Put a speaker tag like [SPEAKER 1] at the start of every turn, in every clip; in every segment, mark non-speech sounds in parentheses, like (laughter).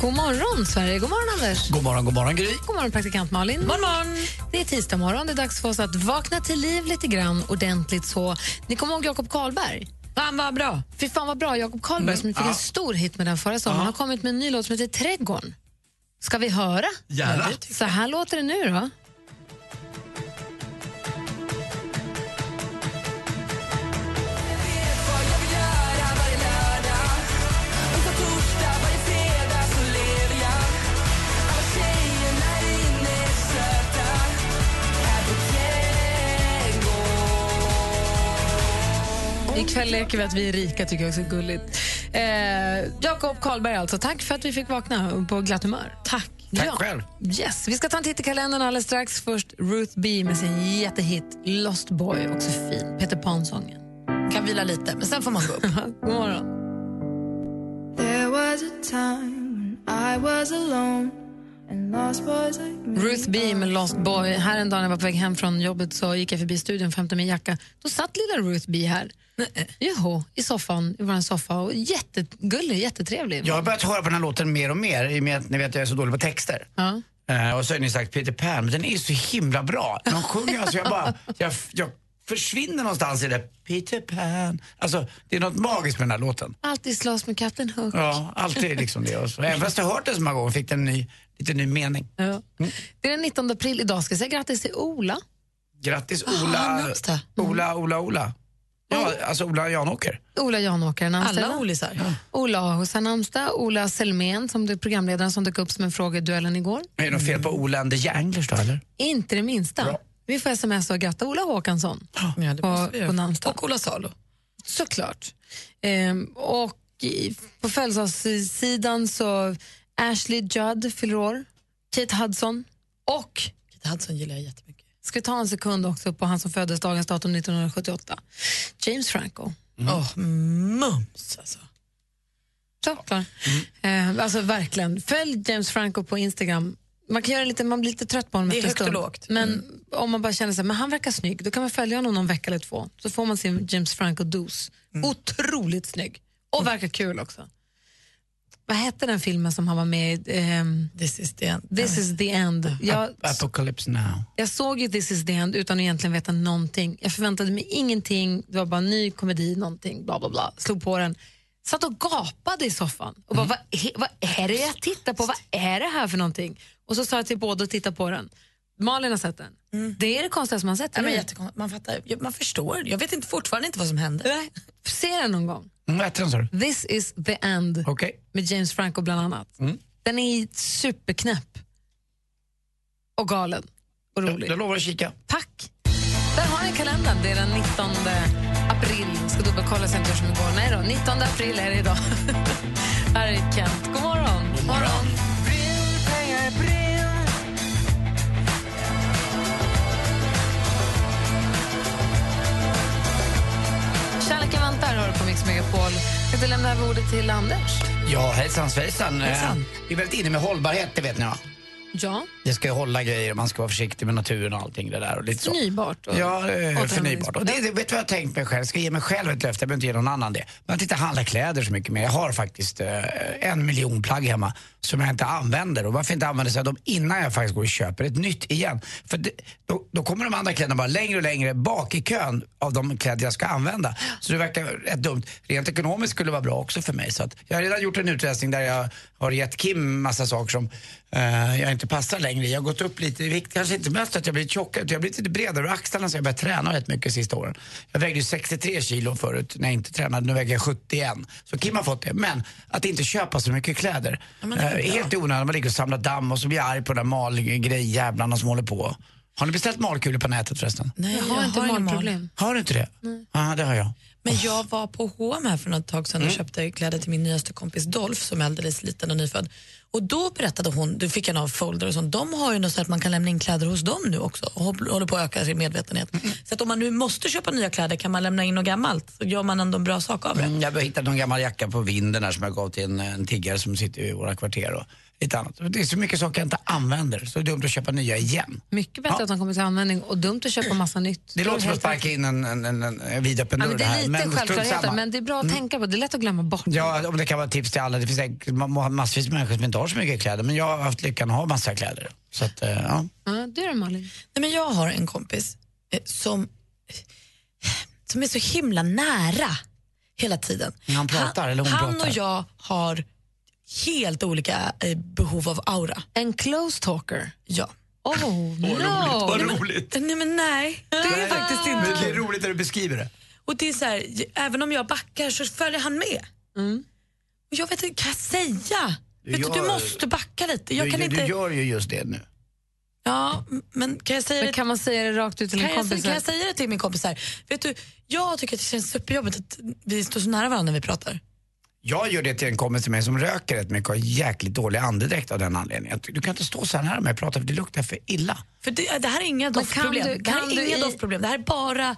[SPEAKER 1] God morgon, Sverige. God morgon, Anders.
[SPEAKER 2] God morgon, god morgon Gry.
[SPEAKER 1] God morgon, praktikant Malin. God morgon. Det är tisdag morgon. Det är dags för oss att vakna till liv lite grann ordentligt. så. Ni kommer ihåg Jakob Karlberg?
[SPEAKER 3] Fan vad bra.
[SPEAKER 1] Fy fan vad bra. Jakob Karlberg som fick en stor hit med den förra sommaren har kommit med en ny låt som heter Trädgården. Ska vi höra?
[SPEAKER 2] Gärna.
[SPEAKER 1] Så här låter det nu då. Ikväll leker vi att vi är rika, tycker jag också är gulligt. Eh, Jakob Karlberg alltså, tack för att vi fick vakna på glatt humör. Tack.
[SPEAKER 2] Tack själv.
[SPEAKER 1] Yes, vi ska ta en titt i kalendern alldeles strax. Först Ruth B med sin jättehit Lost Boy, också fin. Peter Pan-sången.
[SPEAKER 3] Kan vila lite, men sen får man gå upp.
[SPEAKER 1] (laughs) God morgon.
[SPEAKER 4] There was a time when I was alone and lost boys like me.
[SPEAKER 1] Ruth B med Lost Boy. Här en dag när jag var på väg hem från jobbet så gick jag förbi studion och hämtade min jacka. Då satt lilla Ruth B här. Joho, i soffan, i vår soffa. Och jättegullig, jättetrevlig.
[SPEAKER 2] Jag har börjat höra på den här låten mer och mer i och med att ni vet att jag är så dålig på texter.
[SPEAKER 1] Ja.
[SPEAKER 2] Eh, och så har ni sagt Peter Pan, men den är så himla bra. När De sjunger alltså, jag (laughs) bara, jag, jag försvinner någonstans i det. Peter Pan. Alltså, det är något magiskt med den här låten.
[SPEAKER 1] Alltid slåss med Kapten Hook.
[SPEAKER 2] Ja, alltid liksom det. Och så, även fast jag har hört den så många gånger fick den en ny, lite ny mening.
[SPEAKER 1] Ja. Det är den 19 april idag. Ska jag säga grattis till Ola.
[SPEAKER 2] Grattis
[SPEAKER 3] han har
[SPEAKER 2] Ola,
[SPEAKER 3] namnsdag.
[SPEAKER 2] Ola, Ola, Ola. Mm. Ja, alltså Ola Janåker.
[SPEAKER 1] Ola Janåker, den anställda.
[SPEAKER 3] Alla olisar.
[SPEAKER 1] Ola Ahosan Amsta, Ola Selmén, som det är programledaren som dök upp som en fråga i duellen igår.
[SPEAKER 2] Är det något fel på Ola and the Janglers då eller?
[SPEAKER 1] Inte det minsta.
[SPEAKER 2] Bra.
[SPEAKER 1] Vi får sms och gratta Ola Håkansson
[SPEAKER 3] Ja, det måste
[SPEAKER 1] på,
[SPEAKER 3] vi göra.
[SPEAKER 1] på namnsdag.
[SPEAKER 3] Och Ola Salo.
[SPEAKER 1] Såklart. Ehm, och i, på födelsedagssidan så Ashley Judd fyller år, Kate Hudson och
[SPEAKER 3] Kit Hudson gillar jag jättemycket.
[SPEAKER 1] ska vi ta en sekund också på han som föddes dagens datum 1978, James Franco.
[SPEAKER 2] Mm.
[SPEAKER 3] Åh, mums alltså.
[SPEAKER 1] Toppen. Eh, alltså verkligen. Följ James Franco på Instagram. Man kan göra lite, man blir lite trött på honom
[SPEAKER 3] Det är
[SPEAKER 1] efter en
[SPEAKER 3] högt och
[SPEAKER 1] stund.
[SPEAKER 3] lågt. Mm.
[SPEAKER 1] Men om man bara känner sig, men han verkar snygg, då kan man följa honom någon vecka eller två. Så får man sin James Franco-dos.
[SPEAKER 3] Mm.
[SPEAKER 1] Otroligt snygg. Och verkar kul också. Vad hette den filmen som han var med i? Ehm,
[SPEAKER 3] This is the end.
[SPEAKER 1] This is the end. Jag,
[SPEAKER 2] Ap- Apocalypse now.
[SPEAKER 1] jag såg ju This is the end utan att egentligen veta någonting. Jag förväntade mig ingenting, det var bara en ny komedi, någonting, bla bla bla. Slog på den. Satt och gapade i soffan och
[SPEAKER 3] Mm.
[SPEAKER 1] bara, vad, he- vad är det jag tittar på? Vad är det här för någonting? Och så sa jag till båda att titta på den. Malin har sett den. Det är det konstigaste man har sett.
[SPEAKER 3] Nej, Mm. men
[SPEAKER 1] eller?
[SPEAKER 3] jättekonstigt. man fattar, Ja, man förstår. Jag vet inte, fortfarande inte vad som hände.
[SPEAKER 1] Nej, Se den någon gång.
[SPEAKER 2] Mm, Vad hette den sa du?
[SPEAKER 1] This is the end
[SPEAKER 2] Okej.
[SPEAKER 1] med James Franco bland annat.
[SPEAKER 2] Mm.
[SPEAKER 1] Den är superknäpp och galen och rolig.
[SPEAKER 2] Jag lovar att kika.
[SPEAKER 1] Tack! Där har ni kalendern. Det är den 19 april. Ska dubbelkolla sen gör som igår. Nej då, 19 april är det idag. (laughs) Här är Kent. God morgon! God morgon. Kärleken väntar, hör du på Mix Megapol. Jag tänkte lämna över ordet till Anders.
[SPEAKER 2] Ja, hejsan svejsan.
[SPEAKER 3] Hejsan.
[SPEAKER 2] Eh, Vi är väldigt inne med hållbarhet, det vet ni va?
[SPEAKER 1] Ja,
[SPEAKER 2] Det ska ju hålla grejer och man ska vara försiktig med naturen och allting det där. Och lite så.
[SPEAKER 1] förnybart. och-
[SPEAKER 2] Ja, eh,
[SPEAKER 1] återhämtnings-
[SPEAKER 2] förnybart. Och det, det, vet du vad jag har tänkt mig själv? Jag ska ge mig själv ett löfte, jag behöver inte ge någon annan det. Man inte handla kläder så mycket mer. Jag har faktiskt eh, en miljon plagg hemma som jag inte använder. Och varför inte använda sig av dem innan jag faktiskt går och köper ett nytt igen? För det, då, då kommer de andra kläderna bara längre och längre bak i kön av de kläder jag ska använda. Så det verkar rätt dumt. Rent ekonomiskt skulle det vara bra också för mig. Så att jag har redan gjort en utredning där jag har gett Kim massa saker som eh, jag inte passar längre i. Jag har gått upp lite i vikt, kanske inte mest att jag blivit tjockare, utan jag har blivit lite bredare över axlarna så jag börjar träna rätt mycket de sista åren. Jag vägde ju 63 kilo förut när jag inte tränade, nu väger jag 71. Så Kim har fått det. Men att inte köpa så mycket kläder. Eh, helt i onödan, man ligger och samlar damm och så blir jag arg på den där malgrejjävlarna som håller på. Har ni beställt malkulor på nätet förresten?
[SPEAKER 3] Nej,
[SPEAKER 1] Jag har inte
[SPEAKER 3] inga
[SPEAKER 1] magproblem.
[SPEAKER 2] Har du inte det? Ja, det har jag.
[SPEAKER 3] Men jag
[SPEAKER 2] Mm.
[SPEAKER 3] var på H&M här för något tag sedan och köpte kläder till min nyaste kompis Dolph som är alldeles liten och nyfödd. Och då berättade hon, du fick en av folder och sånt, de har ju något så att man kan lämna in kläder hos dem nu också och hop- håller på att öka sin medvetenhet.
[SPEAKER 2] Mm.
[SPEAKER 3] Så att om man nu måste köpa nya kläder kan man lämna in något gammalt så gör man ändå en bra sak av det.
[SPEAKER 2] Mm, Jag har hittat någon gammal jacka på vinden här som jag gav till en, en tiggare som sitter i våra kvarter och lite annat. Det är så mycket saker jag inte använder så det är dumt att köpa nya igen.
[SPEAKER 1] Mycket bättre
[SPEAKER 2] Ja.
[SPEAKER 1] att de kommer till användning och dumt att köpa massa nytt.
[SPEAKER 2] Det låter som att
[SPEAKER 1] Helt
[SPEAKER 2] sparka in en, en, en, en vidöppen
[SPEAKER 1] Ja,
[SPEAKER 2] dörr
[SPEAKER 1] men det är
[SPEAKER 2] här. Mm.
[SPEAKER 1] lite
[SPEAKER 2] strunt
[SPEAKER 1] självklarheter,
[SPEAKER 2] samma.
[SPEAKER 1] men det är bra att tänka på. Det är lätt att glömma bort.
[SPEAKER 2] Ja, om det kan vara ett tips till alla. Det finns säkert ma- massvis med människor som inte har så mycket kläder men jag har haft lyckan att ha massa kläder. Så att, eh, ja.
[SPEAKER 1] Ja, du då Malin?
[SPEAKER 3] Nej, men jag har en kompis eh, som, som är så himla nära hela tiden.
[SPEAKER 2] Han pratar eller hon
[SPEAKER 3] han
[SPEAKER 2] pratar?
[SPEAKER 3] och jag har helt olika eh, behov av aura.
[SPEAKER 1] En close talker.
[SPEAKER 3] Ja.
[SPEAKER 1] Oh, no.
[SPEAKER 2] roligt!
[SPEAKER 3] Nej, men nej. Det är faktiskt inte
[SPEAKER 2] Men det är roligt när du beskriver det.
[SPEAKER 3] Och det är så här, j- även om jag backar så följer han med.
[SPEAKER 1] Mm.
[SPEAKER 3] Och jag vet inte, kan jag säga?
[SPEAKER 2] Du
[SPEAKER 3] Du, vet, du
[SPEAKER 2] gör-
[SPEAKER 3] måste backa lite. Jag
[SPEAKER 2] du,
[SPEAKER 3] kan
[SPEAKER 2] du,
[SPEAKER 3] inte...
[SPEAKER 2] du gör ju just det nu.
[SPEAKER 3] Ja, m- men kan jag säga
[SPEAKER 1] Men
[SPEAKER 3] det?
[SPEAKER 1] kan man säga det rakt ut till en
[SPEAKER 3] Kan jag,
[SPEAKER 1] kompis?
[SPEAKER 3] kan jag säga det till min kompis här? Vet du, jag tycker att det känns superjobbigt att vi står så nära varandra när vi pratar.
[SPEAKER 2] Jag gör det till en kompis till mig som röker rätt mycket och har jäkligt dålig andedräkt av den anledningen. Jag tycker, Du kan inte stå så här nära mig och prata för det luktar för illa.
[SPEAKER 3] För det, det här är inga doftproblem.
[SPEAKER 1] kan du-
[SPEAKER 3] det här
[SPEAKER 1] kan
[SPEAKER 3] är
[SPEAKER 1] du
[SPEAKER 3] inga
[SPEAKER 1] i-
[SPEAKER 3] doftproblem. Det här är bara...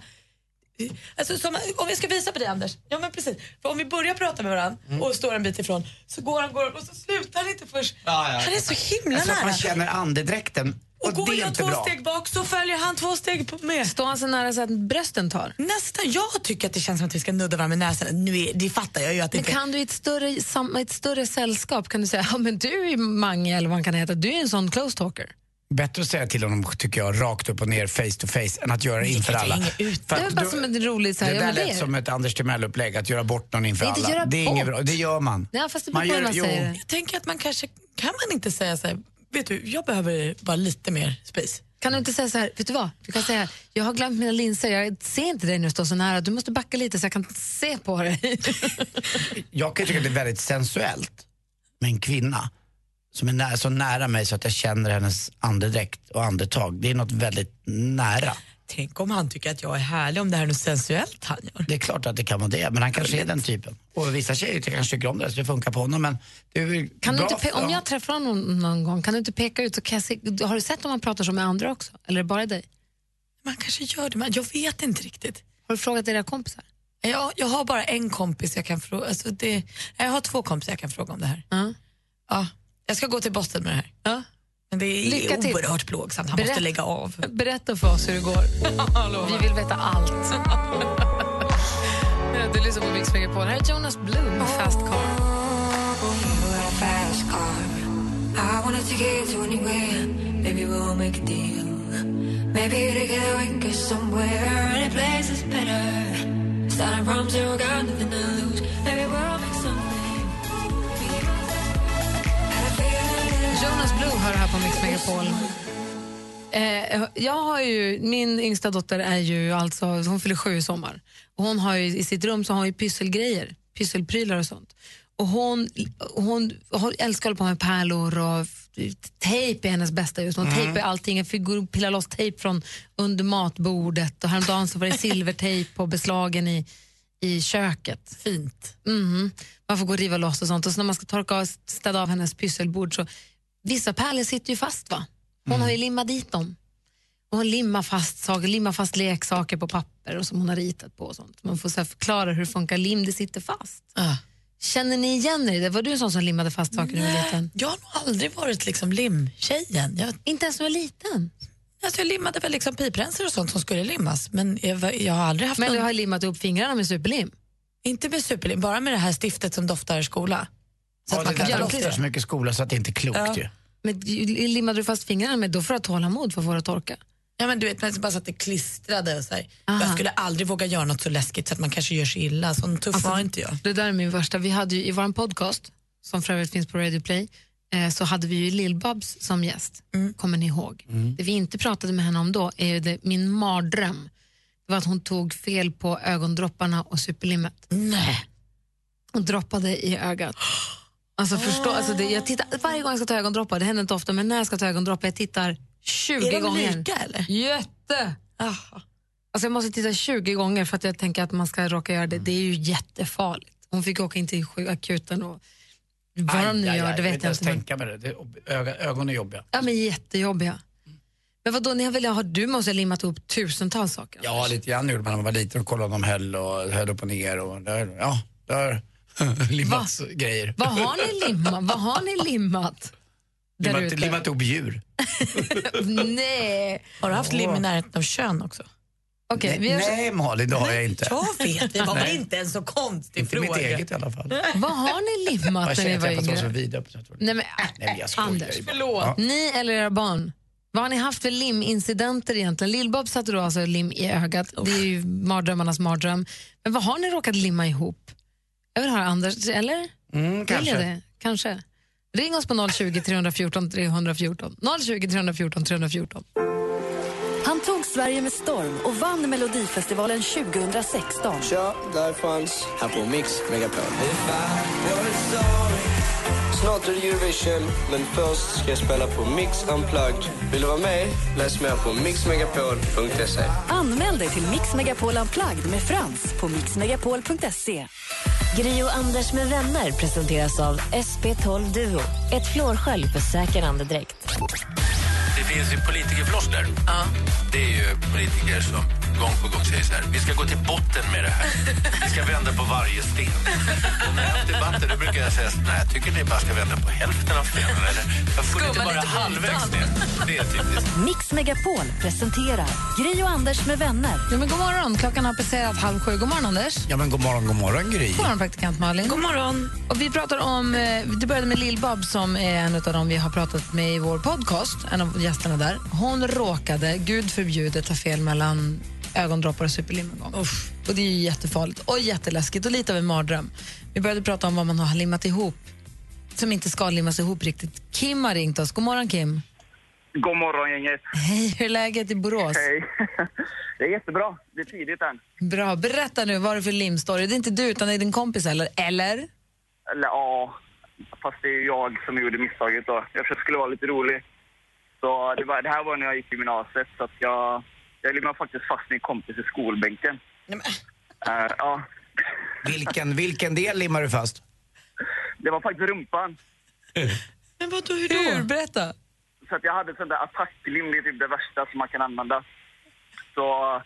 [SPEAKER 3] Alltså, som, om jag ska visa på dig Anders. Ja men precis. För om vi börjar prata med varandra
[SPEAKER 2] Mm.
[SPEAKER 3] och står en bit ifrån så går han, går han och så slutar han inte först.
[SPEAKER 2] Ja, ja.
[SPEAKER 3] Han är så himla
[SPEAKER 2] Alltså att
[SPEAKER 3] nära.
[SPEAKER 2] man känner andedräkten och,
[SPEAKER 3] Och går
[SPEAKER 2] det är
[SPEAKER 3] jag
[SPEAKER 2] inte
[SPEAKER 3] två
[SPEAKER 2] bra.
[SPEAKER 3] steg bak så följer han två steg på- med.
[SPEAKER 1] Står han så nära så att brösten tar?
[SPEAKER 3] Nästan, jag tycker att det känns som att vi ska nudda varandra med näsan. Nu är, det fattar jag ju att det
[SPEAKER 1] Men
[SPEAKER 3] inte...
[SPEAKER 1] kan du i ett större, sam, ett större sällskap kan du säga ja, men du är Mange eller vad man kan heta, du är en sån close talker.
[SPEAKER 2] Bättre att säga till honom, tycker jag, rakt upp och ner, face to face, än att göra det inför
[SPEAKER 3] kan
[SPEAKER 2] alla.
[SPEAKER 3] hänga ut.
[SPEAKER 2] För
[SPEAKER 1] Det är
[SPEAKER 2] att
[SPEAKER 1] bara
[SPEAKER 2] då-
[SPEAKER 1] som en rolig så här,
[SPEAKER 2] det
[SPEAKER 1] ja,
[SPEAKER 2] där
[SPEAKER 1] men det
[SPEAKER 2] lät
[SPEAKER 1] är-
[SPEAKER 2] som ett Anders Timell-upplägg, att göra bort någon inför
[SPEAKER 1] Det är inte
[SPEAKER 2] alla.
[SPEAKER 1] göra
[SPEAKER 2] det är inget
[SPEAKER 1] bort.
[SPEAKER 2] bra, det gör man.
[SPEAKER 1] Nej, fast det
[SPEAKER 2] Man
[SPEAKER 1] beror på
[SPEAKER 2] gör-
[SPEAKER 1] hur man
[SPEAKER 2] jo.
[SPEAKER 1] säger det.
[SPEAKER 3] Jag tänker att man kanske... Kan man inte säga så här, vet du, jag behöver bara lite mer space.
[SPEAKER 1] Kan du inte säga så här, vet du vad? Du kan säga, jag har glömt mina linser, jag ser inte dig när du står så nära, du måste backa lite så jag kan se på dig. (laughs)
[SPEAKER 2] Jag kan tycka att det är väldigt sensuellt med en kvinna som är nä- så nära mig så att jag känner hennes andedräkt och andetag. Det är något väldigt nära.
[SPEAKER 3] Tänk om han tycker att jag är härlig, om det här är något sensuellt han gör.
[SPEAKER 2] Det är klart att det kan vara det, men han kanske är den typen. Och vissa tjejer tycker- kanske tycker om det, så det funkar på honom. Men det är väl
[SPEAKER 1] Kan du
[SPEAKER 2] bra
[SPEAKER 1] inte pe-
[SPEAKER 2] för-
[SPEAKER 1] om jag träffar honom någon gång, kan du inte peka ut, så kan jag se, har du sett om han pratar så med andra också? Eller är det bara dig?
[SPEAKER 3] Man kanske gör det, men jag vet inte riktigt.
[SPEAKER 1] Har du frågat era kompisar?
[SPEAKER 3] Jag, jag har bara en kompis jag kan fråga. Alltså det, nej, jag har två kompisar jag kan fråga om det här.
[SPEAKER 1] Ja.
[SPEAKER 3] Ja, jag ska gå till botten med det här.
[SPEAKER 1] Ja.
[SPEAKER 3] Men det är
[SPEAKER 1] Lycka till.
[SPEAKER 3] oerhört plågsamt. Han måste
[SPEAKER 1] Berätta.
[SPEAKER 3] lägga av.
[SPEAKER 1] Berätta för oss hur det går. Vi vill veta allt. du lyssnar på Mix Megapol. Här är Jonas Blum, Fast Car. Jonas Blue hör här på Mix Megapol. Eh, jag har ju, min yngsta dotter är ju alltså, hon fyller sju i sommar. Och hon har ju, I sitt rum så har hon ju pysselgrejer, pysselprylar och sånt. Och hon, hon, hon älskar att hålla på med pärlor och f- tejp är hennes bästa just nu. Hon tejpar allting, jag fick gå och pilla loss tejp från under matbordet och häromdagen så var det silvertejp på beslagen i, i köket. Fint. Man får gå och riva loss och sånt. Och så när man ska torka och städa av hennes pysselbord så vissa pärlor sitter ju fast va? Hon
[SPEAKER 2] Mm.
[SPEAKER 1] har ju limmat dit dem. Och hon limmar fast saker, limmar fast leksaker på papper och som hon har ritat på och sånt. Man får så här förklara hur det funkar lim, det sitter fast.
[SPEAKER 3] Ah.
[SPEAKER 1] Känner ni igen er i det? Var du en sån som limmade fast saker när du var liten?
[SPEAKER 3] Jag har nog aldrig varit liksom limtjejen. Jag,
[SPEAKER 1] Inte ens när du var liten.
[SPEAKER 3] alltså jag limmade väl liksom piprensare och sånt som skulle limmas men jag, var- jag har aldrig haft
[SPEAKER 1] Men du
[SPEAKER 3] någon,
[SPEAKER 1] har limmat upp fingrarna med superlim.
[SPEAKER 3] inte med superlim, bara med det här stiftet som doftar skola. Så
[SPEAKER 2] Ja,
[SPEAKER 3] att man
[SPEAKER 2] det
[SPEAKER 3] kan
[SPEAKER 2] där
[SPEAKER 1] göra
[SPEAKER 2] doftar
[SPEAKER 1] det.
[SPEAKER 2] så mycket skola så att det inte är klokt
[SPEAKER 3] Ja.
[SPEAKER 2] ju.
[SPEAKER 1] Men du- limmade du fast fingrarna med, då får du ha tålamod för att få det att torka.
[SPEAKER 3] Ja men du vet, men så bara så att det klistrade och så här.
[SPEAKER 1] Aha.
[SPEAKER 3] Jag skulle aldrig våga göra något så läskigt så att man kanske gör sig illa. Sån tuff var inte jag.
[SPEAKER 1] Alltså, Det där är min värsta. Vi hade ju i vår podcast, som för övrigt finns på Radio Play, eh, så hade vi ju Lill-Babs som gäst.
[SPEAKER 3] Mm.
[SPEAKER 1] Kommer ni ihåg? Det vi inte pratade med henne om då är ju det, min mardröm. Det var att hon tog fel på ögondropparna och superlimmet.
[SPEAKER 3] Nej.
[SPEAKER 1] Hon droppade i ögat. Alltså, förstå, alltså det, jag tittar, varje gång jag ska ta ögondroppar, det händer inte ofta, men när jag ska ta ögondroppar, jag tittar 20
[SPEAKER 3] Är de
[SPEAKER 1] gånger.
[SPEAKER 3] lika eller? Ah.
[SPEAKER 1] Jätte!
[SPEAKER 3] Aha.
[SPEAKER 1] Alltså jag måste titta 20 gånger för att
[SPEAKER 2] Mm.
[SPEAKER 1] jag tänker att man ska råka göra det. Det är ju jättefarligt. Hon fick åka in till sjuk- akuten och Vad de nu gör, det
[SPEAKER 2] jag
[SPEAKER 1] vet jag
[SPEAKER 2] ens
[SPEAKER 1] inte. Men,
[SPEAKER 2] tänka mig det. det är ob- öga- ögonen är jobbiga.
[SPEAKER 1] ja, men jättejobbiga.
[SPEAKER 2] Mm.
[SPEAKER 1] Men vadå, ni har väl, har, du måste ha limmat ihop tusentals saker?
[SPEAKER 2] Ja, lite grann gjorde man när man var liten och kollade om de höll och höll upp och ner och där, ja, där (laughs) limmats grejer.
[SPEAKER 1] Vad har
[SPEAKER 2] (laughs)
[SPEAKER 1] ni limmat? Vad har ni limmat? där
[SPEAKER 2] Limmat,
[SPEAKER 1] ute?
[SPEAKER 2] limmat ihop djur.
[SPEAKER 1] (laughs) Nej.
[SPEAKER 3] Har du haft lim i närheten av kön också?
[SPEAKER 1] Okej, vi gör,
[SPEAKER 2] Nej Malin, det har jag inte.
[SPEAKER 3] Jag vet, det var väl inte en så konstig
[SPEAKER 2] Inte mitt eget i alla fall. Jag
[SPEAKER 1] vad har ni
[SPEAKER 2] har
[SPEAKER 1] limmat när ni var
[SPEAKER 2] tjejträffat oss
[SPEAKER 1] yngre?
[SPEAKER 2] för vida. Jag tror det.
[SPEAKER 1] Nej, men, äh,
[SPEAKER 2] Nej, men jag skojar
[SPEAKER 1] Anders,
[SPEAKER 2] ju bara. Ja.
[SPEAKER 1] Ni eller era barn, vad har ni haft för limincidenter egentligen? Lill-Bob satte då alltså lim i ögat, det är ju mardrömmarnas mardröm. Men vad har ni råkat limma ihop? Jag vill höra Anders, eller?
[SPEAKER 2] Mm,
[SPEAKER 1] Kanske.
[SPEAKER 2] kanske.
[SPEAKER 1] Det? kanske. Ring oss på 020 314 314. 020 314 314.
[SPEAKER 5] Han tog Sverige med storm och vann Melodifestivalen 2016.
[SPEAKER 6] Tja, där fanns här på Mix Megapol. Snart är det Eurovision, men först ska jag spela på Mix Unplugged. Vill du vara med? Läs mer på mixmegapol.se.
[SPEAKER 5] Anmäl dig till Mix Megapol Unplugged med Frans på mixmegapol.se.
[SPEAKER 7] Gri och Anders med vänner presenteras av SP12 Duo. Ett flårskölj för säker andedräkt.
[SPEAKER 8] Det finns ju politikerfloskler. Det är ju politiker som gång på gång säger så här. Vi ska gå till botten med det här. Vi ska vända på varje sten. Och när jag har haft debatter då brukar jag säga så här, nej, jag tycker ni bara ska vända på hälften av stenen. Eller, jag får inte bara halvvägs ner. Det är typiskt.
[SPEAKER 5] Mix Megapol presenterar Gri och Anders med vänner.
[SPEAKER 1] Ja, men god morgon, klockan har passerat halv sju. God morgon Anders.
[SPEAKER 2] Ja men god morgon, god morgon Gry.
[SPEAKER 1] God morgon praktikant Malin.
[SPEAKER 3] God morgon.
[SPEAKER 1] Och vi pratar om, eh, det började med Lill-Bob som är en av dem vi har pratat med i vår podcast, en av gästerna där. Hon råkade, gud förbjude, ta fel mellan ögondroppar och superlim en gång. Och det är ju jättefarligt och jätteläskigt och lite av en mardröm. Vi började prata om vad man har limmat ihop som inte ska limmas ihop riktigt. Kim har ringt oss. God morgon Kim.
[SPEAKER 6] God morgon, gänget.
[SPEAKER 1] Hej, hur är läget i Borås?
[SPEAKER 6] Hej. (laughs) Det är jättebra. Det är tidigt än.
[SPEAKER 1] Bra, berätta nu, vad är det för limstory? Det är inte du utan det är din kompis eller? Eller?
[SPEAKER 6] Eller ja, fast det är ju jag som gjorde misstaget då. Jag försökte skulle vara lite rolig. Så det, var, det här var när jag gick i gymnasiet så att jag, jag limmade faktiskt fast min kompis i skolbänken. Eh, ja,
[SPEAKER 2] Vilken, vilken del limmar du fast?
[SPEAKER 6] det var faktiskt rumpan.
[SPEAKER 3] (laughs) Men vadå, hur
[SPEAKER 1] Hur?
[SPEAKER 3] då?
[SPEAKER 1] Berätta.
[SPEAKER 6] Så att jag hade sån där attacklim, det är typ det värsta som man kan använda. Så eh,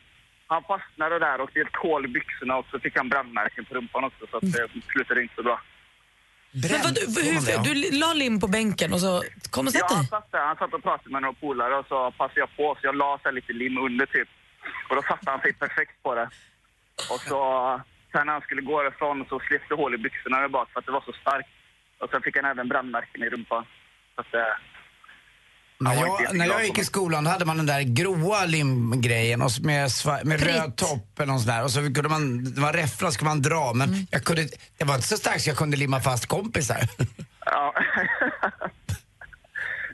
[SPEAKER 6] han fastnade där och det är ett hål i byxorna och så fick han brandmärken på rumpan också så att det
[SPEAKER 3] Mm.
[SPEAKER 6] slutade inte så bra.
[SPEAKER 3] Men vadå, hur, du la lim på bänken och så kom och
[SPEAKER 6] Ja,
[SPEAKER 3] sätt
[SPEAKER 6] han
[SPEAKER 3] dig.
[SPEAKER 6] satt där. Han satt och pratade med några polare och så passade jag på så jag la så här lite lim under typ. Och då satte han sig perfekt på det. Och så sen när han skulle gå därifrån så slet det hål i byxorna där bak för att det var så starkt. Och sen fick han även brandmärken i rumpan. Så att, eh,
[SPEAKER 2] När
[SPEAKER 6] var inte
[SPEAKER 2] jag, när jag
[SPEAKER 6] jätteglad
[SPEAKER 2] gick
[SPEAKER 6] för
[SPEAKER 2] i
[SPEAKER 6] mig.
[SPEAKER 2] skolan då hade man den där gråa limgrejen och så med, sva- med
[SPEAKER 1] Pritt.
[SPEAKER 2] röd topp eller något sånt där. Och så kunde man, det var räfflar skulle man dra men
[SPEAKER 1] Mm.
[SPEAKER 2] jag kunde, det var inte så starkt så jag kunde limma fast kompisar. (laughs)
[SPEAKER 6] Ja. (laughs)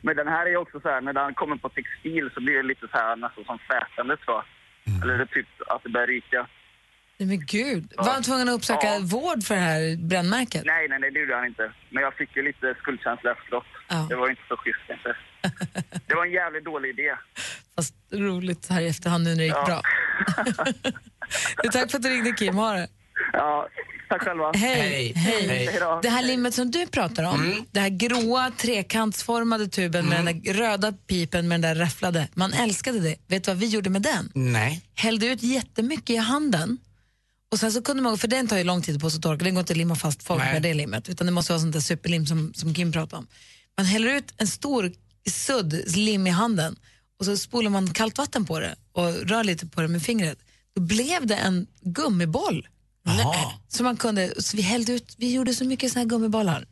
[SPEAKER 6] Men den här är ju också så här, när den kommer på textil så blir det lite så här nästan som fätandet så. Eller det är typ att det börjar ryka.
[SPEAKER 1] Nej, men gud. Var han tvungen att uppsöka
[SPEAKER 6] Ja.
[SPEAKER 1] vård för det här brännmärket?
[SPEAKER 6] Nej, nej, nej, det gjorde han inte. Men jag fick ju lite skuldkänsla efteråt.
[SPEAKER 1] Ja.
[SPEAKER 6] Det var ju inte så schysst kanske. Det var en jävligt dålig idé.
[SPEAKER 1] Fast roligt så här i efterhand nu när det gick
[SPEAKER 6] Ja. (laughs)
[SPEAKER 1] bra. Du, Tack för att du ringde Kim, ha det.
[SPEAKER 6] Ja, tack själva.
[SPEAKER 1] Hej.
[SPEAKER 2] Hej. Hej.
[SPEAKER 6] Hej då.
[SPEAKER 1] Det här limmet som du pratar om, det här gråa trekantsformade tuben med den där röda pipen med den där räfflade. Man älskade det. Vet du vad vi gjorde med den?
[SPEAKER 2] Nej.
[SPEAKER 1] Hällde ut jättemycket i handen. Och sen så kunde man, för den tar ju lång tid på sig att torka, den går inte att limma fast folk
[SPEAKER 2] Nej.
[SPEAKER 1] med det limmet, utan det måste vara sånt där superlim som, som Kim pratade om. Man häller ut en stor sudd lim i handen och så spolar man kallt vatten på det och rör lite på det med fingret. Då blev det en gummiboll.
[SPEAKER 2] Jaha.
[SPEAKER 1] Så man kunde, så vi hällde ut, vi gjorde så mycket såna här gummibollar.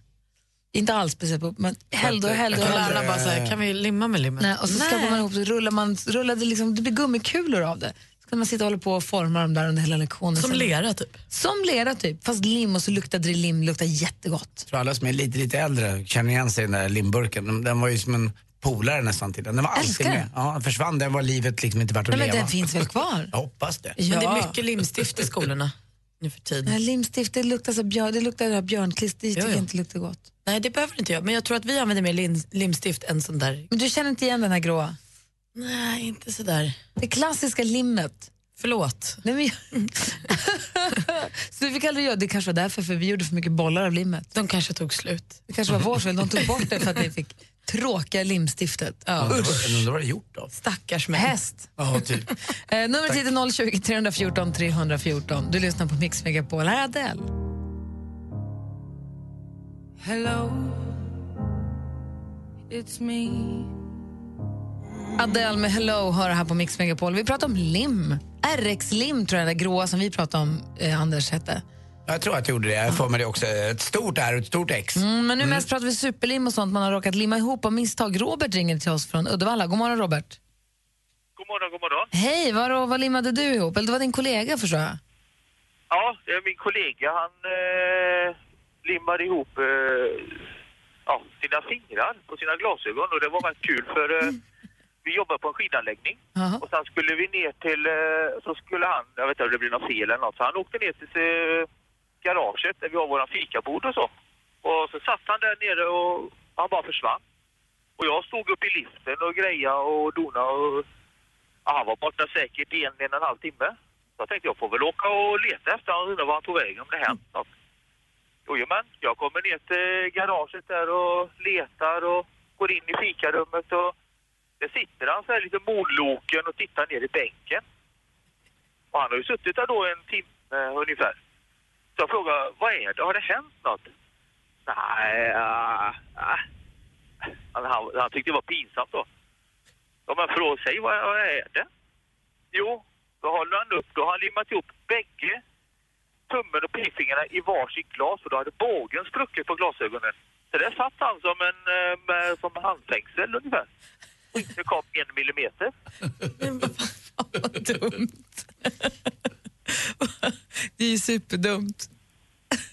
[SPEAKER 1] Inte alls speciellt, på- men hällde och hällde och
[SPEAKER 3] Och
[SPEAKER 1] hällde.
[SPEAKER 3] alla bara så här, kan vi limma med limmen?
[SPEAKER 1] Nej, och så skapade man ihop det, rullade man, rullade liksom, det blir gummikulor av det. Så kunde man sitta och hålla på och forma dem där under hela lektionen.
[SPEAKER 3] Som
[SPEAKER 1] Sen-
[SPEAKER 3] lera typ.
[SPEAKER 1] som lera typ, fast lim och så luktade det lim, luktar jättegott.
[SPEAKER 2] tror alla som är lite, lite äldre känner igen sig i den där limburken. Den- Den var ju som en polare nästan till den. Den var alltid
[SPEAKER 1] Älskar
[SPEAKER 2] med.
[SPEAKER 1] den.
[SPEAKER 2] Ja, den försvann, den var livet liksom inte värt att
[SPEAKER 1] Nej, men
[SPEAKER 2] leva.
[SPEAKER 1] den finns
[SPEAKER 2] (laughs)
[SPEAKER 1] väl kvar?
[SPEAKER 2] Jag hoppas det.
[SPEAKER 1] Ja.
[SPEAKER 3] (laughs) Men det är mycket limstift i skolorna nu för tiden.
[SPEAKER 1] Nej, limstift, det luktar, så björn, det luktar det här björnklist, det tycker
[SPEAKER 3] Jo,
[SPEAKER 1] jag
[SPEAKER 3] jo.
[SPEAKER 1] inte luktar gott.
[SPEAKER 3] Nej, det behöver inte jag. Men jag tror att vi använder mer lim, limstift än sån där.
[SPEAKER 1] Men du känner inte igen den här gråa?
[SPEAKER 3] Nej, inte så där.
[SPEAKER 1] Det klassiska limmet.
[SPEAKER 3] Förlåt.
[SPEAKER 1] Nej, men jag... (laughs) så vi fick aldrig göra, det kanske var därför, för vi gjorde för mycket bollar av limmet.
[SPEAKER 3] De kanske tog slut.
[SPEAKER 1] Det kanske var vår fel, de tog bort det för att vi fick tråkiga limstiftet.
[SPEAKER 8] Ja. Undrar vad det gjort då?
[SPEAKER 3] Stackars
[SPEAKER 1] mig. Häst.
[SPEAKER 8] Ja, typ.
[SPEAKER 1] Eh, numret hit är 020 314 314. Du lyssnar på Mix Megapol. Här är Adele.
[SPEAKER 4] Hello, it's me.
[SPEAKER 1] Adele med Hello hör här på Mix Megapol. Vi pratar om lim. RX-lim tror jag det gråa som vi pratade om, eh, Anders, hette.
[SPEAKER 2] Jag tror att jag gjorde det. Jag får med det också. Ett stort R och ett stort X.
[SPEAKER 1] Mm, men nu mest pratar vi superlim och sånt man har råkat limma ihop av misstag. Robert ringer till oss från Uddevalla. God morgon, Robert.
[SPEAKER 9] God morgon, god morgon.
[SPEAKER 1] Hej, vad, vad limmade du ihop? Eller det var din kollega, förstår jag.
[SPEAKER 9] Ja, det är min kollega han eh, limmade ihop eh, ja, sina fingrar på sina glasögon och det var rätt kul för eh, vi jobbar på en skidanläggning och sen skulle vi ner till, eh, så skulle han, jag vet inte om det blev något fel eller något, så han åkte ner till eh, garaget där vi har våran fikabord och så. Och så satt han där nere och han bara försvann. Och jag stod upp i liften och greja och dona och ja, han var borta säkert i en, en och en halv timme. Så jag tänkte jag får väl åka och leta efter honom och undra var han tog vägen, om det hänt något. Jojomän, jag kommer ner till garaget där och letar och går in i fikarummet och där sitter han så här lite moloken och tittar ner i bänken. Och han har ju suttit där då en timme eh, ungefär. Så jag frågar, vad är det? Har det hänt något? Nej, ah, ah. Han, han, han tyckte det var pinsamt då. Ja, men fråga sig, vad, vad är det? Jo, då håller han upp, då har han limmat ihop bägge tummen och pekfingrarna i varsitt glas och då hade bågen spruckit på glasögonen. Så där satt han som en eh, med, som handfängsel ungefär. Och inte kom en
[SPEAKER 3] (laughs)
[SPEAKER 9] millimeter.
[SPEAKER 3] Vad dumt.
[SPEAKER 1] Det är ju superdumt.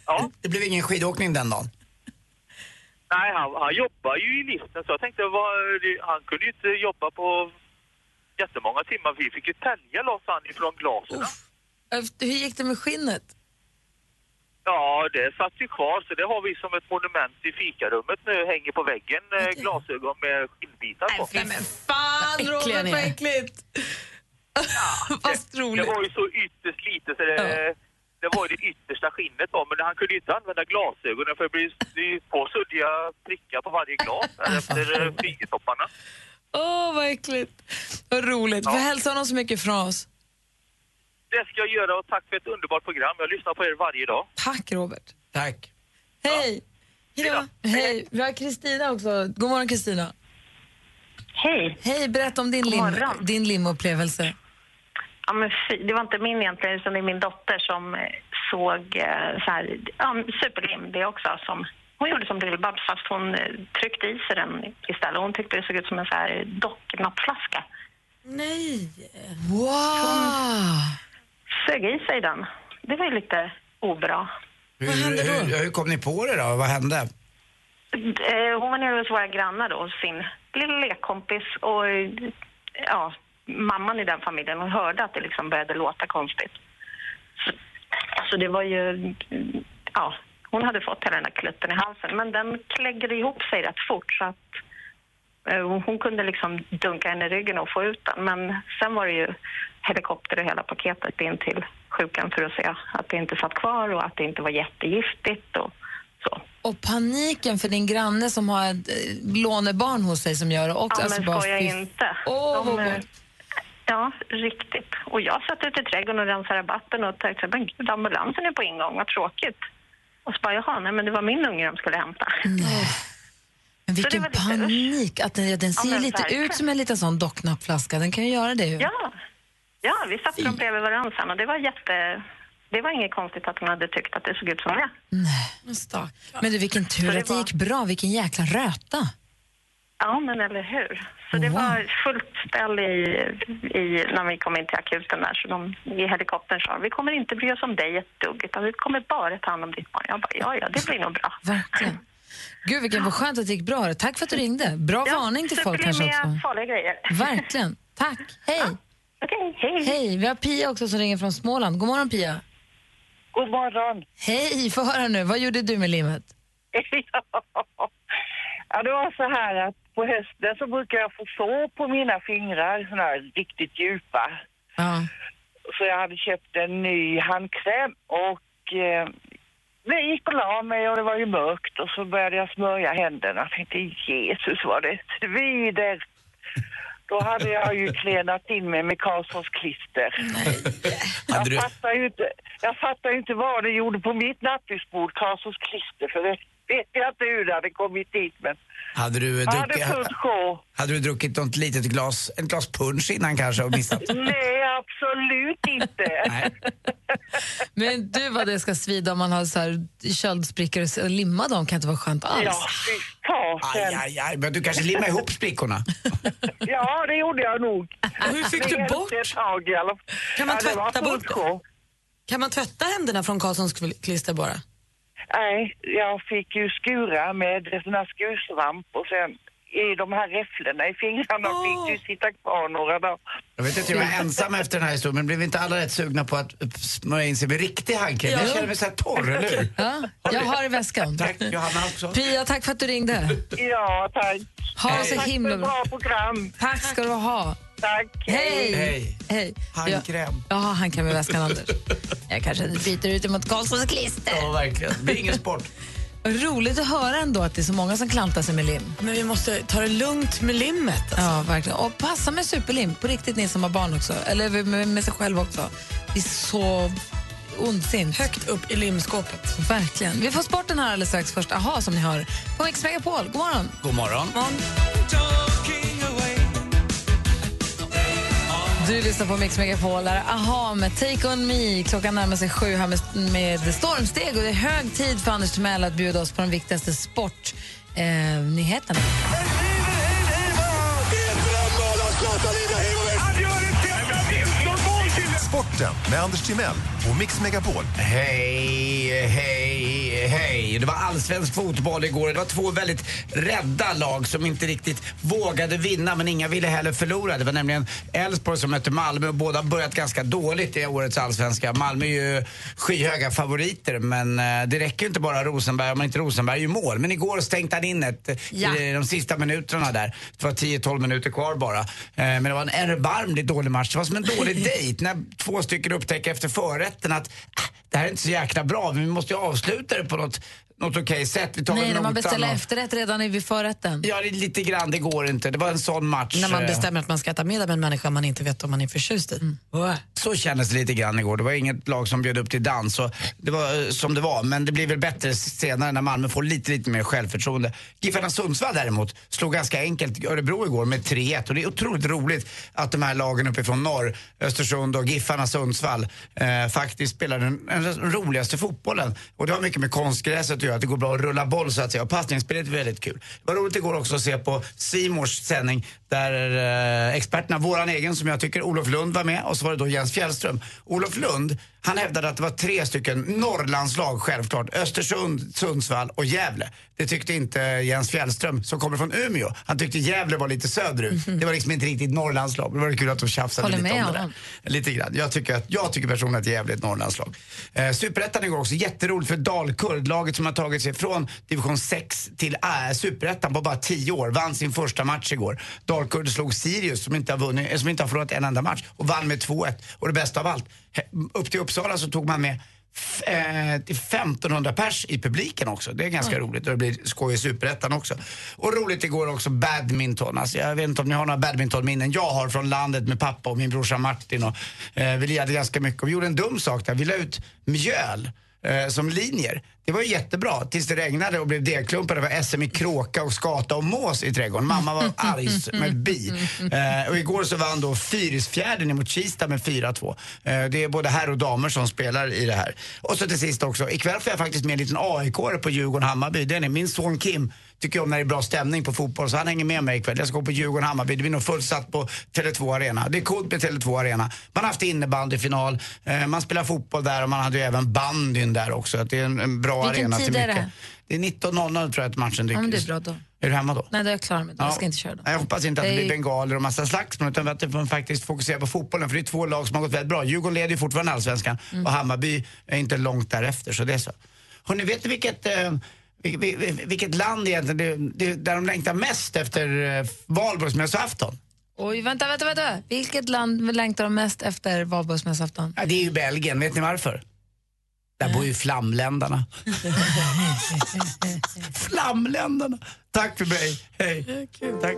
[SPEAKER 9] Ja.
[SPEAKER 2] Det blev ingen skidåkning den dagen.
[SPEAKER 9] Nej, han, han jobbar ju i liften så jag tänkte vad, det- han kunde ju inte jobba på jättemånga timmar. Vi fick ju tälja loss han ifrån glasen.
[SPEAKER 1] Efter- Hur gick det med skinnet?
[SPEAKER 9] Ja, det satt ju kvar så det har vi som ett monument i fikarummet nu. Hänger på väggen eh, glasögon med skinnbitar på.
[SPEAKER 1] Fan,
[SPEAKER 9] äckliga
[SPEAKER 1] Robert,
[SPEAKER 9] ni
[SPEAKER 1] vad
[SPEAKER 9] är.
[SPEAKER 1] äckligt! Vad
[SPEAKER 9] Det
[SPEAKER 1] roligt.
[SPEAKER 9] var ju så ytterst lite så det, det var ju det yttersta skinnet då, men han kunde ju inte använda glasögonen för det blir ju- det är ju två suddiga prickar på varje glas där efter eh, fingertopparna.
[SPEAKER 1] Åh, vad äckligt. Vad roligt. Får hälsa honom så mycket från oss.
[SPEAKER 9] Det ska jag göra och tack för ett underbart program. Jag lyssnar på er varje dag.
[SPEAKER 1] Tack, Robert.
[SPEAKER 2] Tack.
[SPEAKER 1] Hej! Hejdå. Hej. Vi har Kristina också. God morgon, Kristina.
[SPEAKER 10] Hej.
[SPEAKER 1] Hej, berätta om din,
[SPEAKER 10] God
[SPEAKER 1] lim,
[SPEAKER 10] morgon.
[SPEAKER 1] din limupplevelse.
[SPEAKER 10] Ja, men fy, det var inte min egentligen, utan det är min dotter som eh, såg eh, så här, ja, superlim det också. Som, hon gjorde som Lill-Babs fast hon eh, tryckte i sig den istället. Hon tyckte det såg ut som en så här docknappflaska.
[SPEAKER 3] Nej.
[SPEAKER 1] Wow!
[SPEAKER 10] Sög i sig den. Det var ju lite obra.
[SPEAKER 2] Hur, hur, hur kom ni på det då? Vad hände?
[SPEAKER 10] Eh, Hon var nere hos våra grannar då, hos sin lilla lekkompis och eh, ja, mamman i den familjen. Hon hörde att det liksom började låta konstigt. Så, så det var ju, mm, ja, hon hade fått hela den där klutten i halsen. Men den kläggde ihop sig rätt fort så att eh, hon- hon kunde liksom dunka henne i ryggen och få ut den. Men sen var det ju helikopter och hela paketet in till sjukan för att se att det inte satt kvar och att det inte var jättegiftigt. Och,
[SPEAKER 1] Och paniken för din granne som har ett eh, lånebarn hos sig som gör det också.
[SPEAKER 10] Ja,
[SPEAKER 1] Alltså,
[SPEAKER 10] men
[SPEAKER 1] bara
[SPEAKER 10] skoja
[SPEAKER 1] fy-
[SPEAKER 10] inte.
[SPEAKER 1] Åh,
[SPEAKER 10] De,
[SPEAKER 1] vad
[SPEAKER 10] eh,
[SPEAKER 1] gott.
[SPEAKER 10] ja, riktigt. Och jag satt ute i trädgården och rensade rabatten och tänkte, men gud, ambulansen är på ingång, vad tråkigt. Och så bara, jaha, nej men det var min unge de skulle hämta.
[SPEAKER 1] Men
[SPEAKER 10] Så det
[SPEAKER 1] vilken
[SPEAKER 10] var lite
[SPEAKER 1] panik! Att den, den
[SPEAKER 10] Ja,
[SPEAKER 1] ser ju
[SPEAKER 10] men
[SPEAKER 1] lite ut
[SPEAKER 10] verkligen.
[SPEAKER 1] som en liten sån docknappflaska. Den kan ju göra det. Ju.
[SPEAKER 10] Ja, ja vi satte dem bredvid varandra sen och det var jätte... Det var inget konstigt att hon hade tyckt att det såg ut som det.
[SPEAKER 1] Nej. Men du, vilken tur att det gick bra. Vilken jäkla röta.
[SPEAKER 10] Ja, men eller hur. Så det var fullt ställ i, i, när vi kom in till akuten där. Så de i helikoptern sa, vi kommer inte bry oss om dig ett dugg, utan vi kommer bara ta hand om ditt barn. Jag bara, ja, ja, det blir nog bra.
[SPEAKER 1] Verkligen. Gud, vilken vad skönt att det gick bra. Tack för att du ringde. Bra varning till
[SPEAKER 10] så
[SPEAKER 1] folk
[SPEAKER 10] blir det
[SPEAKER 1] kanske
[SPEAKER 10] mer
[SPEAKER 1] också.
[SPEAKER 10] farliga grejer.
[SPEAKER 1] Verkligen. Tack. Hej.
[SPEAKER 10] Okej, hej.
[SPEAKER 1] Hej. Vi har Pia också som ringer från Småland. God morgon, Pia.
[SPEAKER 11] God morgon.
[SPEAKER 1] Hej. Få höra nu. Vad gjorde du med limmet?
[SPEAKER 11] Ja, det var så här att på hösten så brukar jag få sår på mina fingrar, såna här riktigt djupa.
[SPEAKER 1] Ja.
[SPEAKER 11] så jag hade köpt en ny handkräm och eh, jag gick och la mig och det var ju mörkt och så började jag smörja händerna. Jag tänkte Jesus vad det svider. Då hade jag ju klenat in mig med Karlssons klister.
[SPEAKER 12] Hade du,
[SPEAKER 11] Jag fattar ju inte, jag fattar ju inte vad det gjorde på mitt nattduksbord, Karlssons klister, för det vet jag inte hur det hade kommit dit men
[SPEAKER 2] Hade du, eh,
[SPEAKER 11] jag hade
[SPEAKER 2] druckit,
[SPEAKER 11] fullt sjå.
[SPEAKER 2] hade du druckit något litet glas, ett glas punch innan kanske och missat?
[SPEAKER 11] (laughs) Nej,
[SPEAKER 1] (laughs)
[SPEAKER 11] absolut inte.
[SPEAKER 1] Men du vad det ska svida om man har så här köldsprickor och s- och limma dem kan inte vara skönt alls.
[SPEAKER 11] Ja, fy fasen.
[SPEAKER 2] Aj, aj, aj, men du kanske limmar ihop sprickorna?
[SPEAKER 11] Ja, det gjorde jag nog.
[SPEAKER 3] Hur fick du bort? Kan man
[SPEAKER 11] Ja, det var
[SPEAKER 3] tvätta bort?
[SPEAKER 11] fullt
[SPEAKER 3] Kan man tvätta händerna från Karlssons kl- klister bara?
[SPEAKER 11] Nej, jag fick ju skura med sån här skursvamp och sen i de här räfflorna i fingrarna fick ju sitta kvar några dagar.
[SPEAKER 2] Jag vet inte, jag är ensam efter den här historien, men blev inte alla rätt sugna på att eh, smörja in sig med riktig handkräm? Jag känner mig så här torr, eller hur?
[SPEAKER 1] Ja, jag har i väskan.
[SPEAKER 2] Tack, Johanna också.
[SPEAKER 1] Pia, tack för att du ringde.
[SPEAKER 11] Ja, tack.
[SPEAKER 1] Ha det så
[SPEAKER 2] Hej.
[SPEAKER 1] himla bra.
[SPEAKER 11] program.
[SPEAKER 1] Tack ska du ha.
[SPEAKER 11] Tack.
[SPEAKER 1] Hej.
[SPEAKER 2] Hej.
[SPEAKER 1] Hej.
[SPEAKER 2] Handkräm.
[SPEAKER 1] Ja, handkräm i väskan, Anders. Jag kanske byter ut det mot Karlssons klister.
[SPEAKER 2] Ja, verkligen. Det är ingen sport.
[SPEAKER 1] Vad Roligt att höra ändå att det är så många som klantar sig med lim.
[SPEAKER 3] Men vi måste ta det lugnt med limmet. alltså.
[SPEAKER 1] Ja, verkligen. Och passa med superlim, på riktigt ni som har barn också. Eller med, med sig själv också. Det är så ondsint.
[SPEAKER 3] Högt upp i limskåpet.
[SPEAKER 1] Verkligen. Vi får sporten här alldeles strax först. Aha, som ni hör. På Mix Megapol. God morgon.
[SPEAKER 2] God morgon.
[SPEAKER 1] Du lyssnar på Mix Megapol. Där. Aha med Take On Me. Klockan närmar sig sju här med, med stormsteg och det är hög tid för Anders Timell att bjuda oss på de viktigaste sportnyheterna. Eh, nyheterna.
[SPEAKER 13] Sporten med Anders Timell och Mix Megapol.
[SPEAKER 2] Hej, hej, hej. Det var allsvensk fotboll igår. Det var två väldigt rädda lag som inte riktigt vågade vinna, men inga ville heller förlora. Det var nämligen Elfsborg som mötte Malmö och båda har börjat ganska dåligt i årets allsvenska. Malmö är ju skyhöga favoriter, men eh, det räcker ju inte bara Rosenberg om inte Rosenberg gör mål. Men igår stängde han in ett eh,
[SPEAKER 1] Ja.
[SPEAKER 2] i de sista minuterna där. Det var 10-12 minuter kvar bara. Eh, Men det var en erbarmligt dålig match. Det var som en dålig dejt när två stycken upptäcker efter förrätten att ah, det här är inte så jäkla bra, men vi måste ju avsluta det på något, något okej sätt. Vi tar
[SPEAKER 1] Nej,
[SPEAKER 2] väl
[SPEAKER 1] när man
[SPEAKER 2] notan
[SPEAKER 1] beställer
[SPEAKER 2] och-
[SPEAKER 1] efterrätt redan i- vid förrätten.
[SPEAKER 2] Ja, det är lite grann, det går inte. Det var en sån match.
[SPEAKER 3] När man
[SPEAKER 2] eh,
[SPEAKER 3] bestämmer att man ska äta middag med en människa man inte vet om man är förtjust i.
[SPEAKER 1] Mm.
[SPEAKER 2] Så kändes det lite grann igår. Det var inget lag som bjöd upp till dans. Och det var eh, som det var, men det blir väl bättre senare när Malmö får lite, lite mer självförtroende. Giffarna Sundsvall däremot slog ganska enkelt Örebro igår med 3-1 och det är otroligt roligt att de här lagen uppifrån norr, Östersund och Giffarna Sundsvall, eh, faktiskt spelar den, den roligaste fotbollen. Och det har mycket med konstgräset att göra, att det går bra att rulla boll så att säga. Och passningsspelet är väldigt kul. Det var roligt igår också att se på Simors sändning där eh, experterna, våran egen som jag tycker, Olof Lund var med och så var det då Jens Fjällström. Olof Lund, han hävdade att det var tre stycken Norrlandslag självklart. Östersund, Sundsvall och Gävle. Det tyckte inte Jens Fjällström som kommer från Umeå. Han tyckte Gävle var lite söderut. Det var liksom inte riktigt Norrlandslag. Det var kul att de tjafsade
[SPEAKER 1] Mhm. Håller
[SPEAKER 2] lite
[SPEAKER 1] med
[SPEAKER 2] om det
[SPEAKER 1] honom.
[SPEAKER 2] där. Lite grann. Jag tycker, att, jag tycker personligen att det är jävligt Norrlandslag. Eh, Superettan igår också, jätteroligt för Dalkurd, laget som har tagit sig från division 6 till äh, Superettan på bara 10 år, vann sin första match igår. Dalkurd slog Sirius som inte har, vunnit, eh, som inte har förlorat en enda match och vann med 2-1. Och det bästa av allt, he- upp till Uppsala så tog man med f- eh, till 1500 pers i publiken också. Det är ganska roligt och det blir skoj i superettan också. Och roligt igår också badminton. Alltså, jag vet inte om ni har några badmintonminnen. Jag har från landet med pappa och min brorsa Martin och eh, vi lirade ganska mycket. Och vi gjorde en dum sak där. Vi la ut mjöl eh, som linjer. Det var ju jättebra tills det regnade och blev degklumpar. Det var SM i kråka och skata och mås i trädgården. Mamma var arg som ett bi. Eh, och igår så vann då Fyrisfjärden emot Kista med 4-2. Eh, det är både herr och damer som spelar i det här. Och så till sist också, ikväll får jag faktiskt med en liten aik på Djurgården-Hammarby. Den är min son Kim. Tycker om när det är bra stämning på fotboll, så han hänger med mig ikväll. Jag ska gå på Djurgården-Hammarby, det blir nog fullsatt på Tele2 Arena. Det är coolt med Tele2 Arena. Man har haft innebandyfinal, eh, man spelar fotboll där och man hade ju även bandyn där också. Att det är en, en bra
[SPEAKER 1] Vilken
[SPEAKER 2] arena
[SPEAKER 1] tid
[SPEAKER 2] till
[SPEAKER 1] är
[SPEAKER 2] mycket. Det är 19.00 tror jag att matchen dyker.
[SPEAKER 1] Ja, men det är bra då.
[SPEAKER 2] Är du hemma då?
[SPEAKER 1] Nej, då är jag klar med det. Jag ska inte köra då.
[SPEAKER 2] Nej, Jag hoppas inte att det
[SPEAKER 1] Det är-
[SPEAKER 2] blir bengaler och massa slagsmål utan att man faktiskt fokuserar på fotbollen. För det är två lag som har gått väldigt bra. Djurgården leder ju fortfarande allsvenskan
[SPEAKER 1] Mm.
[SPEAKER 2] och Hammarby är inte långt därefter. Så det är så. Hörrni, vet ni vilket, eh, vil- vil- vilket land egentligen det, det, där de längtar mest efter eh, valborgsmässoafton?
[SPEAKER 1] Oj, vänta, vänta, vänta. Vilket land längtar de mest efter valborgsmässoafton?
[SPEAKER 2] Ja, det är ju Belgien, vet ni varför? Där bor ju flamländarna. flamländarna! Tack för mig, hej. Tack.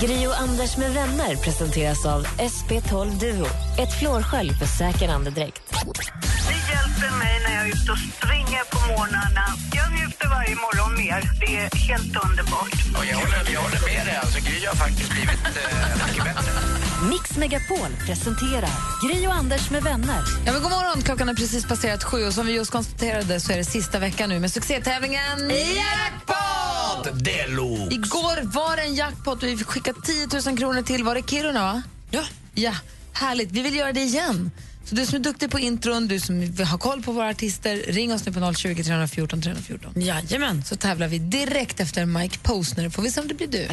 [SPEAKER 7] Gri och Anders med vänner presenteras av SP12 Duo. Ett flårskölj för säker andedräkt.
[SPEAKER 10] Det hjälper mig när jag är ute och springer på morgnarna. Jag njuter varje morgon mer. Det är helt underbart.
[SPEAKER 2] Och jag, håller, jag håller med dig, alltså, Gry har faktiskt blivit eh, mycket bättre.
[SPEAKER 5] Mix Megapol presenterar Gri och Anders med vänner.
[SPEAKER 1] Ja, men god morgon, klockan har precis passerat sju och som vi just konstaterade så är det sista veckan nu med succétävlingen Jackpot!
[SPEAKER 2] Deluxe!
[SPEAKER 1] Igår var det en jackpot och vi fick skicka 10 000 kronor till, var det Kiruna va? Ja. Ja, härligt. Vi vill göra det igen. Så du som är duktig på intron, du som har koll på våra artister, ring oss nu på 020 314 314. Jajamän. Så tävlar vi direkt efter Mike Posner, får vi se om det blir du.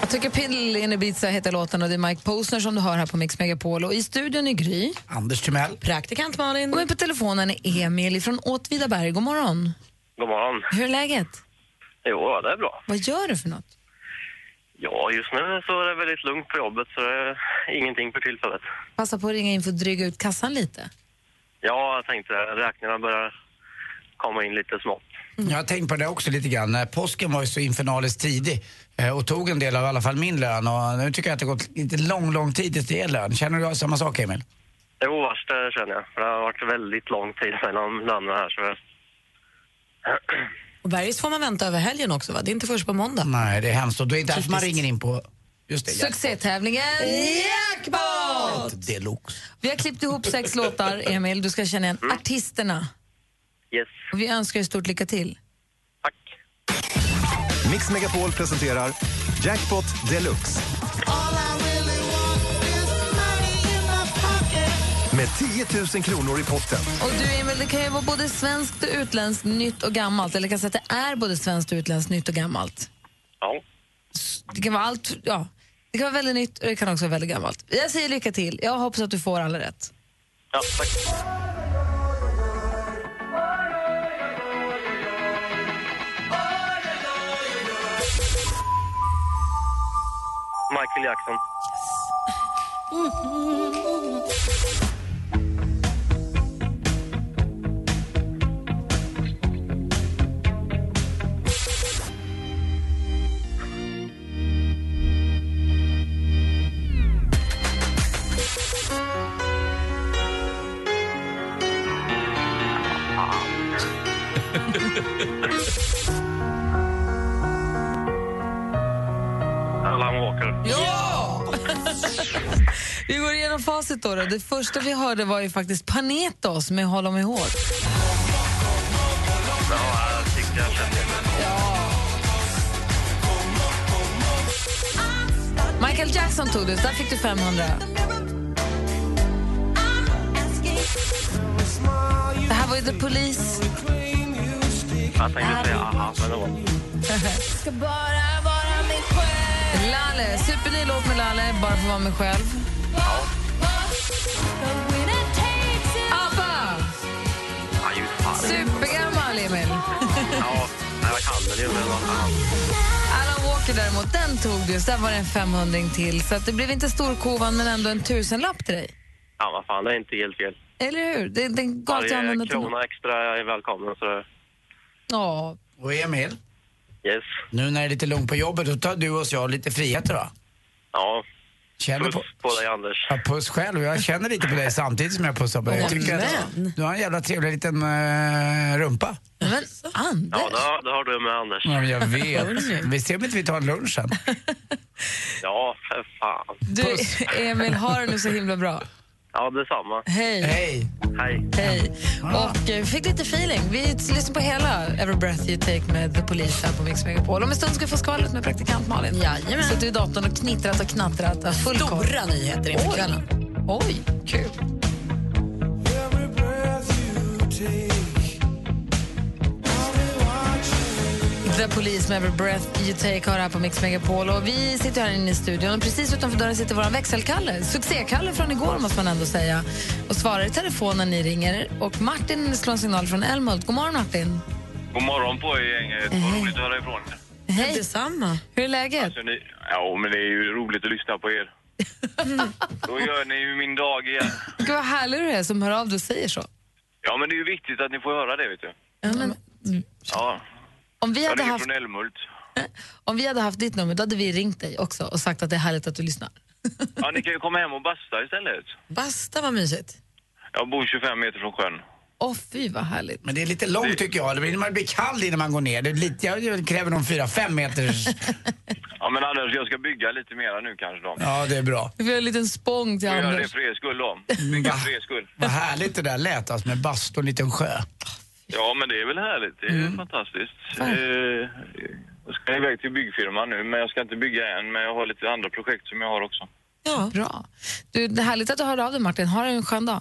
[SPEAKER 1] Jag tycker Pill in Ibiza heter låten och det är Mike Posner som du hör här på Mix Megapol. Och i studion är Gry.
[SPEAKER 2] Anders Timell.
[SPEAKER 1] Praktikant Malin. Och med på telefonen är Emil från Åtvidaberg. God morgon.
[SPEAKER 14] God morgon.
[SPEAKER 1] Hur är läget?
[SPEAKER 14] Jo, det är bra.
[SPEAKER 1] Vad gör du för något?
[SPEAKER 14] Ja, just nu så är det väldigt lugnt på jobbet så det är ingenting för tillfället.
[SPEAKER 1] Passa på att ringa in för att dryga ut kassan lite.
[SPEAKER 14] Ja, jag tänkte räkningarna börjar komma in lite smått.
[SPEAKER 2] Jag har tänkt på det också lite grann. Eh, Påsken var ju så infernaliskt tidig eh, och tog en del av i alla fall min lön. Och nu tycker jag att det har gått lite lång, lång tid tills det är lön. Känner du samma sak, Emil?
[SPEAKER 14] Jo, värst det känner jag. För det har varit väldigt lång tid mellan lönerna här så det...
[SPEAKER 3] Och Bergis får man vänta över helgen också va? Det är inte först på måndag.
[SPEAKER 2] Nej, det är hemskt. Och det är därför man ringer in på... Just det,
[SPEAKER 1] Succétävlingen Jackpot!
[SPEAKER 2] jackpot deluxe.
[SPEAKER 1] Vi har klippt ihop sex låtar, Emil. Du ska känna igen artisterna.
[SPEAKER 14] Yes.
[SPEAKER 1] Och vi önskar er stort lycka till.
[SPEAKER 13] Mix Megapol presenterar Jackpot Deluxe med 10 000 kronor i potten.
[SPEAKER 1] Och du Emil, det kan ju vara både svenskt och utländskt, nytt och gammalt. Eller jag kan säga att det är både svenskt och utländskt, nytt och gammalt.
[SPEAKER 14] Ja.
[SPEAKER 1] Det kan vara allt, ja. Det kan vara väldigt nytt och det kan också vara väldigt gammalt. Jag säger lycka till. Jag hoppas att du får alla rätt.
[SPEAKER 14] Ja, tack. Michael Jackson. Alan Walker.
[SPEAKER 1] Ja! vi går igenom facit då, då. Det första vi hörde var ju faktiskt Panetos med Håll om i hårt.
[SPEAKER 14] Ja, jag tyckte jag kände det.
[SPEAKER 1] Michael Jackson tog du, så där fick du 500. Det här var ju The Police.
[SPEAKER 14] Jag tänkte säga aha, men det var...
[SPEAKER 1] (laughs) Ska bara vara mig själv Lalle, superny låt med Lalle, bara för att vara mig själv. ABBA!
[SPEAKER 14] Ja, ju fan.
[SPEAKER 1] Supergammal, Emil.
[SPEAKER 14] Ja, nej, jag kan den ju, men vad fan.
[SPEAKER 1] Alan Walker däremot, den tog du, så där var det en 500 till. Så att det blev inte storkovan, men ändå en tusenlapp till dig.
[SPEAKER 14] Ja, vad fan, det är inte helt fel.
[SPEAKER 1] Eller hur? Den, den gav till
[SPEAKER 14] Varje
[SPEAKER 1] använda till någon.
[SPEAKER 14] krona extra är välkommen, så...
[SPEAKER 1] Ja,
[SPEAKER 2] Och Emil,
[SPEAKER 14] Yes.
[SPEAKER 2] nu när det är lite lugnt på jobbet, då tar du och jag lite friheter då.
[SPEAKER 14] Ja.
[SPEAKER 2] Känner
[SPEAKER 14] Puss
[SPEAKER 2] på...
[SPEAKER 14] på dig, Anders.
[SPEAKER 2] Ja, puss själv. Jag känner lite på dig samtidigt som jag pussar på dig. Jag tycker att du har en jävla trevlig liten eh, rumpa.
[SPEAKER 1] Men Anders!
[SPEAKER 14] Ja, det har, det har du med, Anders.
[SPEAKER 2] Ja, men jag vet. Vi ser om inte vi tar en lunch sen.
[SPEAKER 14] Ja, för fan.
[SPEAKER 1] Du, Emil, har det nu så himla bra.
[SPEAKER 14] Ja, detsamma.
[SPEAKER 1] Hej.
[SPEAKER 2] Hej.
[SPEAKER 14] Hej.
[SPEAKER 1] Hej. Och eh, fick lite feeling. Vi lyssnar på hela Every Breath You Take med The Police här på Mix Megapol. Om en stund ska vi få skvallret med praktikant Malin. Jajamän. Suttit vid datorn och knittrat och knattrat. och Full
[SPEAKER 3] Stora
[SPEAKER 1] koll.
[SPEAKER 3] nyheter inför
[SPEAKER 1] Oj.
[SPEAKER 3] kvällen.
[SPEAKER 1] Oj, kul. The Police med Every Breath You Take har här på Mix Megapol. Och vi sitter här inne i studion och precis utanför dörren sitter vår växelkalle. Succékalle från igår måste man ändå säga. Och svarar i telefon när ni ringer. Och Martin slår en signal från Älmhult. God morgon Martin.
[SPEAKER 15] God morgon på er gänget. Vad roligt att höra ifrån er.
[SPEAKER 1] Hej. Detsamma. Hur är läget?
[SPEAKER 3] (laughs)
[SPEAKER 15] Alltså, ni... Ja, men det är ju roligt att lyssna på er. Då gör ni ju min dag igen.
[SPEAKER 1] Gud vad härlig du är som hör av dig och säger så.
[SPEAKER 15] Ja, men det är ju viktigt att ni får höra det, vet du.
[SPEAKER 1] Ja, men,
[SPEAKER 15] Ja.
[SPEAKER 1] Om vi
[SPEAKER 15] jag
[SPEAKER 1] hade
[SPEAKER 15] ringer
[SPEAKER 1] haft-
[SPEAKER 15] från Älmhult.
[SPEAKER 1] om vi hade haft ditt nummer då hade vi ringt dig också och sagt att det är härligt att du lyssnar.
[SPEAKER 15] Ja, ni kan ju komma hem och basta istället.
[SPEAKER 1] Basta vad mysigt.
[SPEAKER 15] Jag bor 25 meter från sjön.
[SPEAKER 1] Åh fy vad härligt.
[SPEAKER 2] Men det är lite långt tycker jag. Det blir, man blir kall innan man går ner. Det är lite, jag- jag kräver någon
[SPEAKER 1] (laughs)
[SPEAKER 2] 4-5 meters...
[SPEAKER 15] Ja, men annars, jag ska bygga lite mera nu kanske då.
[SPEAKER 2] Ja, det är bra.
[SPEAKER 1] Vi har en liten spång till
[SPEAKER 15] Jag gör det
[SPEAKER 1] Anders.
[SPEAKER 15] för er
[SPEAKER 1] (laughs)
[SPEAKER 15] skull då. Bygga för er skull.
[SPEAKER 2] Vad härligt det där lät alltså med bastu och en liten sjö.
[SPEAKER 15] Ja, men det är väl härligt. Det är
[SPEAKER 2] Mm.
[SPEAKER 15] ju fantastiskt. Eh, jag ska iväg till byggfirman nu, men jag ska inte bygga än. Men jag har lite andra projekt som jag har också.
[SPEAKER 1] Ja. Bra. Du, det är härligt att du hörde av dig Martin. Ha en skön dag.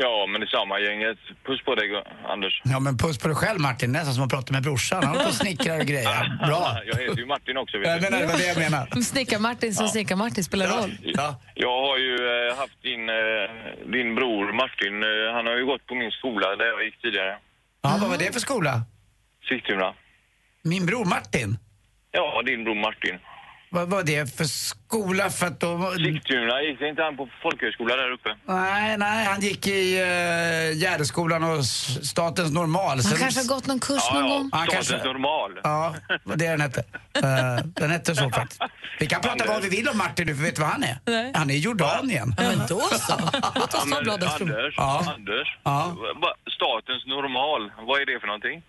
[SPEAKER 15] Ja, men det är samma gänget. Puss på dig, Anders.
[SPEAKER 2] Ja men puss på dig själv Martin, nästan som att prata med brorsan. Han håller på och snickrar och
[SPEAKER 15] (laughs)
[SPEAKER 2] grejer. Bra.
[SPEAKER 15] Jag heter ju Martin också. Vet
[SPEAKER 2] Jag
[SPEAKER 15] du.
[SPEAKER 2] menar, det var det jag menade.
[SPEAKER 1] Snickar-Martin som
[SPEAKER 15] Ja.
[SPEAKER 1] snickar-Martin spelar roll.
[SPEAKER 15] Jag har ju eh, haft din, eh, din bror Martin. Eh, han har ju gått på min skola där jag gick tidigare.
[SPEAKER 2] Ja, vad var det för skola?
[SPEAKER 15] Sigtuna.
[SPEAKER 2] Min bror Martin?
[SPEAKER 15] Ja, din bror Martin.
[SPEAKER 2] Vad var det för skola för att då...
[SPEAKER 15] Sigtuna, gick inte han på folkhögskola där uppe?
[SPEAKER 2] Nej, nej, han gick i uh, Gärdeskolan och s- Statens normal.
[SPEAKER 1] Han
[SPEAKER 2] Sen-
[SPEAKER 1] kanske har gått någon kurs
[SPEAKER 2] Ja,
[SPEAKER 1] någon
[SPEAKER 2] ja.
[SPEAKER 1] gång.
[SPEAKER 2] Han
[SPEAKER 15] Statens
[SPEAKER 2] kanske-
[SPEAKER 15] normal.
[SPEAKER 2] Ja, det var det den hette. Eh, den hette så faktiskt. Vi kan prata vad vi vill om Martin nu, för vet du vad han är?
[SPEAKER 15] Nej.
[SPEAKER 2] Han är i Jordanien. Ja, men då så.
[SPEAKER 15] Låt
[SPEAKER 2] oss ta bladet från-
[SPEAKER 15] Anders,
[SPEAKER 2] Ja.
[SPEAKER 15] Anders.
[SPEAKER 2] Ja.
[SPEAKER 15] Va- Statens normal, vad är det för någonting?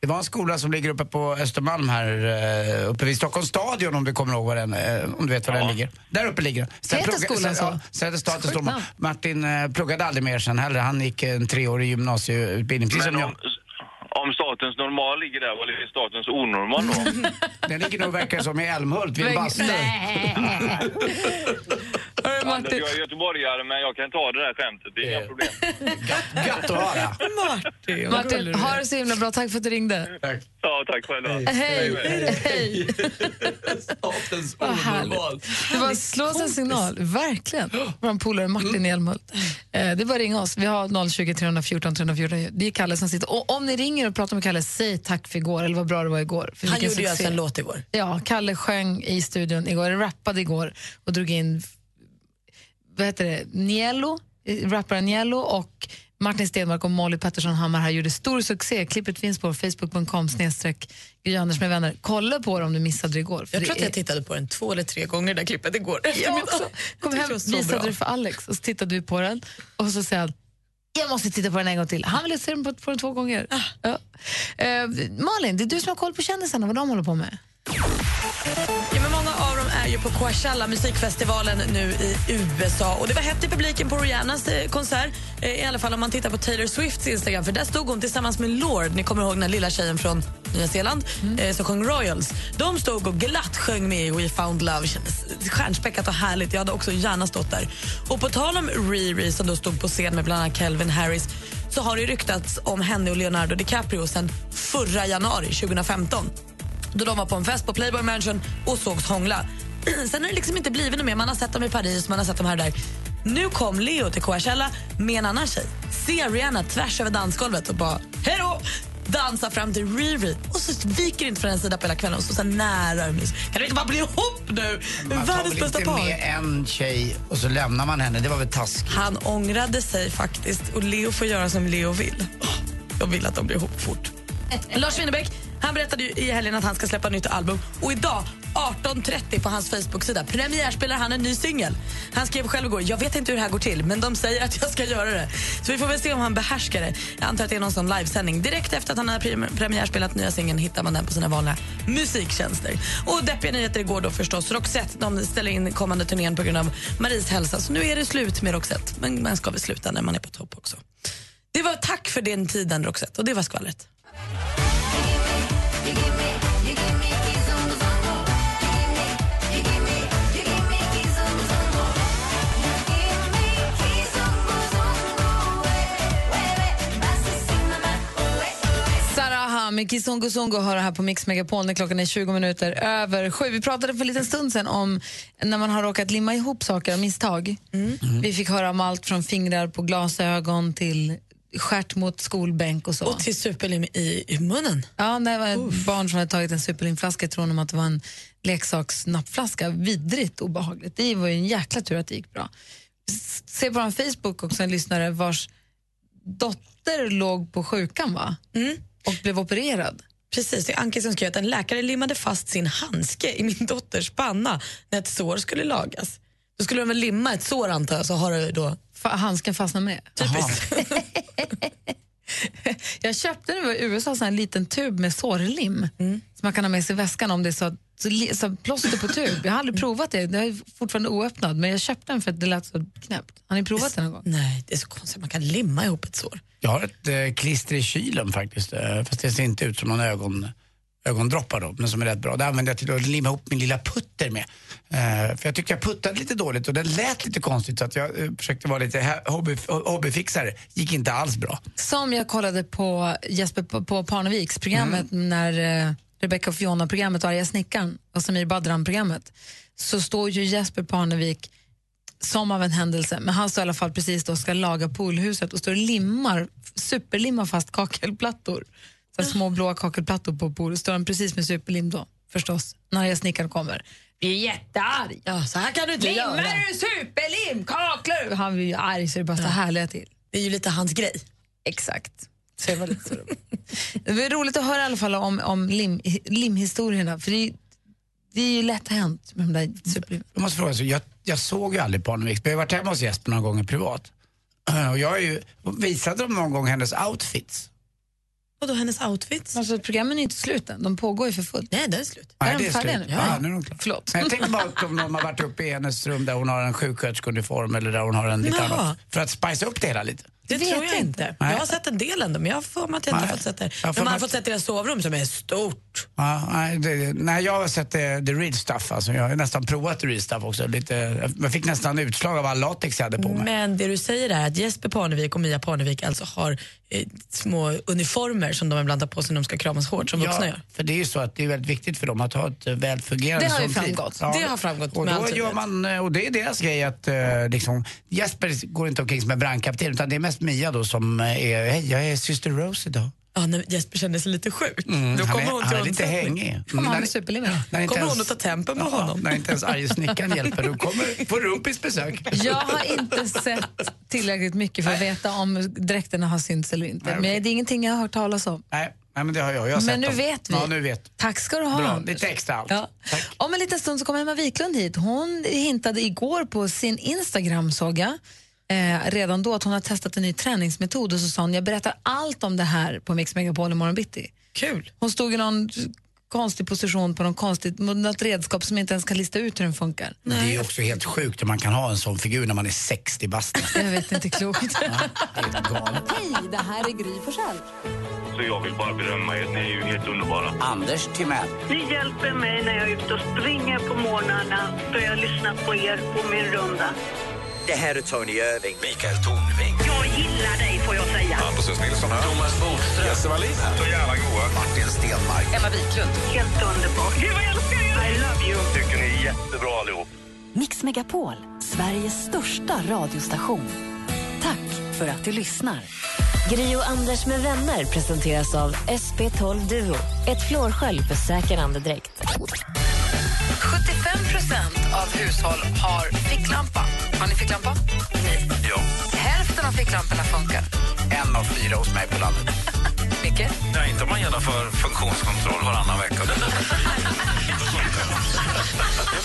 [SPEAKER 2] Det var en skola som ligger uppe på Östermalm här, eh, uppe vid Stockholms stadion om du kommer ihåg var den, eh, om du vet var den ligger. Där uppe ligger den.
[SPEAKER 1] Heter
[SPEAKER 2] plugga-
[SPEAKER 1] skolan
[SPEAKER 2] sen,
[SPEAKER 1] så?
[SPEAKER 2] ja, sen heter Statens
[SPEAKER 1] Sjukt
[SPEAKER 2] Normal.
[SPEAKER 1] namn.
[SPEAKER 2] Martin eh, pluggade aldrig mer sen heller. Han gick en treårig gymnasieutbildning, precis som
[SPEAKER 15] Men
[SPEAKER 2] jag.
[SPEAKER 15] om, om statens normal ligger där, vad ligger statens onormal
[SPEAKER 2] (laughs)
[SPEAKER 15] då?
[SPEAKER 2] Den ligger nog verkar som i Älmhult vid en bastu. (laughs)
[SPEAKER 15] Anders, jag är göteborgare men jag kan ta det där skämtet, det är
[SPEAKER 2] Eh.
[SPEAKER 15] inga problem.
[SPEAKER 2] Gött att höra.
[SPEAKER 1] Martin, ha det så himla bra. Tack för att du ringde.
[SPEAKER 2] Tack.
[SPEAKER 15] Ja, tack själva.
[SPEAKER 1] Hej. Hej.
[SPEAKER 16] Statens
[SPEAKER 1] Vad härligt. Det var slås en signal, verkligen. Vår polare
[SPEAKER 3] Mm.
[SPEAKER 1] Martin i Älmhult. Eh, Det är bara att ringa oss. Vi har 020 314 314. Det är Kalle som sitter. Och om ni ringer och pratar med Kalle, säg tack för igår eller vad bra det var igår. För
[SPEAKER 3] Han
[SPEAKER 1] vilken
[SPEAKER 3] gjorde ju alltså
[SPEAKER 1] succé.
[SPEAKER 3] en låt igår.
[SPEAKER 1] Ja, Kalle sjöng i studion igår, rappade igår och drog in vad heter det, Niello, eh, rapparen Niello och Martin Stenmark och Molly Pettersson Hammar här gjorde stor succé. Klippet finns på facebook.com snedstreck Gry Anders med vänner. Kolla på det om du missade det igår. för
[SPEAKER 3] Jag
[SPEAKER 1] det
[SPEAKER 3] tror att
[SPEAKER 1] är-
[SPEAKER 3] jag tittade på den två eller tre gånger, det där klippet igår. (laughs)
[SPEAKER 1] jag också. Kom hem, visade det för Alex och så tittade vi på den och så säger han jag måste titta på den en gång till. Han ville se den på, på den två gånger. Ja. Eh, Malin, det är du som har koll på kändisarna, vad de håller på med.
[SPEAKER 3] Ja, men många av dem är ju på Coachella musikfestivalen nu i USA. Och Det var hett i publiken på Rihannas eh, konsert. Eh, I alla fall om man tittar på Taylor Swifts Instagram. För Där stod hon tillsammans med Lord, ni kommer ihåg den lilla tjejen från Nya Zeeland eh, som sjöng Royals. De stod och glatt sjöng med i We found love. Kändes stjärnspäckat och härligt. Jag hade också gärna stått där. Och På tal om Riri som då stod på scen med bland annat Calvin Harris så har det ju ryktats om henne och Leonardo DiCaprio sedan förra januari 2015 då de var på en fest på Playboy Mansion och sågs hångla. (clears throat) Sen har det liksom inte blivit något mer. Man har sett dem i Paris, man har sett dem här och där. Nu kom Leo till Coachella med en annan tjej. Ser Rihanna tvärs över dansgolvet och bara hej då! Dansar fram till Riri och så viker inte från en sida på hela kvällen. Och så, så här nära och mys. liksom. Kan du inte bara bli ihop nu?
[SPEAKER 2] Man tar
[SPEAKER 3] Världens
[SPEAKER 2] väl
[SPEAKER 3] bästa
[SPEAKER 2] inte med
[SPEAKER 3] par.
[SPEAKER 2] en tjej och så lämnar man henne. Det var väl taskigt.
[SPEAKER 3] Han ångrade sig faktiskt och Leo
[SPEAKER 1] Alltså,
[SPEAKER 3] får göra som Leo vill. Jag vill att de blir ihop fort. (laughs) Lars Winnerbäck han berättade ju i helgen att han ska släppa nytt album och idag 18.30 på hans Facebook-sida premiärspelar han en ny singel. Han skrev själv igår, jag vet inte hur det här går till men de säger att jag ska göra det. Så vi får väl se om han behärskar det. Jag antar att det är någon sån livesändning. Direkt efter att han har prim- premiärspelat nya singeln hittar man den på sina vanliga musiktjänster. Och deppiga nyheter igår då förstås. Roxette de ställer in kommande turnén på grund av Maries hälsa så nu är det slut med Roxette. Men man ska väl sluta när man är på topp också. Det var tack för den tiden Roxette och det var skvallret.
[SPEAKER 1] Sarah Hami med Kizungu Zungu och höra här på Mix Megapol när klockan är 20 minuter över sju. Vi pratade för en liten stund sedan om när man har råkat limma ihop saker av misstag.
[SPEAKER 3] Mm.
[SPEAKER 1] Vi fick höra om allt från fingrar på glasögon till skärt mot skolbänk och så.
[SPEAKER 3] Och till superlim i, i munnen.
[SPEAKER 1] Ja, när det var ett barn som hade tagit en superlimflaska tror de att det var en leksaksnappflaska. Vidrigt obehagligt. Det var ju en jäkla tur att det gick bra. S- Se på vår Facebook också en lyssnare vars dotter låg på sjukan va? och blev opererad.
[SPEAKER 3] Mm. Precis, det är Anki som skrev att en läkare limmade fast sin handske i min dotters panna när ett sår skulle lagas. Då skulle de väl limma ett sår antar jag, så har det då...
[SPEAKER 1] handsken fastnar med?
[SPEAKER 3] Typiskt.
[SPEAKER 1] (laughs) Jag köpte nu i USA sån här liten tub med sårlim
[SPEAKER 3] Mm.
[SPEAKER 1] som man kan ha med sig i väskan om det är så, att- så, li- så att plåster på tub. Jag har
[SPEAKER 3] Mm.
[SPEAKER 1] aldrig provat det, det är fortfarande oöppnad men jag köpte den för att det lät så knäppt. Har ni provat det någon gång?
[SPEAKER 3] Nej, det är så konstigt. Man kan limma ihop ett sår.
[SPEAKER 2] Jag har ett eh, klister i kylen faktiskt, eh, fast det ser inte ut som någon ögon, ögondroppar då, men som är rätt bra. Det använde jag till att limma ihop min lilla putter med. Eh, för jag tyckte jag puttade lite dåligt och den lät lite konstigt så att jag eh, försökte vara lite hä- hobby, hobbyfixare. Gick inte alls bra.
[SPEAKER 1] Som jag kollade på Jesper på, på Parneviks programmet när eh, Rebecca och Fiona-programmet och Arga snickaren och Samir Badran-programmet så står ju Jesper Parnevik som av en händelse, men han står i alla fall precis då och ska laga poolhuset och står och limmar, superlimmar fast kakelplattor. Så här små blåa kakelplattor på bordet. Står han precis med superlim då, förstås, när Arga snickaren kommer. Blir jättearg.
[SPEAKER 3] Ja, så här kan du inte
[SPEAKER 1] Limmar
[SPEAKER 3] göra.
[SPEAKER 1] du superlim, kaklor? Han blir ju arg så det bara står härliga till.
[SPEAKER 3] Det är ju lite hans grej.
[SPEAKER 1] Exakt. Så det var lite så det var roligt att höra i alla fall om, om lim, limhistorierna. För det, är ju- det är ju lätt hänt med de där superlimen.
[SPEAKER 2] Jag måste fråga, så jag, jag såg ju aldrig Parneviks, men jag har varit hemma hos Jesper några gånger privat. Eh, Och jag är ju, visade dem någon gång hennes outfits?
[SPEAKER 3] Vadå hennes outfits?
[SPEAKER 1] Alltså, programmen är inte slut än. De pågår ju för fullt.
[SPEAKER 3] Nej, det är slut.
[SPEAKER 1] Är
[SPEAKER 2] Nej,
[SPEAKER 1] de
[SPEAKER 2] det är
[SPEAKER 1] färdiga
[SPEAKER 2] slut.
[SPEAKER 1] nu?
[SPEAKER 2] Ja, nu är de klara.
[SPEAKER 1] Förlåt.
[SPEAKER 2] Men jag tänkte bara att om någon har varit uppe i hennes rum där hon har en sjuksköterskeuniform eller där hon har en lite
[SPEAKER 3] Jaha.
[SPEAKER 2] annat. För att spicea upp det hela lite.
[SPEAKER 3] Det tror jag inte.
[SPEAKER 2] Nej.
[SPEAKER 3] Jag har sett en del ändå, men jag har för mig att jag inte har fått sett det.
[SPEAKER 2] Jag har
[SPEAKER 3] Men
[SPEAKER 2] för
[SPEAKER 3] man har
[SPEAKER 2] mig-
[SPEAKER 3] fått sett deras sovrum som är stort.
[SPEAKER 2] Ja, nej, det, nej, jag har sett eh, the, the real stuff. Alltså, jag har nästan provat the real stuff också. Lite, jag fick nästan utslag av all latex jag
[SPEAKER 1] Mm.
[SPEAKER 2] hade på mig.
[SPEAKER 3] Men det du säger är att Jesper Parnevik och Mia Parnevik alltså har eh, små uniformer som de ibland tar på sig när de ska kramas hårt som vuxna
[SPEAKER 2] ja,
[SPEAKER 3] gör.
[SPEAKER 2] för det är ju så att det är väldigt viktigt för dem att ha ett eh, väl fungerande
[SPEAKER 3] Det har ju
[SPEAKER 2] sånt liv.
[SPEAKER 3] framgått. Det har framgått
[SPEAKER 2] och
[SPEAKER 3] med
[SPEAKER 2] då gör
[SPEAKER 3] all tydlighet.
[SPEAKER 2] man, eh, Och det är deras grej att eh, liksom, Jesper går inte omkring som en brandkapten utan det är mest Mia då som eh, är, hej jag är syster Rose idag.
[SPEAKER 3] Ja, när Jesper kände sig lite sjuk.
[SPEAKER 2] Mm,
[SPEAKER 3] Då
[SPEAKER 2] han
[SPEAKER 3] kommer
[SPEAKER 2] är-
[SPEAKER 3] hon
[SPEAKER 2] han
[SPEAKER 3] till
[SPEAKER 2] är lite
[SPEAKER 3] undsättning.
[SPEAKER 2] hängig. Mm, Kommer han när- med superlim? när inte
[SPEAKER 3] Kommer
[SPEAKER 2] ens-
[SPEAKER 3] hon att ta tempen på
[SPEAKER 2] Ja,
[SPEAKER 3] honom?
[SPEAKER 2] när inte ens arge
[SPEAKER 3] (laughs)
[SPEAKER 2] (laughs) snickaren hjälper, då kommer, får Rumpis besök.
[SPEAKER 1] Jag har inte sett tillräckligt mycket för att veta om dräkterna har synts eller inte.
[SPEAKER 2] Nej, okej.
[SPEAKER 1] Men det är ingenting jag har hört talas om.
[SPEAKER 2] Nej, nej, men det har jag. jag har
[SPEAKER 1] Men
[SPEAKER 2] sett
[SPEAKER 1] nu
[SPEAKER 2] dem.
[SPEAKER 1] vet vi.
[SPEAKER 2] Ja, nu vet.
[SPEAKER 1] Tack ska du ha.
[SPEAKER 2] Bra,
[SPEAKER 1] Anders.
[SPEAKER 2] lite extra allt.
[SPEAKER 1] Ja. Om en liten stund så kommer Emma Wiklund hit. Hon hintade igår på sin Instagram, såg jag, eh, redan då att hon har testat en ny träningsmetod och så sa hon, jag berättar allt om det här på Mix Megapol imorgon bitti.
[SPEAKER 3] Kul.
[SPEAKER 1] Hon stod i någon konstig position på någon konstigt, mot något redskap som jag inte ens kan lista ut hur den funkar.
[SPEAKER 2] Det är ju också helt sjukt hur man kan ha en sån figur när man är
[SPEAKER 1] (laughs)
[SPEAKER 2] 60 bast.
[SPEAKER 1] Jag vet inte klokt. Hej, det här är Gry Forssell.
[SPEAKER 9] Så jag vill bara berömma er. Ni är ju helt underbara.
[SPEAKER 2] Anders Timell.
[SPEAKER 10] Ni hjälper mig när jag är ute och springer på morgnarna då jag lyssnar på er på min runda.
[SPEAKER 17] Det här är Tony Irving.
[SPEAKER 8] Mikael Tornving.
[SPEAKER 10] Jag gillar dig får jag säga.
[SPEAKER 8] Hampus Nilsson här. Thomas Bodström. Jesse Wallin här. Så jävla goa. Martin Stenmark.
[SPEAKER 10] Emma Wiklund. Helt underbart. Gud vad jag älskar er! I love you.
[SPEAKER 8] Tycker ni är jättebra allihop.
[SPEAKER 5] Mix Megapol, Sveriges största radiostation. Tack för att du lyssnar.
[SPEAKER 7] Gri och Anders med vänner presenteras av SP12 Duo. Ett flårskölj för säker andedräkt.
[SPEAKER 1] 75 procent av hushåll har ficklampa. Har ni ficklampa? Nej.
[SPEAKER 2] Ja.
[SPEAKER 1] Hälften av ficklamporna funkar.
[SPEAKER 2] En av fyra hos mig på landet.
[SPEAKER 1] Micke?
[SPEAKER 8] Nej, inte om man genomför funktionskontroll varannan vecka. Nej,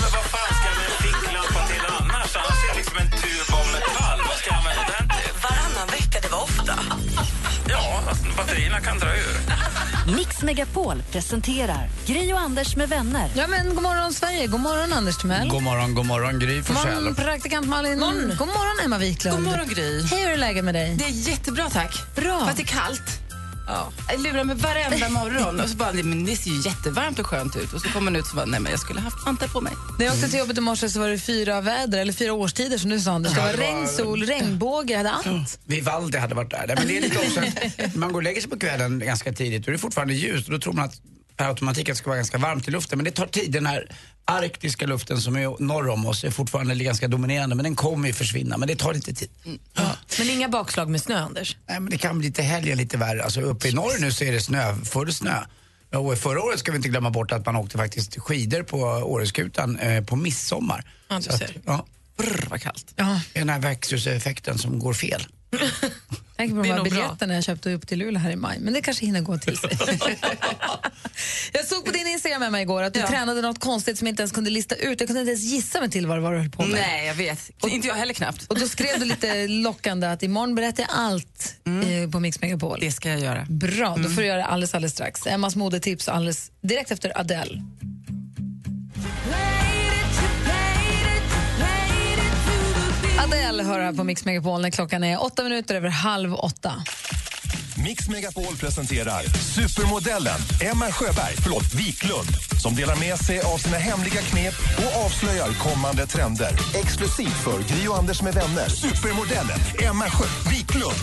[SPEAKER 8] men vad fan ska jag med en ficklampa till annars? Annars är det liksom en tub av metall. Vad ska jag använda den till? Varannan vecka, det var ofta. Ja, alltså, batterierna kan dra ur.
[SPEAKER 5] Mix Megapol presenterar Gri och Anders med vänner.
[SPEAKER 1] Ja, men god morgon Sverige, god morgon Anders Timell.
[SPEAKER 2] God morgon, god morgon Gry
[SPEAKER 1] God morgon,
[SPEAKER 2] Forssell.
[SPEAKER 1] praktikant Malin.
[SPEAKER 18] Morgon.
[SPEAKER 1] God morgon, Emma Wiklund.
[SPEAKER 18] God morgon, Gry.
[SPEAKER 1] Hej, hur är läget med dig?
[SPEAKER 18] Det är jättebra, tack.
[SPEAKER 1] Bra.
[SPEAKER 18] För att det är kallt. Ja. Jag lurar mig varenda morgon och så bara, men det ser ju jättevarmt och skönt ut. Och så kommer man ut och bara, nej men jag skulle haft vantar på mig.
[SPEAKER 1] När jag åkte till jobbet i morse så var det fyra väder, eller fyra årstider som du sa Anders. Det var
[SPEAKER 2] Ja, det var-
[SPEAKER 1] regn, sol, regnbåge, jag hade allt.
[SPEAKER 2] Vivaldi hade varit där. Nej, Men det är lite också att man går och lägger sig på kvällen ganska tidigt och det är fortfarande ljust och då tror man att per automatik att det ska vara ganska varmt i luften. Men det tar tid. Den här arktiska luften som är norr om oss är fortfarande ganska dominerande men den kommer ju försvinna. Men det tar lite tid.
[SPEAKER 3] Men inga bakslag med snö, Anders?
[SPEAKER 2] Nej, men det kan bli lite helgen lite värre. Alltså uppe i norr nu så är det snö, full snö. Och förra året ska vi inte glömma bort att man åkte faktiskt skidor på Åreskutan eh, på midsommar.
[SPEAKER 3] Ja, du
[SPEAKER 2] Så att,
[SPEAKER 3] ser.
[SPEAKER 2] Ja. Brr, vad kallt.
[SPEAKER 1] Ja.
[SPEAKER 2] Det är den här växthuseffekten som går fel.
[SPEAKER 1] Tänk på
[SPEAKER 2] Det
[SPEAKER 1] de
[SPEAKER 2] är
[SPEAKER 1] här
[SPEAKER 2] nog bra.
[SPEAKER 1] biljetterna jag köpte upp till Luleå här i maj. Men det kanske hinner gå till sig. jag såg på din Instagram med mig igår att du tränade något konstigt som jag inte ens kunde lista ut. Jag kunde inte ens gissa mig till vad det var du höll på med.
[SPEAKER 18] Nej, jag vet. inte jag heller knappt.
[SPEAKER 1] Och då skrev du lite lockande att imorgon berättar jag allt eh, på Mix Megapol. Det
[SPEAKER 18] Mm. ska jag göra. Mm.
[SPEAKER 1] Bra, då får du göra det alldeles, alldeles strax. Emmas modetips alldeles direkt efter Adele. Adele hör här på Mix Megapol när klockan är åtta minuter över halv åtta.
[SPEAKER 19] Mix Megapol presenterar supermodellen Emma Sjöberg, förlåt, Wiklund som delar med sig av sina hemliga knep och avslöjar kommande trender. Exklusivt för Gri och Anders med vänner. Supermodellen Emma Sjö Wiklund.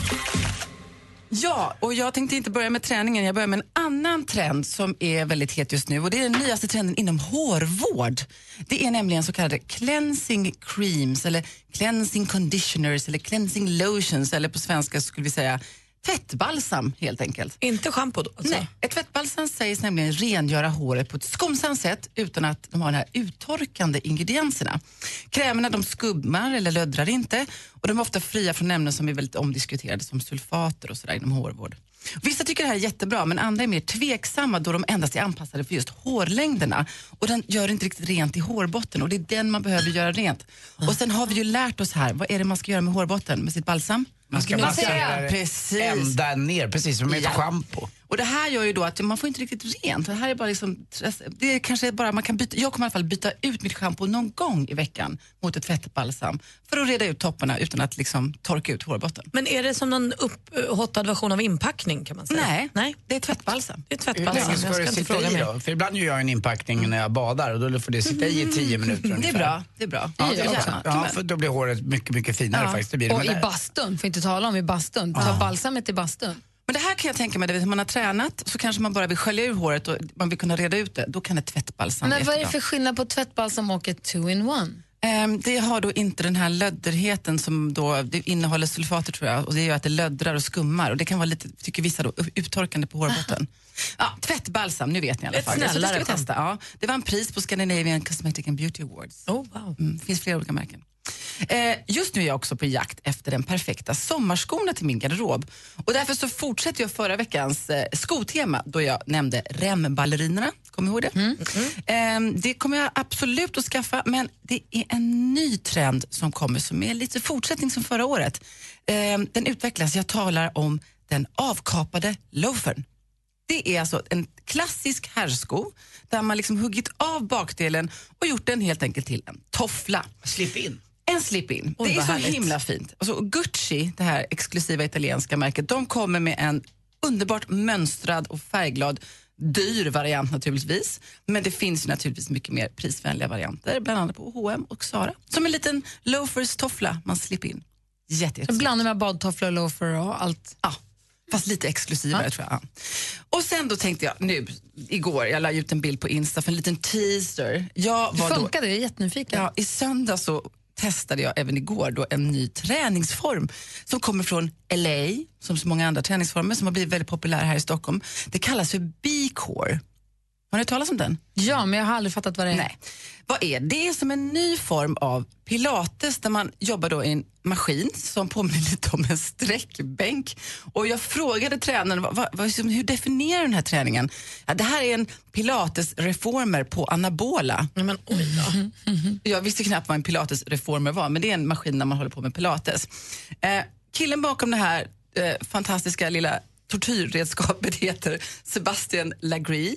[SPEAKER 18] Ja, och jag tänkte inte börja med träningen. Jag börjar med en annan trend som är väldigt het just nu och det är den nyaste trenden inom hårvård. Det är nämligen så kallade cleansing creams eller cleansing conditioners eller cleansing lotions eller på svenska skulle vi säga tvättbalsam helt enkelt.
[SPEAKER 3] Inte schampo då? Alltså.
[SPEAKER 18] Nej, ett tvättbalsam sägs nämligen rengöra håret på ett skonsamt sätt utan att de har de här uttorkande ingredienserna. Krämerna de skummar eller löddrar inte och de är ofta fria från ämnen som är väldigt omdiskuterade som sulfater och sådär inom hårvård. Vissa tycker det här är jättebra men andra är mer tveksamma då de endast är anpassade för just hårlängderna och den gör inte riktigt rent i hårbotten och det är den man behöver göra rent. Och sen har vi ju lärt oss här, vad är det man ska göra med hårbotten med sitt balsam?
[SPEAKER 2] Man ska massera det
[SPEAKER 18] Precis.
[SPEAKER 2] ända ner, precis som med ett
[SPEAKER 18] Ja.
[SPEAKER 2] schampo.
[SPEAKER 18] Och det här gör ju då att man får inte riktigt rent. Det här är bara liksom, det är kanske bara man kan byta, jag kommer i alla fall byta ut mitt schampo någon gång i veckan mot ett tvättbalsam för att reda ut topparna utan att liksom torka ut hårbotten.
[SPEAKER 3] Men är det som någon upphottad version av inpackning kan man säga?
[SPEAKER 18] Nej,
[SPEAKER 3] Nej.
[SPEAKER 18] det är tvättbalsam.
[SPEAKER 3] Det är
[SPEAKER 2] Hur
[SPEAKER 3] tvättbalsam.
[SPEAKER 2] länge ska
[SPEAKER 3] jag
[SPEAKER 2] det
[SPEAKER 3] inte
[SPEAKER 2] sitta
[SPEAKER 3] fråga
[SPEAKER 2] i
[SPEAKER 3] mer.
[SPEAKER 2] då? För ibland gör jag en inpackning när jag badar och då får det sitta i i tio minuter
[SPEAKER 18] Mm. Det
[SPEAKER 2] ungefär.
[SPEAKER 18] är bra, det är bra.
[SPEAKER 2] Ja, det
[SPEAKER 18] Ja,
[SPEAKER 2] är också.
[SPEAKER 18] ja.
[SPEAKER 2] ja, för då blir håret mycket, mycket finare
[SPEAKER 18] Ja.
[SPEAKER 2] faktiskt. Det blir det.
[SPEAKER 18] Och
[SPEAKER 2] Men
[SPEAKER 18] i
[SPEAKER 2] där-
[SPEAKER 1] Bastun, får inte tala om i bastun. Ta
[SPEAKER 18] Ah.
[SPEAKER 1] balsamet i bastun.
[SPEAKER 18] Men det här kan jag tänka mig, det vill, man har tränat så kanske man bara vill skölja ur håret och man vill kunna reda ut det. Då kan ett tvättbalsam
[SPEAKER 1] Men vad är det för
[SPEAKER 18] jättebra.
[SPEAKER 1] skillnad på tvättbalsam och ett two-in-one?
[SPEAKER 18] Ehm, det har då inte den här lödderheten som då, det innehåller sulfater tror jag och det gör att det löddrar och skummar och det kan vara lite, tycker vissa då, uttorkande på hårbotten. Ja, tvättbalsam, nu vet ni i alla
[SPEAKER 3] Ett
[SPEAKER 18] fall. Så det ska
[SPEAKER 3] snällare
[SPEAKER 18] vi testa. Ja, det vann pris på Scandinavian Cosmetic and Beauty Awards.
[SPEAKER 3] Oh, wow.
[SPEAKER 18] mm, finns flera olika märken. Eh, just nu är jag också på jakt efter den perfekta sommarskorna till min garderob. Och därför så fortsätter jag förra veckans eh, skotema då jag nämnde remballerinerna. Kommer ni ihåg det? Eh, det kommer jag absolut att skaffa men det är en ny trend som kommer som är lite fortsättning som förra året. Eh, den utvecklas, jag talar om den avkapade loafern. Det är alltså en klassisk herrsko där man liksom huggit av bakdelen och gjort den helt enkelt till en toffla.
[SPEAKER 2] Slip-in?
[SPEAKER 18] En slip-in.
[SPEAKER 2] Oj,
[SPEAKER 18] det är
[SPEAKER 2] vad
[SPEAKER 18] så
[SPEAKER 2] härligt.
[SPEAKER 18] himla fint. Alltså, Gucci, det här exklusiva italienska märket, de kommer med en underbart mönstrad och färgglad dyr variant naturligtvis. Men det finns ju naturligtvis mycket mer prisvänliga varianter, bland annat på H&M och Zara. Som en liten loafers-toffla man slipper in. Jätte, jättesnyggt.
[SPEAKER 1] Blandar med badtofflor, loafer och allt.
[SPEAKER 18] Ja, fast lite exklusivare tror jag. Och sen då tänkte jag nu, igår, jag la ut en bild på Insta för en liten teaser. Jag
[SPEAKER 1] Hur
[SPEAKER 18] var då,
[SPEAKER 1] funkar det? Jag är jättenyfiken.
[SPEAKER 18] ja, I söndag så testade jag även igår då en ny träningsform som kommer från LA, som så många andra träningsformer som har blivit väldigt populär här i Stockholm. Det kallas för B-core. Har ni hört talas om den?
[SPEAKER 1] Ja, men jag har aldrig fattat vad det är.
[SPEAKER 18] Nej. Vad är det? Det är som en ny form av pilates där man jobbar då i en maskin som påminner lite om en sträckbänk. Och jag frågade tränaren, vad, vad, vad, liksom, hur definierar du den här träningen? Ja, det här är en pilatesreformer på anabola.
[SPEAKER 3] Men, oj
[SPEAKER 18] Jag visste knappt vad en pilatesreformer var, men det är en maskin när man håller på med pilates. Eh, killen bakom det här eh, fantastiska lilla tortyrredskapet (laughs) heter Sebastian Lagree.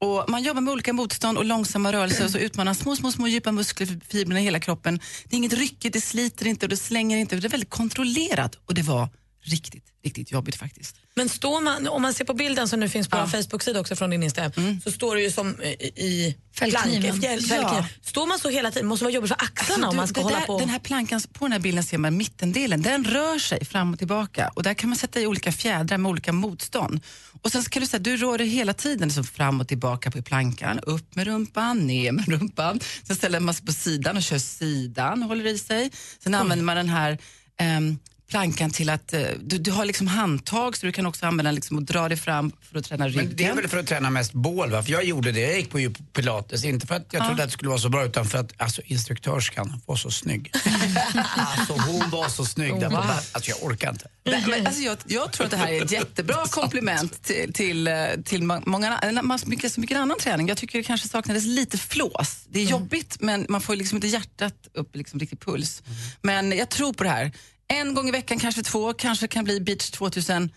[SPEAKER 18] Och man jobbar med olika motstånd och långsamma rörelser och så utmanar små, små, små djupa muskelfibrer i hela kroppen. Det är inget ryckigt, det sliter inte och det slänger inte. Det är väldigt kontrollerat och det var riktigt, riktigt jobbigt faktiskt.
[SPEAKER 3] Men står man, om man ser på bilden som nu finns på vår Facebook-sida också från din Instagram, så står det ju som eh, i, i
[SPEAKER 18] Fällkniven.
[SPEAKER 3] planka- fjäll-
[SPEAKER 18] Ja.
[SPEAKER 3] fällkniven. Står man så hela tiden? Måste vara jobbigt för axlarna
[SPEAKER 18] Alltså,
[SPEAKER 3] om
[SPEAKER 18] du,
[SPEAKER 3] man ska
[SPEAKER 18] det
[SPEAKER 3] hålla
[SPEAKER 18] där,
[SPEAKER 3] på?
[SPEAKER 18] Den här plankan, på den här bilden ser man mittendelen, den rör sig fram och tillbaka och där kan man sätta i olika fjädrar med olika motstånd. Och sen så kan du säga, du rör dig hela tiden liksom fram och tillbaka på plankan, upp med rumpan, ner med rumpan. Sen ställer man sig på sidan och kör sidan, håller i sig. Sen använder man den här ehm, plankan till att, eh, du, du har liksom handtag så du kan också använda liksom och dra dig fram för att träna ryggen.
[SPEAKER 2] Men det är väl för att träna mest bål va? För jag gjorde det, jag gick på ju pilates, inte för att jag
[SPEAKER 18] Ja.
[SPEAKER 2] trodde att det skulle vara så bra utan för att alltså, instruktörskan var så snygg. alltså hon var så
[SPEAKER 18] (laughs)
[SPEAKER 2] snygg, där på
[SPEAKER 18] Oh, Wow.
[SPEAKER 2] ba- alltså jag orkar inte.
[SPEAKER 18] Nej, men alltså jag, jag tror att det här är ett jättebra komplement till, till, eh, till ma- många, eller ma- så mycket, så mycket annan träning. Jag tycker det kanske saknades lite flås. Det är jobbigt, men man får ju liksom inte hjärtat upp i liksom riktig puls. Men jag tror på det här. En gång i veckan, kanske två, kanske kan bli beach 2017.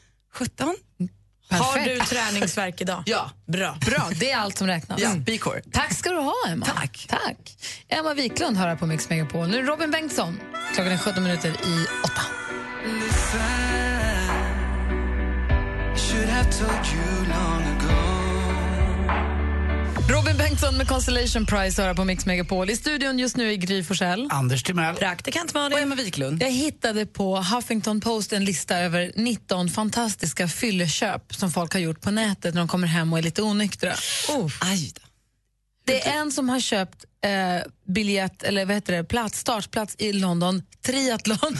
[SPEAKER 3] Har du träningsvärk idag?
[SPEAKER 18] (laughs) Ja.
[SPEAKER 3] Bra.
[SPEAKER 1] Bra, det är allt som räknas.
[SPEAKER 18] Ja, B-core.
[SPEAKER 1] Tack ska du ha, Emma. Tack. Tack. Emma Wiklund hör här på Mix Megapol. Nu är det Robin Bengtsson. Klockan är 17 minuter i 8. Robin Bengtsson med Constellation Prize hör här på Mix Megapol. I studion just nu är Gry Forssell.
[SPEAKER 2] Anders Timell.
[SPEAKER 3] Praktikant Malin.
[SPEAKER 18] Och Emma Wiklund.
[SPEAKER 1] Jag hittade på Huffington Post en lista över 19 fantastiska fylleköp som folk har gjort på nätet när de kommer hem och är lite onyktra.
[SPEAKER 18] Aj då.
[SPEAKER 1] Det är en som har köpt eh, biljett, eller vad heter det, plats, startplats i London, triathlon.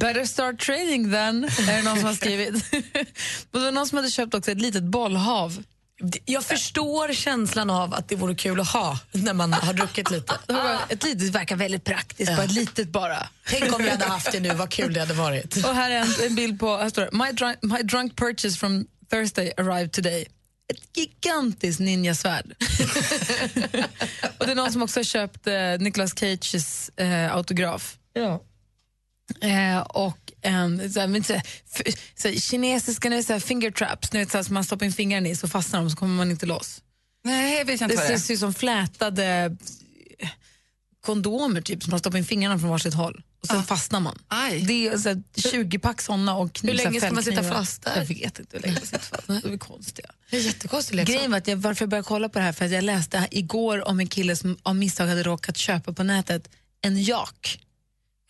[SPEAKER 1] Better start training then, är det någon som har skrivit. (laughs) Och det var någon som hade köpt också ett litet bollhav.
[SPEAKER 3] Jag förstår känslan av att det vore kul att ha när man har druckit lite.
[SPEAKER 1] Det var
[SPEAKER 18] Ah.
[SPEAKER 1] bara- Ett litet verkar väldigt praktiskt, bara ett litet bara.
[SPEAKER 3] Tänk om vi hade haft det nu, vad kul det hade varit.
[SPEAKER 1] Och här är en, en bild på, här står det, my, drunk, my drunk purchase from Thursday arrived today. Ett gigantiskt ninjasvärd. och det är någon som också har köpt eh, Nicolas Cages eh, autograf.
[SPEAKER 3] Ja.
[SPEAKER 1] Eh, och en, så här, men, så här, f- så här, kinesiska nu, så här, finger traps, nu, vet, så här, som man stoppar in fingrarna i så fastnar de så kommer man inte loss.
[SPEAKER 18] Nej, jag vet inte
[SPEAKER 1] det
[SPEAKER 18] vad det är.
[SPEAKER 1] ses ju som flätade eh, kondomer typ, som man stoppar in fingrarna från varsitt håll. Och
[SPEAKER 3] Ah.
[SPEAKER 1] sen fastnar man. Det är så här, 20 pack sådana och kniv,
[SPEAKER 3] Hur
[SPEAKER 1] så här,
[SPEAKER 3] länge ska man sitta
[SPEAKER 1] fällknivar.
[SPEAKER 3] fast där?
[SPEAKER 1] Jag vet inte hur länge man sitter fast. De är konstiga.
[SPEAKER 3] (laughs) Det är jättekonstigt
[SPEAKER 1] Grejen var att jag, varför jag började kolla på det här för att jag läste igår om en kille som av misstag hade råkat köpa på nätet en jak.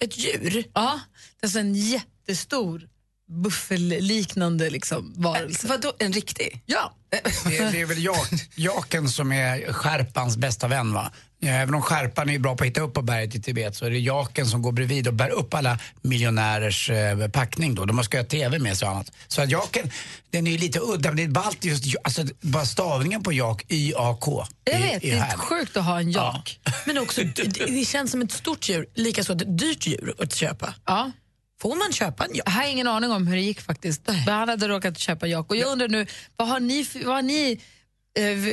[SPEAKER 3] Ett djur?
[SPEAKER 1] Ja, det är alltså en jättestor buffelliknande liksom, varelse.
[SPEAKER 3] Äh,
[SPEAKER 18] Vadå, en riktig?
[SPEAKER 1] Ja.
[SPEAKER 2] Det är, det är väl jak, jaken som är skärpans bästa vän va? Ja, Även om skärpan är bra på att hitta upp på berget i Tibet så är det jaken som går bredvid och bär upp alla miljonärers eh, packning då. De har skojat TV med sig och annat. Så att jaken, den är ju lite udda men det är ballt just, alltså bara stavningen på jak, Y-A-K.
[SPEAKER 1] Jag
[SPEAKER 2] är-
[SPEAKER 1] vet, det
[SPEAKER 2] är
[SPEAKER 1] är
[SPEAKER 2] härligt.
[SPEAKER 1] sjukt att ha en jak.
[SPEAKER 3] Men också, det, det känns som ett stort djur, likaså ett dyrt djur att köpa.
[SPEAKER 1] Ja.
[SPEAKER 3] Får man köpa en jak?
[SPEAKER 1] Jag har ingen aning om hur det gick faktiskt. Men han hade råkat köpa jak. Och jag undrar nu, vad har ni, f- vad har ni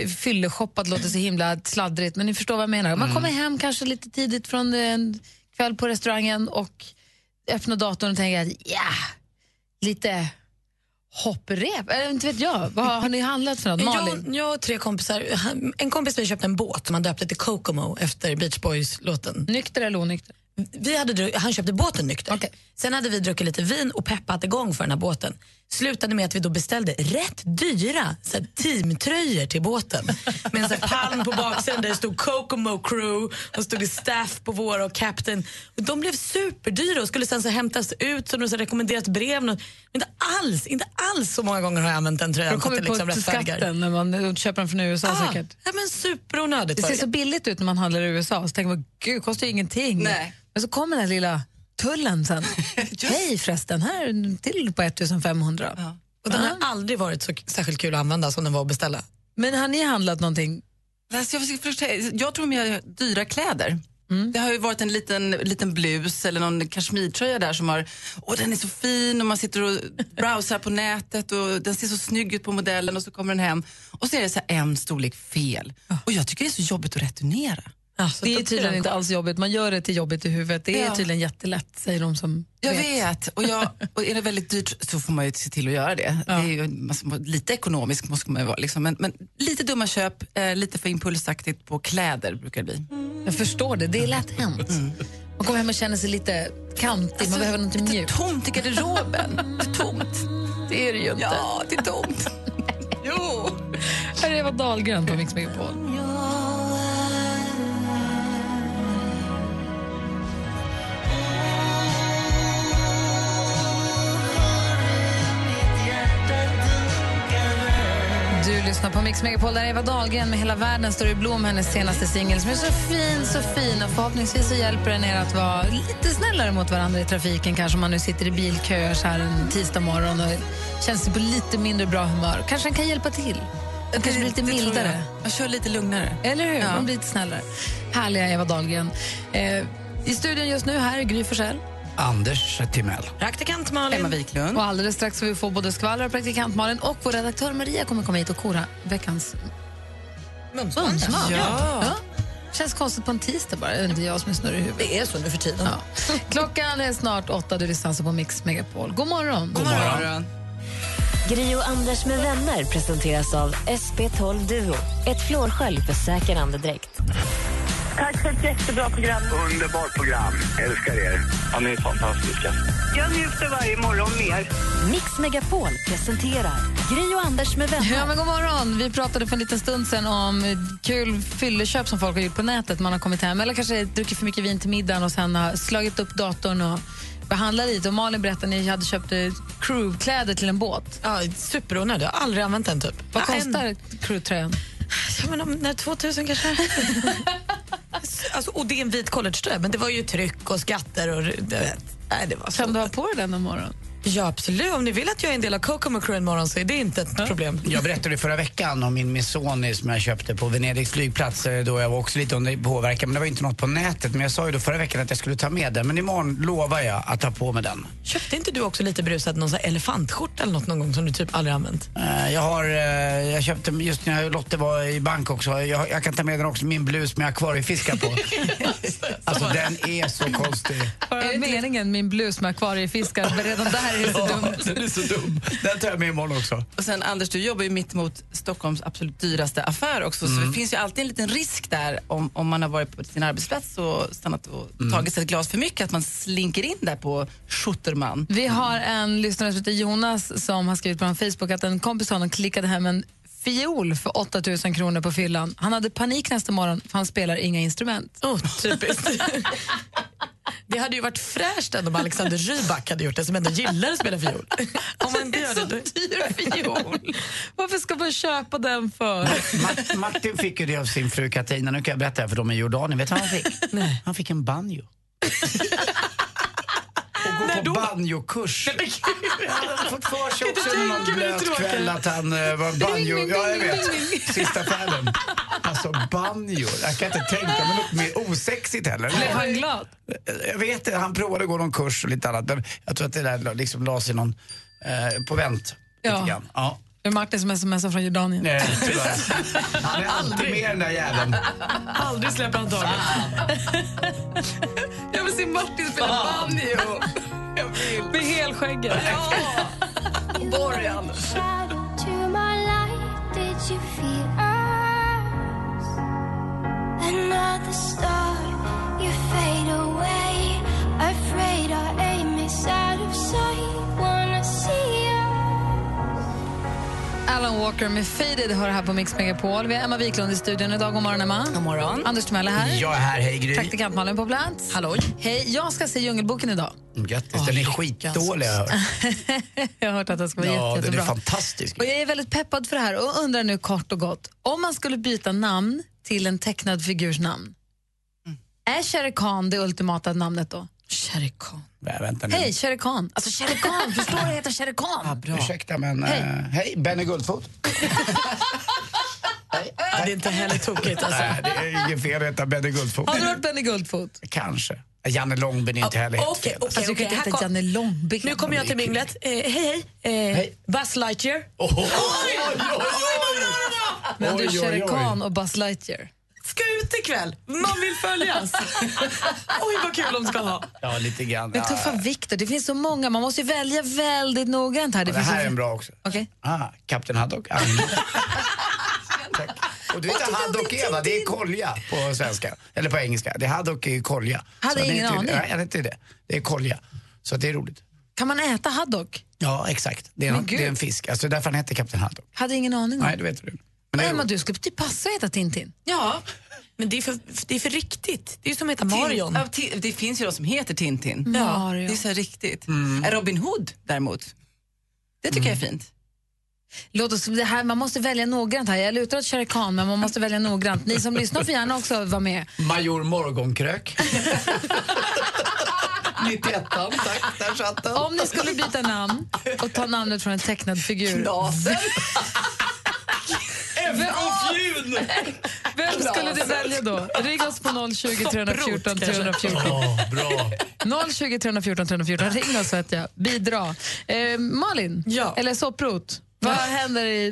[SPEAKER 1] eh, fylleshoppat? Låter så himla sladdrigt, men ni förstår vad jag menar. Man
[SPEAKER 20] Mm.
[SPEAKER 1] kommer hem kanske lite tidigt från en kväll på restaurangen och öppnar datorn och tänker att ja, lite hopprep. Eller inte vet jag. Vad har, har ni handlat för något? Malin?
[SPEAKER 3] Alltså, Jag, jag och tre kompisar, han- en kompis till mig köpte en båt som han döpte till Kokomo efter Beach Boys-låten.
[SPEAKER 1] Nykter eller onykter?
[SPEAKER 3] Vi hade, dru- han köpte båten nykter. Sen hade vi druckit lite vin och peppat igång för den här båten. Slutade med att vi då beställde rätt dyra så här, teamtröjor till båten. Med en så här, palm på baksidan där det stod Kokomo Crew och stod det staff på våra och captain. Och de blev superdyra och skulle sen så hämtas ut som något så här rekommenderat brev. Något- Inte alls, inte alls så många gånger har jag använt den tröjan.
[SPEAKER 1] De
[SPEAKER 3] för att
[SPEAKER 1] kommer
[SPEAKER 3] det
[SPEAKER 18] liksom
[SPEAKER 3] liksom
[SPEAKER 1] på skatten när man eh, köper den från USA
[SPEAKER 3] Ah,
[SPEAKER 1] säkert.
[SPEAKER 3] Ja, men superonödigt
[SPEAKER 1] Det
[SPEAKER 3] var
[SPEAKER 1] ser så billigt ut när man handlar i USA, så tänker man gud, kostar ju ingenting.
[SPEAKER 3] Nej.
[SPEAKER 1] Men så kommer den här lilla tullen
[SPEAKER 18] (laughs)
[SPEAKER 1] sen. Hej förresten, här är en till på 1500.
[SPEAKER 3] Och den har aldrig varit så k- särskilt kul att använda som den var att beställa.
[SPEAKER 1] Men har ni handlat någonting?
[SPEAKER 18] Alltså jag, försöker förstå- jag tror mer dyra kläder.
[SPEAKER 1] Mm.
[SPEAKER 18] Det har ju varit en liten, liten blus eller någon kashmirtröja där som har, åh den är så fin och man sitter och browsar på nätet och den ser så snygg ut på modellen och så kommer den hem och så är det så här en storlek fel. Och jag tycker det är så jobbigt att returnera.
[SPEAKER 1] det är tydligen inte alls jobbigt, man gör det till jobbigt i huvudet. Det är
[SPEAKER 18] Ja.
[SPEAKER 1] tydligen jättelätt, säger de som
[SPEAKER 18] Jag vet, och, jag, och är det väldigt dyrt så får man ju se till att göra det. det är ju, man ska vara- lite ekonomisk måste man ju vara, liksom. men, men lite dumma köp, eh, lite för impulsaktigt på kläder brukar det bli. Mm.
[SPEAKER 1] Jag förstår det, det är lätt hänt. Man kommer hem och känner sig lite kantig, man behöver något mjukt. Lite
[SPEAKER 18] Alltså, tomt
[SPEAKER 1] (laughs)
[SPEAKER 18] i garderoben. Det är tomt. Det är det ju inte. Ja, det är tomt.
[SPEAKER 1] jo! Här är Eva Dahlgren på Mix Megapol. Du lyssnar på Mix Megapol där Eva Dahlgren med Hela världen står i blom, hennes senaste singel som är så fin, så fin och förhoppningsvis så hjälper den er att vara lite snällare mot varandra i trafiken kanske om man nu sitter i bilköer så här en tisdag morgon och känns sig på lite mindre bra humör. Kanske den kan hjälpa till. Det kanske blir lite
[SPEAKER 18] det tror
[SPEAKER 1] mildare.
[SPEAKER 18] jag. Man kör lite lugnare.
[SPEAKER 1] Eller hur?
[SPEAKER 18] Ja.
[SPEAKER 1] Man blir lite snällare. Härliga Eva Dahlgren. Eh, I studion just nu här är Gry Forssell.
[SPEAKER 2] Anders Timell.
[SPEAKER 1] Praktikant Malin. Emma Wiklund. Och alldeles strax får vi få både skvaller och praktikant Malin och vår redaktör Maria kommer komma hit och kora veckans
[SPEAKER 3] Mumsmannen.
[SPEAKER 1] Mumsman.
[SPEAKER 3] Ja.
[SPEAKER 1] Ja. Känns konstigt på en tisdag bara. Det är jag som är snurrig i huvudet.
[SPEAKER 3] Det är så nu för tiden.
[SPEAKER 1] Ja. Klockan är snart åtta. Du lyssnar alltså på Mix Megapol. God morgon. God
[SPEAKER 7] morgon. Gri och Anders med vänner presenteras av SP12 Duo. Ett flårskölj för säker andedräkt.
[SPEAKER 10] Tack för ett jättebra program.
[SPEAKER 17] Underbart program. Älskar er. Ja, ni är fantastiska.
[SPEAKER 10] Jag njuter varje morgon mer.
[SPEAKER 7] Mix Megapol presenterar Gri och Anders med vänner.
[SPEAKER 1] Ja, men god morgon. Vi pratade för en liten stund sedan om kul fylleköp som folk har gjort på nätet. Man har kommit hem eller kanske druckit för mycket vin till middagen och sen har slagit upp datorn och behandlat lite. Och Malin berättade att ni hade köpt eh, crewkläder till en båt.
[SPEAKER 3] Ja, superonödig. Jag har aldrig använt den typ.
[SPEAKER 1] Vad
[SPEAKER 3] Ja, en-
[SPEAKER 1] kostar
[SPEAKER 3] (laughs)
[SPEAKER 1] crewtröjan?
[SPEAKER 3] Ja, men om, när 2000 kanske. (laughs) alltså, och det är en vit collegetröja, men det var ju tryck och skatter och... du Vet. Nej, det var kan
[SPEAKER 1] du ha på dig den imorgon?
[SPEAKER 3] Ja, absolut. Om ni vill att jag är en del av Kokomo Crew imorgon så är det inte ett problem.
[SPEAKER 2] Jag berättade förra veckan om min Missoni som jag köpte på Venedigs flygplats eh, då jag var också lite under påverkan. Men det var inte något på nätet. Men jag sa ju då förra veckan att jag skulle ta med den. Men imorgon lovar jag att ta på mig den.
[SPEAKER 3] Köpte inte du också lite brusad någon sån här elefantskjorta eller något någon gång som du typ aldrig använt?
[SPEAKER 2] Eh, Jag har, eh, jag köpte just när Lotte var i Bangkok så jag, jag kan ta med den också, min blus med
[SPEAKER 1] (laughs)
[SPEAKER 2] akvariefiskar på. alltså den är så konstig.
[SPEAKER 1] Är det meningen min blus med akvariefiskar? Redan där är det så dumt.
[SPEAKER 2] Den är så dum. Den tar jag med imorgon också.
[SPEAKER 18] Och sen Anders, du jobbar ju mitt emot Stockholms absolut dyraste affär också, så
[SPEAKER 2] Mm.
[SPEAKER 18] det finns ju alltid en liten risk där om, om man har varit på sin arbetsplats och stannat och
[SPEAKER 1] Mm.
[SPEAKER 18] tagit sig ett glas för mycket, att man slinker in där på Schutterman.
[SPEAKER 1] Vi har en lyssnare som heter Jonas som har skrivit på hans Facebook att en kompis till honom klickade hem en fiol för 8 000 kronor på fyllan. Han hade panik nästa morgon för han spelar inga instrument.
[SPEAKER 3] Oh, (laughs) typiskt. Det hade ju varit fräscht ändå om Alexander Rybak hade gjort det, som ändå gillar att spela fiol. (laughs) Om man inte gör det, då...
[SPEAKER 1] dyr fiol. (laughs) Varför ska man köpa den för?
[SPEAKER 2] Ma- Martin fick ju det av sin fru Katarina. Nu kan jag berätta det här för de i Jordanien. Vet du vad han fick? Han fick
[SPEAKER 21] (laughs)
[SPEAKER 2] en banjo. Och gå på
[SPEAKER 21] (laughs)
[SPEAKER 2] banjokurs. Han hade fått för sig också
[SPEAKER 21] Inte
[SPEAKER 2] när man
[SPEAKER 21] tänker mig
[SPEAKER 2] blöt
[SPEAKER 21] tråkigt.
[SPEAKER 2] kväll att han eh, var banjo...
[SPEAKER 21] Ring, ring,
[SPEAKER 2] Ja, jag
[SPEAKER 21] ring,
[SPEAKER 2] vet.
[SPEAKER 21] ring, ring.
[SPEAKER 2] Sista färden. Alltså banjo. Jag kan inte tänka mig något mer osexigt heller.
[SPEAKER 21] Blev han
[SPEAKER 1] glad?
[SPEAKER 2] Jag vet inte. Han provade att gå någon kurs och lite annat. Men jag tror att det där liksom la sig någon, eh, på vänt.
[SPEAKER 1] Ja.
[SPEAKER 2] Lite grann. Ja.
[SPEAKER 1] Det är Martin som smsar från Jordanien.
[SPEAKER 2] Nej, tyvärr. Han är alltid med den där jäveln.
[SPEAKER 3] Aldrig släpper han taget.
[SPEAKER 1] Jag vill se Martin spela banjo. Med helskägget.
[SPEAKER 21] Borgen.
[SPEAKER 1] (laughs) Alan Walker med Faded hör här på Mix Megapol. Vi har Emma Wiklund i studion idag. God morgon, Emma. God morgon. Anders Timell är här.
[SPEAKER 2] Jag är här. Hej, Gry.
[SPEAKER 1] Praktikant Malin på plats. Hallå. Hej, jag ska se Djungelboken idag.
[SPEAKER 2] Grattis, den är skitdålig har jag hört.
[SPEAKER 1] (laughs) jag har hört att den ska vara
[SPEAKER 2] Ja,
[SPEAKER 1] jätte,
[SPEAKER 2] den är
[SPEAKER 1] jättebra.
[SPEAKER 2] fantastisk.
[SPEAKER 1] Och jag är väldigt peppad för det här och undrar nu kort och gott, om man skulle byta namn till en tecknad figurs namn, är Shere Khan det ultimata namnet då?
[SPEAKER 3] Shere Khan.
[SPEAKER 2] Nej, vänta nu.
[SPEAKER 1] Hej, Shere Khan! Alltså Shere Khan, förstår du? Jag heter Shere Khan.
[SPEAKER 2] Ursäkta, men... Hej, hej Benny
[SPEAKER 1] (laughs)
[SPEAKER 2] Guldfot.
[SPEAKER 3] Det är inte heller tokigt. Alltså.
[SPEAKER 2] Nej, det är inget fel att heta Benny Guldfot.
[SPEAKER 1] Har du hört Benny Guldfot?
[SPEAKER 2] Kanske. Janne Långben är inte heller helt
[SPEAKER 3] Okej,
[SPEAKER 2] fel.
[SPEAKER 3] okej.
[SPEAKER 1] du kan
[SPEAKER 3] okej.
[SPEAKER 1] inte
[SPEAKER 3] Här
[SPEAKER 1] heta
[SPEAKER 3] kom-
[SPEAKER 1] Janne Långben.
[SPEAKER 3] Nu kommer jag till minglet. Eh, hej, hej. Eh, Buzz Lightyear.
[SPEAKER 2] Oj,
[SPEAKER 21] oj,
[SPEAKER 1] Men du,
[SPEAKER 3] Oj, oj,
[SPEAKER 1] Shere
[SPEAKER 3] oj.
[SPEAKER 1] Khan och Buzz Lightyear.
[SPEAKER 3] Ska ut ikväll. Man vill följas. Oj, vad kul de ska ha.
[SPEAKER 2] Ja, lite grann.
[SPEAKER 1] Men tuffa Viktor, det finns så många. Man måste ju välja väldigt noggrant här.
[SPEAKER 2] Ja, det
[SPEAKER 1] finns
[SPEAKER 2] här
[SPEAKER 1] ju- (laughs)
[SPEAKER 2] är en bra också.
[SPEAKER 1] Okej.
[SPEAKER 2] Ah, Kapten Haddock. Ah, Och du vet att hadd och Eva, det är kolja på svenska. Eller på engelska. Det är hadd och är kolja.
[SPEAKER 1] Hade
[SPEAKER 2] Så det är
[SPEAKER 1] ingen
[SPEAKER 2] tydligen-
[SPEAKER 1] aning.
[SPEAKER 2] Nej, jag vet inte det. Det är kolja. Så att det är roligt.
[SPEAKER 1] Kan man äta haddock?
[SPEAKER 2] Ja, exakt. Det är,
[SPEAKER 1] Men
[SPEAKER 2] en, det
[SPEAKER 1] gud.
[SPEAKER 2] är en fisk. Alltså därför han hette Kapten Haddock.
[SPEAKER 1] Hade ingen aning om.
[SPEAKER 2] Nej, det vet du.
[SPEAKER 1] Men Emma, du skulle typ passa att heta Tintin.
[SPEAKER 3] Ja, men det är för, det är för riktigt. Det är ju som att heta Marion.
[SPEAKER 18] Ja, Ti- det finns ju de som heter Tintin.
[SPEAKER 3] Ja.
[SPEAKER 18] Det är så här riktigt.
[SPEAKER 1] Mm.
[SPEAKER 18] Eh, Robin Hood däremot, det tycker jag är fint.
[SPEAKER 1] Låt oss, det här, man måste välja noggrant här. Jag lutar åt Shere Khan, men man måste välja noggrant. Ni som lyssnar får gärna också vara med.
[SPEAKER 2] Major Morgonkrök. 91 tack. Där satt den.
[SPEAKER 1] Om ni skulle byta namn och ta namnet från en tecknad figur.
[SPEAKER 18] Knasen.
[SPEAKER 1] Vem, vem skulle du
[SPEAKER 21] Knasen.
[SPEAKER 1] välja då? Ring oss på 020 314 314.
[SPEAKER 21] bra.
[SPEAKER 1] 020 314 314. Ring oss vet jag. Bidra. Eh, Malin, eller sopprot. Vad händer i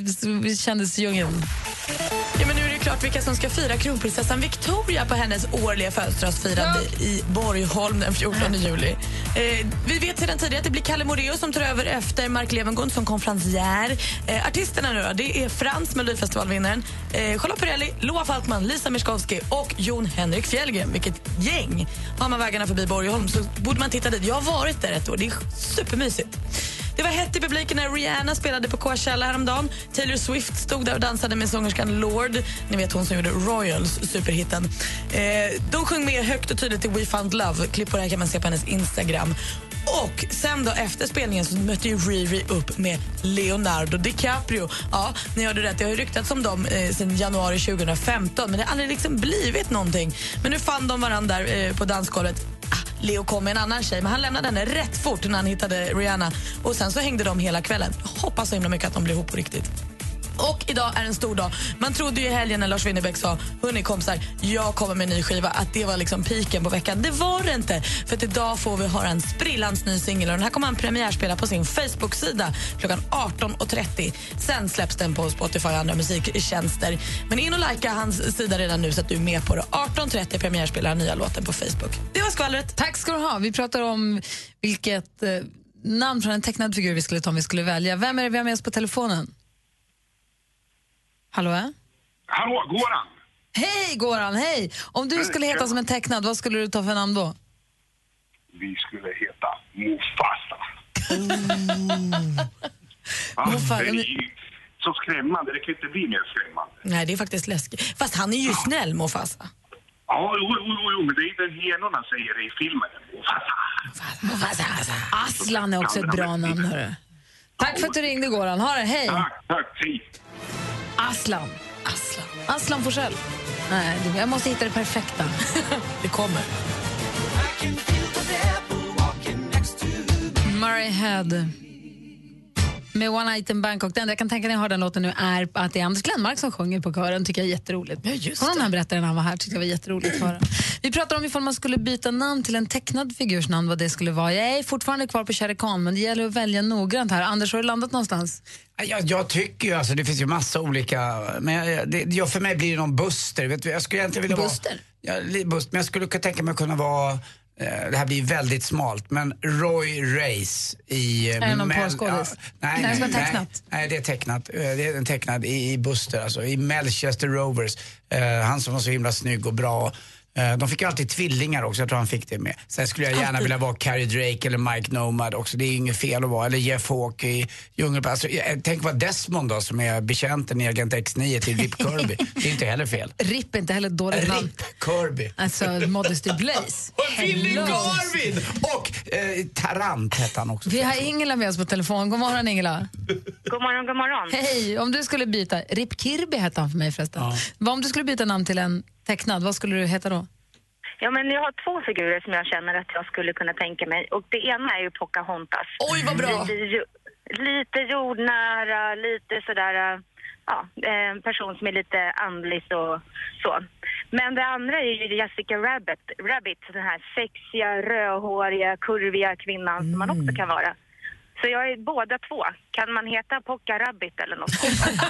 [SPEAKER 1] s- kändisdjungeln?
[SPEAKER 3] Ja, men nu är det klart vilka som ska fira kronprinsessan Victoria på hennes årliga födelsedagsfirande i Borgholm den 14 juli. Eh, vi vet sedan tidigare att det blir Kalle Moraeus som tar över efter Mark Levengood som konferencier. Eh, artisterna nu då, det är Frans, Melodifestivalvinnaren, eh, Charlotte Perrelli, Loa Falkman, Lisa Miskovsky och Jon Henrik Fjällgren. Vilket gäng! Har man vägarna förbi Borgholm så borde man titta dit. Jag har varit där ett år, det är supermysigt. Det var hett i publiken när Rihanna spelade på Coachella häromdagen. Taylor Swift stod där och dansade med sångerskan Lord, ni vet hon som gjorde Royals, superhitten. Eh, de sjöng med högt och tydligt till We found love. Klipp på det här kan man se på hennes Instagram. Och sen då efter spelningen så mötte ju Riri upp med Leonardo DiCaprio. Ja, ni hörde rätt. Det har ju ryktats om dem eh, sedan januari 2015 men det har aldrig liksom blivit någonting. Men nu fann de varandra där eh, på dansgolvet. Leo kom med en annan tjej, men han lämnade henne rätt fort när han hittade Rihanna. Och Sen så hängde de hela kvällen. Jag hoppas så himla mycket att de blir ihop på riktigt. Och idag är en stor dag. Man trodde ju i helgen när Lars Winnerbäck sa Hörni kompisar, jag kommer med en ny skiva att det var liksom piken på veckan. Det var det inte. För att idag får vi höra en sprillans ny singel och den här kommer han premiärspela på sin Facebook-sida klockan 18.30. Sen släpps den på Spotify och andra musiktjänster. Men in och likea hans sida redan nu så att du är med på det. 18.30 premiärspelar han nya låten på Facebook. Det var skvallret.
[SPEAKER 1] Tack ska du ha. Vi pratar om vilket eh, namn från en tecknad figur vi skulle ta om vi skulle välja. Vem är det vi har med oss på telefonen? Hallå? eh?
[SPEAKER 17] Hallå, Goran!
[SPEAKER 1] Hej Goran, hej! Om du skulle heta som en tecknad, vad skulle du ta för namn då?
[SPEAKER 17] Vi skulle heta Mufasa.
[SPEAKER 1] Oh.
[SPEAKER 3] Mm.
[SPEAKER 17] Ja,
[SPEAKER 3] Mufasa,
[SPEAKER 17] det är
[SPEAKER 3] men-
[SPEAKER 17] ju så skrämmande, det kan inte bli mer skrämmande.
[SPEAKER 3] Nej, det är faktiskt läskigt. Fast han är ju snäll, Mufasa.
[SPEAKER 17] Ja, jo, jo, jo, jo, men det är inte hyenorna säger det i filmen. Mufasa.
[SPEAKER 1] Aslan är också ett bra namn. Hörru. Tack för att du ringde Goran. Ha det, hej!
[SPEAKER 17] Tack, hej.
[SPEAKER 1] Aslan. Aslan. Aslan Forsell. Nej, det- jag måste hitta det perfekta. (laughs)
[SPEAKER 3] det kommer.
[SPEAKER 1] Murray Head med One Night in Bangkok. Det enda jag kan tänka när jag hör den låten nu är att det är Anders Glenmark som sjunger på kören. tycker jag är jätteroligt. Ja, just Honom han berättade när han var här tyckte jag var jätteroligt att höra. Vi pratade om ifall man skulle byta namn till en tecknad figurs namn, vad det skulle vara. Jag är fortfarande kvar på Shere Khan, men det gäller att välja noggrant här. Anders, har du landat någonstans?
[SPEAKER 2] Jag, jag tycker ju, alltså det finns ju massa olika, men jag, det, jag, för mig blir det någon Buster. Vet du, jag skulle egentligen vilja
[SPEAKER 1] Buster?
[SPEAKER 2] vara... Ja, li- Buster? Men jag skulle kunna tänka mig att kunna vara, eh, det här blir väldigt smalt, men Roy Race i... eh,
[SPEAKER 1] Är det någon
[SPEAKER 2] Mel-
[SPEAKER 1] porrskådis?
[SPEAKER 2] nej,
[SPEAKER 1] Nej,
[SPEAKER 2] nej,
[SPEAKER 1] som är
[SPEAKER 2] nej,
[SPEAKER 1] tecknat.
[SPEAKER 2] nej, det är tecknat. Eh, Det är en tecknad i, i Buster, alltså i Melchester Rovers. Eh, han som var så himla snygg och bra. Eh, De fick ju alltid tvillingar också, jag tror han fick det med. Sen skulle jag gärna
[SPEAKER 20] Alltid.
[SPEAKER 2] vilja vara Carrie Drake eller Mike Nomad också, det är ju inget fel att vara. Eller Jeff Hawke i Djungeln. Alltså, eh, tänk vad Desmond då, som är betjänten i Agent X9
[SPEAKER 1] (laughs)
[SPEAKER 2] till Rip Kirby. Det är inte heller fel.
[SPEAKER 1] RIP är inte heller ett dåligt namn.
[SPEAKER 2] Rip Kirby.
[SPEAKER 1] Alltså, Modesty Blaze.
[SPEAKER 2] Och Billy
[SPEAKER 1] Hello.
[SPEAKER 2] Garvin! Och eh, Tarant hette
[SPEAKER 1] (laughs)
[SPEAKER 2] han också.
[SPEAKER 1] Vi har Ingela med oss på telefon. God morgon, Ingela.
[SPEAKER 10] God morgon, god morgon.
[SPEAKER 1] Hej! Om du skulle byta... Rip Kirby hette han för mig förresten. Vad Om du skulle byta namn till en tecknad, vad skulle du heta då?
[SPEAKER 10] Ja, men jag har två figurer som jag känner att jag skulle kunna tänka mig. Och det ena är ju Pocahontas.
[SPEAKER 3] Oj, vad bra!
[SPEAKER 10] Lite, ju- lite jordnära, lite sådär... äh, Ja, eh, en person som är lite andlig och så. Men det andra är ju Jessica Rabbit, Rabbit den här sexiga, rödhåriga, kurviga kvinnan som man
[SPEAKER 3] Mm.
[SPEAKER 10] också kan vara. Så jag är båda två. Kan man heta Pocka Rabbit eller något sånt?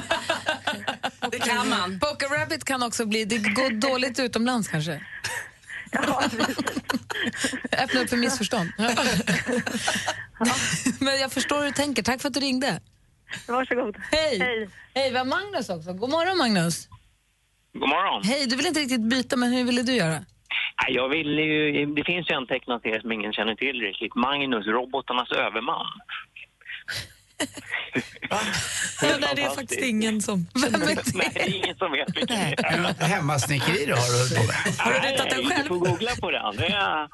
[SPEAKER 1] Det kan man. Poker Rabbit kan också bli... Det går dåligt utomlands kanske. Öppna upp för missförstånd. (laughs) Men jag förstår hur du tänker. Tack för att du ringde.
[SPEAKER 10] Varsågod.
[SPEAKER 1] Hej! Hej, vi har Magnus också. God morgon, Magnus.
[SPEAKER 20] God morgon.
[SPEAKER 1] Hej, du vill inte riktigt byta, men hur ville du göra?
[SPEAKER 20] Nej, Jag vill ju, det finns ju en tecknad serie som ingen känner till riktigt. Magnus, robotarnas överman.
[SPEAKER 3] Ja, nej, det är faktiskt ingen som... Vem är det?
[SPEAKER 20] Nej, det är ingen som vet vilken det är.
[SPEAKER 2] Hemmasnickeri du Eh, har du hållit på med.
[SPEAKER 20] Har du ritat den själv? Du får googla på den. Det är...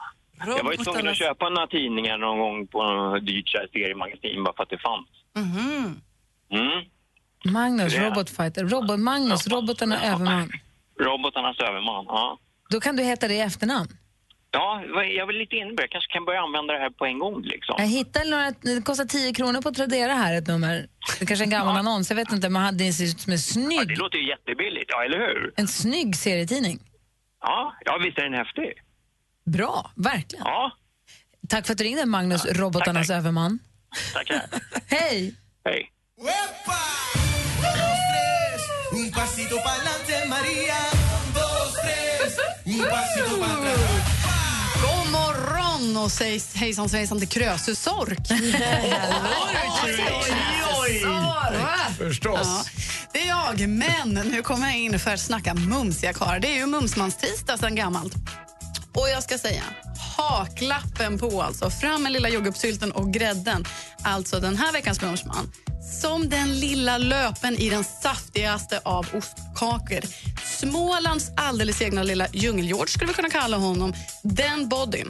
[SPEAKER 20] Jag var ju tvungen att köpa några tidningar någon gång på något dyrt så här seriemagasin bara för att det fanns.
[SPEAKER 1] Mhm.
[SPEAKER 20] Mm.
[SPEAKER 1] Magnus,
[SPEAKER 20] Ja.
[SPEAKER 1] robotfighter. Robot, Magnus, robotarna överman.
[SPEAKER 20] Robotarnas överman, ja.
[SPEAKER 1] Då kan du heta det i efternamn.
[SPEAKER 20] Ja, vad- jag vill lite inne på det. Jag kanske kan börja använda det här på en gång liksom.
[SPEAKER 1] Jag hittade några, det kostar 10 kronor på att Tradera här, ett nummer. Det kanske är en gammal annons, jag vet inte, men hade det ser ut som en
[SPEAKER 20] Ja,
[SPEAKER 1] snygg,
[SPEAKER 20] det låter ju jättebilligt, ja eller hur?
[SPEAKER 1] en snygg serietidning.
[SPEAKER 20] Ja, ja visst är den häftig?
[SPEAKER 1] Bra, verkligen.
[SPEAKER 20] Ja.
[SPEAKER 1] Tack för att du ringde, Magnus,
[SPEAKER 20] (laughs)
[SPEAKER 1] robotarnas överman. (laughs)
[SPEAKER 20] Tackar.
[SPEAKER 1] Hej!
[SPEAKER 20] Hej.
[SPEAKER 22] Un pasito pa'lante, Maria. Un, dos, tres. Un pasito pa'lante.
[SPEAKER 23] God morgon och säg hejsan svejsan till Krösus
[SPEAKER 2] (laughs)
[SPEAKER 23] Sork.
[SPEAKER 2] Förstås.
[SPEAKER 23] Ja, det är jag, men nu kommer jag in för att snacka mumsiga karlar. Det är ju mumsmanstisdag sedan gammalt. Och jag ska säga, ha klappen på alltså. Fram med lilla jordgubbssylten och grädden. Alltså den här veckans mumsman. Som den lilla löpen i den saftigaste av ostkakor. Smålands alldeles egna lilla djungelhjort skulle vi kunna kalla honom. Den bodyn.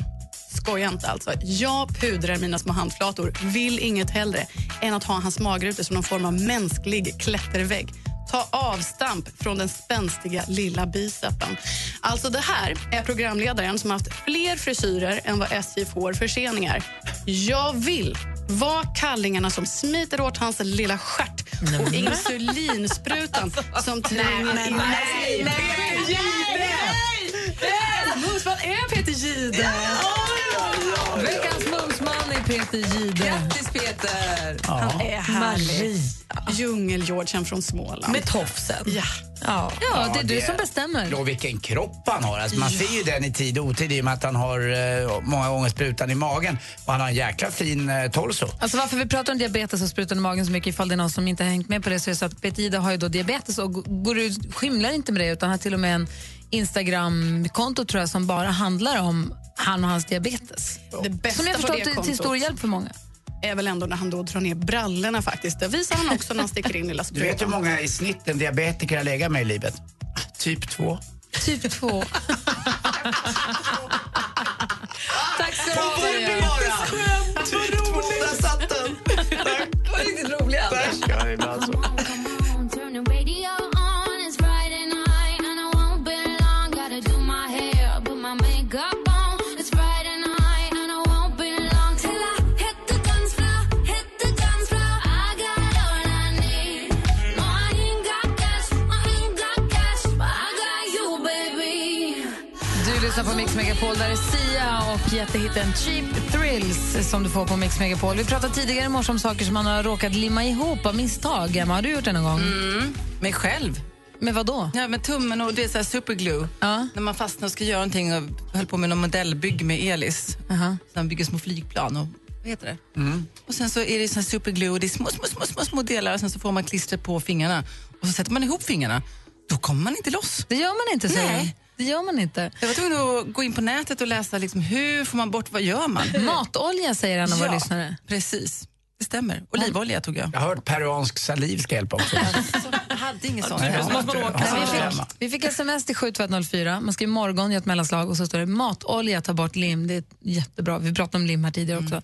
[SPEAKER 23] Skoja inte alltså. Jag pudrar mina små handflator. Vill inget hellre än att ha hans magrutor som någon form av mänsklig klättervägg. Ta avstamp från den spänstiga lilla bicepen. Alltså det här är programledaren som haft fler frisyrer än vad SJ får förseningar. Jag vill vara kallingarna som smiter åt hans lilla stjärt och insulinsprutan som tränger in...
[SPEAKER 22] nej, nej,
[SPEAKER 23] Mumsman är Peter Gide!
[SPEAKER 1] Veckans mumsman är Peter Gide. Grattis, Peter!
[SPEAKER 23] Han är härlig. Djungel-Georgen från Småland.
[SPEAKER 3] Med tofsen.
[SPEAKER 23] Ja.
[SPEAKER 3] Ja,
[SPEAKER 1] det är du som bestämmer.
[SPEAKER 2] Och vilken kropp han har. Alltså, man ser ju den i tid och otid i och med att han har eh, många gånger sprutan i magen. Och han har en jäkla fin eh, torso.
[SPEAKER 1] Alltså varför vi pratar om diabetes och sprutan i magen så mycket ifall det är någon som inte har hängt med på det så är det så att Betida har ju då diabetes och g- går ut, skymlar inte med det utan har till och med en Instagram-konto tror jag som bara handlar om han och hans diabetes.
[SPEAKER 23] Det bästa
[SPEAKER 1] som jag
[SPEAKER 23] på
[SPEAKER 1] förstått
[SPEAKER 23] det
[SPEAKER 1] är till
[SPEAKER 23] kontot
[SPEAKER 1] stor hjälp för många.
[SPEAKER 23] är väl ändå när han då drar ner brallorna faktiskt. Det visar han också när han sticker in lilla
[SPEAKER 2] Du vet hur
[SPEAKER 23] sprutan.
[SPEAKER 2] många i snitt en diabetiker har legat med i livet? Typ två.
[SPEAKER 1] Typ två. Tack ska du ha.
[SPEAKER 22] Diabetesskämt! Vad roligt! Där satt den! (laughs) Tack! Det var riktigt roligt, Anders. Tack! Ja, ibland så.
[SPEAKER 1] Du lyssnar på Mix Megapol, där är Sia och jättehitten Cheap Thrills som du får på Mix Megapol. Vi pratade tidigare i morse om saker som man har råkat limma ihop av misstag. Emma, har du gjort det någon gång?
[SPEAKER 18] Mm, mig själv.
[SPEAKER 1] Med vad då?
[SPEAKER 18] Ja, med tummen och det är så här superglue. När man fastnar och ska göra någonting och höll på med någon modellbygg med Elis. Så han bygger små flygplan och vad heter det? Och sen så är det sån här superglue och det är små, små, små, små, små delar och sen så får man klistret på fingrarna och så sätter man ihop fingrarna. Då kommer man inte loss.
[SPEAKER 1] Det gör man inte, säger
[SPEAKER 18] Nej.
[SPEAKER 1] Det gör man inte.
[SPEAKER 18] Jag var tvungen att gå in på nätet och läsa liksom, hur får man bort, vad gör man?
[SPEAKER 1] (laughs) Matolja säger en av våra lyssnare.
[SPEAKER 18] precis. Det stämmer. Olivolja tog jag.
[SPEAKER 2] Jag har hört peruansk saliv ska hjälpa också.
[SPEAKER 18] Jag hade ingen sån.
[SPEAKER 2] Nej, jag har hört det.
[SPEAKER 1] Nej, vi, fick, vi fick sms till 7204. Man skriver morgon, gör ett mellanslag och så står det matolja, ta bort lim. Det är jättebra. Vi pratade om lim här tidigare också.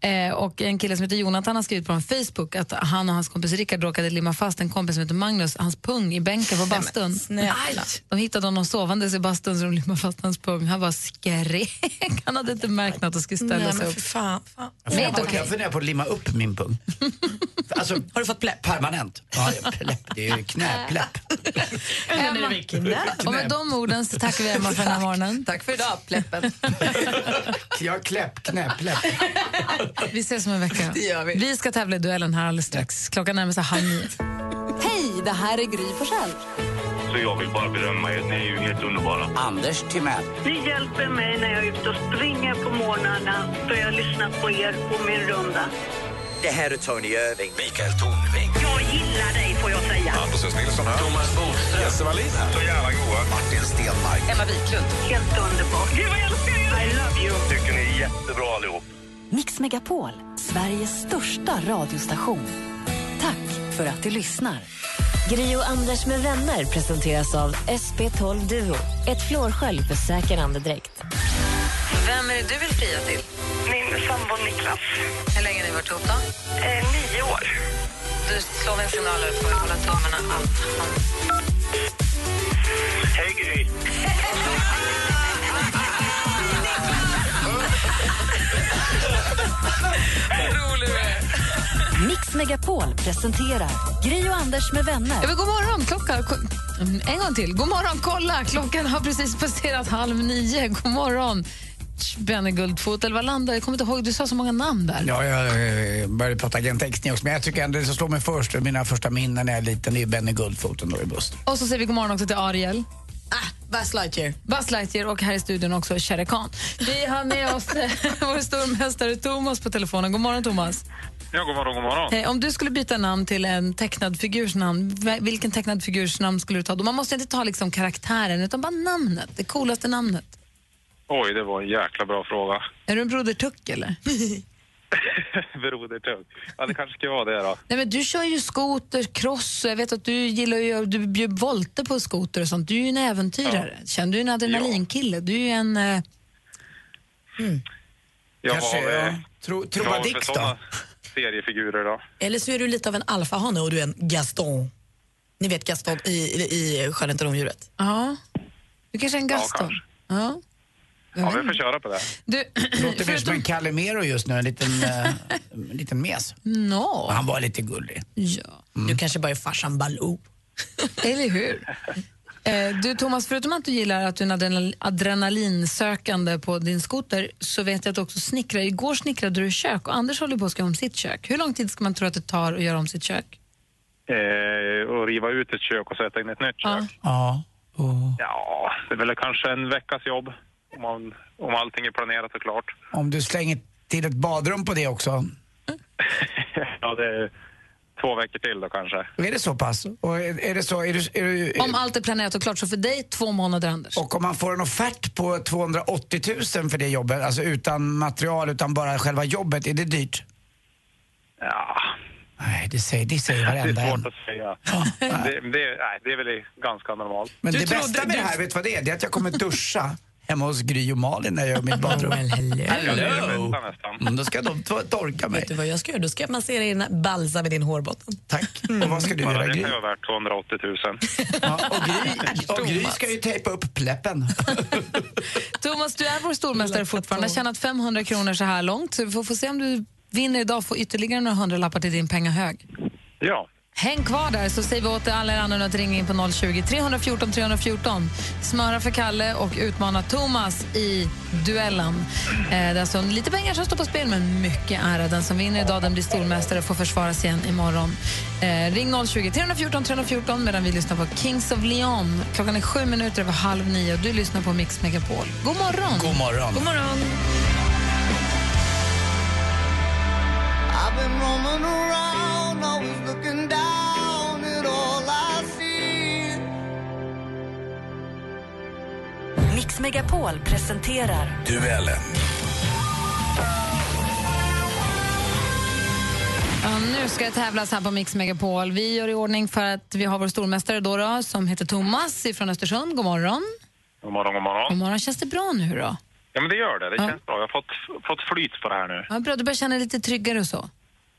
[SPEAKER 3] Mm.
[SPEAKER 1] Eh, och en kille som heter Jonathan har skrivit på Facebook att han och hans kompis Rickard råkade limma fast en kompis som heter Magnus, hans pung, i bänken på bastun.
[SPEAKER 3] snälla.
[SPEAKER 1] Aj. De hittade honom sovandes i bastun så de limmade fast hans pung. Han var skrek. Han hade inte märkt att han skulle ställa
[SPEAKER 3] Nej,
[SPEAKER 1] sig
[SPEAKER 3] men
[SPEAKER 1] upp.
[SPEAKER 3] för fan. fan.
[SPEAKER 2] Jag funderar, på, jag funderar på att limma upp min pung. Alltså,
[SPEAKER 3] har du fått plepp?
[SPEAKER 2] Permanent. Ja, plepp. Det är ju knäplepp.
[SPEAKER 1] Emma. Och med de orden så tackar vi Emma för den här morgonen.
[SPEAKER 18] Tack för idag, pleppen.
[SPEAKER 2] Jag kläpp, knäplepp.
[SPEAKER 1] Vi ses om en vecka.
[SPEAKER 18] Det gör vi.
[SPEAKER 1] vi ska tävla i duellen här alldeles strax. Klockan närmar sig halv nio.
[SPEAKER 5] (laughs) Hej, det här är Gry Forssell.
[SPEAKER 15] Så jag vill bara berömma er, ni är ju helt underbara.
[SPEAKER 2] Anders Timell.
[SPEAKER 10] Ni hjälper mig när jag är ute och springer på morgnarna för jag lyssnar på er på min runda.
[SPEAKER 24] Det här är Tony Irving.
[SPEAKER 8] Mikael Tornving.
[SPEAKER 10] Jag gillar dig får jag säga.
[SPEAKER 23] Maria.
[SPEAKER 19] Anders S. Nilsson här. Thomas Bodström. Jesse Wallin här. Så jävla goa. Martin Stenmark.
[SPEAKER 23] Emma Wiklund. Helt underbart. Gud, vad jag älskar er! I love you.
[SPEAKER 25] tycker ni är jättebra allihop.
[SPEAKER 5] Mix Megapol, Sveriges största radiostation. Tack för att du lyssnar.
[SPEAKER 26] Gri och Anders med vänner presenteras av SP12 Duo. Ett flårskölj för säker andedräkt.
[SPEAKER 1] Vem är det du vill fria till?
[SPEAKER 23] Min sambo Niklas.
[SPEAKER 1] Hur länge har ni varit ihop då?
[SPEAKER 23] Eh, nio år.
[SPEAKER 1] Du slår mig en signal och får hålla tummarna allt.
[SPEAKER 23] Hej, Gry.
[SPEAKER 5] Mix Megapol presenterar Gri och Anders med vänner.
[SPEAKER 1] Ja, men god morgon, klockan... ko- Mm, En gång till. God morgon, kolla! Klockan har precis passerat halv nio. God morgon, Benny Guldfot. Eller vad landade jag? kommer inte ihåg. Du sa så många namn där.
[SPEAKER 2] Ja, jag eh, började prata agentextning också, men jag tycker ändå det som slår mig först, och mina första minnen när jag är liten, det är ju Benny Guldfoten då i bussen.
[SPEAKER 1] Och så säger vi god morgon också till Ariel. Ah, Buzz Lightyear. Buzz Lightyear och här i studion också Shere Khan. Vi har med (laughs) oss eh, vår stormästare Thomas på telefonen. God morgon, Thomas.
[SPEAKER 16] Ja, god morgon, god morgon.
[SPEAKER 1] Eh, om du skulle byta namn till en tecknad figurs namn, v- vilken tecknad figurs namn skulle du ta då? Man måste inte ta liksom karaktären, utan bara namnet. Det coolaste namnet.
[SPEAKER 16] Oj, det var en jäkla bra fråga. (laughs)
[SPEAKER 1] Är du en broder Tuck, (laughs) eller?
[SPEAKER 16] Broder Tuck. Ja, det kanske ska vara det då.
[SPEAKER 1] Nej, men du kör ju skoter, cross och jag vet att du gillar ju, du bjöd volter på skoter och sånt. Du är ju en äventyrare. Känner du är en adrenalinkille? Du är ju en... Eh,
[SPEAKER 16] Jag
[SPEAKER 2] Kanske,
[SPEAKER 16] har, eh,
[SPEAKER 2] ja. Tro-
[SPEAKER 16] krav
[SPEAKER 2] Trobadix
[SPEAKER 16] för
[SPEAKER 2] då?
[SPEAKER 16] såna Seriefigurer då.
[SPEAKER 3] Eller så är du lite av en alfahane och du är en Gaston. Ni vet Gaston i, i, i Skönheten och odjuret.
[SPEAKER 1] ja. Du kanske är en
[SPEAKER 16] Ja,
[SPEAKER 1] Gaston?
[SPEAKER 16] kanske.
[SPEAKER 1] Ja.
[SPEAKER 16] Ja, vi får köra på det.
[SPEAKER 1] Du,
[SPEAKER 2] Låter mer som en Calimero just nu, en liten, eh, en liten mes.
[SPEAKER 1] no.
[SPEAKER 2] Han var lite gullig.
[SPEAKER 1] Ja.
[SPEAKER 3] Du kanske bara är farsan Baloo.
[SPEAKER 1] Eller hur? Eh, du Thomas, förutom att du gillar att du är en adrenal- adrenalinsökande på din skoter så vet jag att du också snickrar. Igår snickrade du kök och Anders håller på att ska göra om sitt kök. Hur lång tid ska man tro att det tar att göra om sitt kök?
[SPEAKER 16] Eh, och riva ut ett kök och sätta in ett nytt kök.
[SPEAKER 2] Ja.
[SPEAKER 16] Ja, det är väl kanske en veckas jobb. Om, man, om allting är planerat och klart. (laughs)
[SPEAKER 2] Om du slänger till ett badrum på det också.
[SPEAKER 16] ja, det är två veckor till då kanske.
[SPEAKER 2] Är det så pass? Och är, är det så, är du, är du,
[SPEAKER 1] Om allt är planerat och klart, så för dig två månader, Anders.
[SPEAKER 2] Och om man får en offert på 280 000 för det jobbet, alltså utan material, utan bara själva jobbet, är det dyrt?
[SPEAKER 16] Ja.
[SPEAKER 2] Nej, det säger, det säger
[SPEAKER 16] Det är
[SPEAKER 2] varenda en.
[SPEAKER 16] svårt att säga. det, det, nej, det är väl ganska normalt.
[SPEAKER 2] Men det bästa med det här, vet du vad det är? Det är att jag kommer duscha (laughs) hemma hos Gry och Malin när jag gör mitt badrum.
[SPEAKER 16] Ja, det är det
[SPEAKER 2] Hello!
[SPEAKER 16] bästa nästan.
[SPEAKER 2] Mm, då ska de to- torka mig.
[SPEAKER 3] Vet du vad jag ska göra? Då ska jag massera in balsam i din hårbotten.
[SPEAKER 2] Tack. Och vad ska du
[SPEAKER 16] Ja,
[SPEAKER 2] göra,
[SPEAKER 16] Det
[SPEAKER 2] Gry?
[SPEAKER 16] kan ju vara värt 280 (laughs) 000.
[SPEAKER 2] Och Gry ska ju tejpa upp pleppen.
[SPEAKER 1] Thomas, du är vår stormästare fortfarande. Har tjänat 500 kronor så här långt. Så vi får få se om du vinner idag och får ytterligare några hundralappar till din pengahög.
[SPEAKER 16] Ja.
[SPEAKER 1] Häng kvar där så säger vi åt alla er andra att ringa in på 020 314 314. Smöra för Kalle och utmana Thomas i duellen. Eh, det är alltså lite pengar som står på spel, men mycket ära. Den som vinner idag den blir stormästare och får försvara sig igen imorgon. Eh, ring 020 314 314 medan vi lyssnar på Kings of Leon. Klockan är sju minuter över halv nio och du lyssnar på Mix Megapol. God morgon!
[SPEAKER 2] God morgon.
[SPEAKER 1] God morgon.
[SPEAKER 8] I've been roaming around, always looking down at all I see.
[SPEAKER 5] Mix Megapol presenterar
[SPEAKER 27] Duellen.
[SPEAKER 1] Ja, nu ska det tävlas här på Mix Megapol. Vi gör i ordning för att vi har vår stormästare då, då som heter Thomas från Östersund. God morgon.
[SPEAKER 16] God morgon,
[SPEAKER 1] God
[SPEAKER 16] god morgon.
[SPEAKER 1] morgon. Känns det bra nu då?
[SPEAKER 16] Ja, men det gör det. Det känns bra. Jag har fått, fått flyt på det här nu.
[SPEAKER 1] Ja, bra. Du börjar känna dig lite tryggare och så?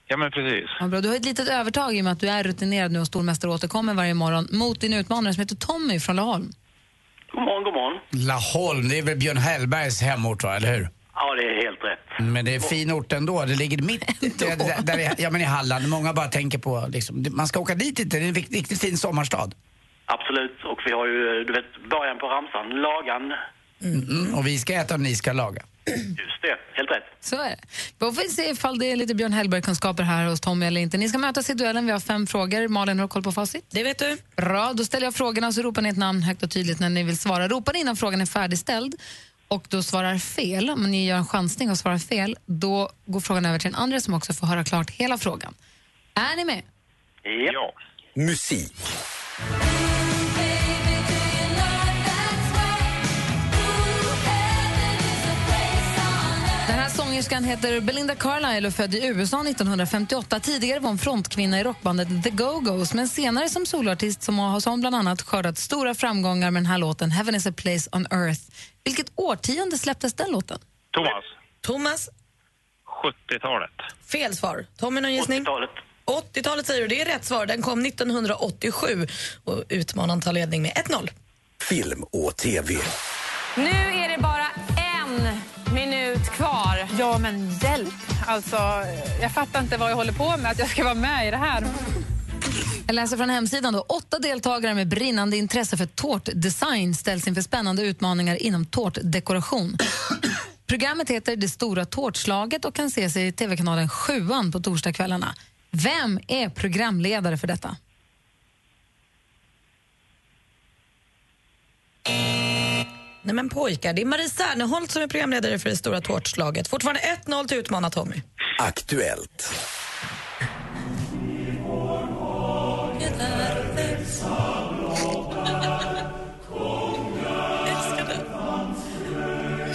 [SPEAKER 16] Ja, men precis.
[SPEAKER 1] Ja, bra. Du har ett litet övertag i och med att du är rutinerad nu och stormästare återkommer varje morgon mot din utmanare som heter Tommy från Laholm.
[SPEAKER 14] God morgon, god morgon.
[SPEAKER 2] Laholm, det är väl Björn Hellbergs hemort, va? eller hur?
[SPEAKER 14] Ja, det är helt rätt.
[SPEAKER 2] Men det är fin ort (laughs) ändå. Det ligger mitt där, där, där, i- ja, men i Halland. Många bara tänker på, liksom, det- man ska åka dit inte. Det är en rikt- riktigt fin sommarstad.
[SPEAKER 14] Absolut. Och vi har ju, du vet, början på ramsan. Lagan.
[SPEAKER 2] Mm, och vi ska äta och ni ska laga.
[SPEAKER 14] Just det, helt rätt.
[SPEAKER 1] Så är det. Då får vi se ifall det är lite Björn Hellberg-kunskaper här hos Tommy eller inte. Ni ska mötas i duellen. Vi har fem frågor. Malin, har du koll på facit?
[SPEAKER 3] Det vet du.
[SPEAKER 1] Bra. Då ställer jag frågorna och så ropar ni ett namn högt och tydligt när ni vill svara. Ropar ni innan frågan är färdigställd och då svarar fel, om ni gör en chansning och svarar fel, då går frågan över till en andra som också får höra klart hela frågan. Är ni med?
[SPEAKER 14] Ja.
[SPEAKER 11] Musik.
[SPEAKER 1] Den här sångerskan heter Belinda Carlisle och född i USA 1958. Tidigare var hon frontkvinna i rockbandet The Go-Go's men senare som soloartist som har som bland annat skördat stora framgångar med den här låten Heaven is a place on earth. Vilket årtionde släpptes den låten?
[SPEAKER 6] Thomas,
[SPEAKER 3] Thomas,
[SPEAKER 6] 70-talet.
[SPEAKER 3] fel svar. Tommy, någon gissning? 80-talet. 80-talet säger du. Det är rätt svar. Den kom 1987 och utmanaren tar ledning med 1-0.
[SPEAKER 11] Film och tv.
[SPEAKER 13] Nu är det bara en minut kvar. Ja, men hjälp. Alltså, jag fattar inte vad jag håller på med, att jag ska vara med i det här.
[SPEAKER 1] Jag läser från hemsidan. Då. Åtta deltagare med brinnande intresse för tårtdesign ställs inför spännande utmaningar inom tårtdekoration. Programmet heter Det stora tårtslaget och kan ses i tv-kanalen Sjuan på torsdagskvällarna. Vem är programledare för detta?
[SPEAKER 3] Nej men pojkar, det är Marie Serneholt som är programledare för det stora tårtslaget. Fortfarande 1-0 till
[SPEAKER 1] (laughs)
[SPEAKER 3] utmanar Tommy.
[SPEAKER 11] Aktuellt.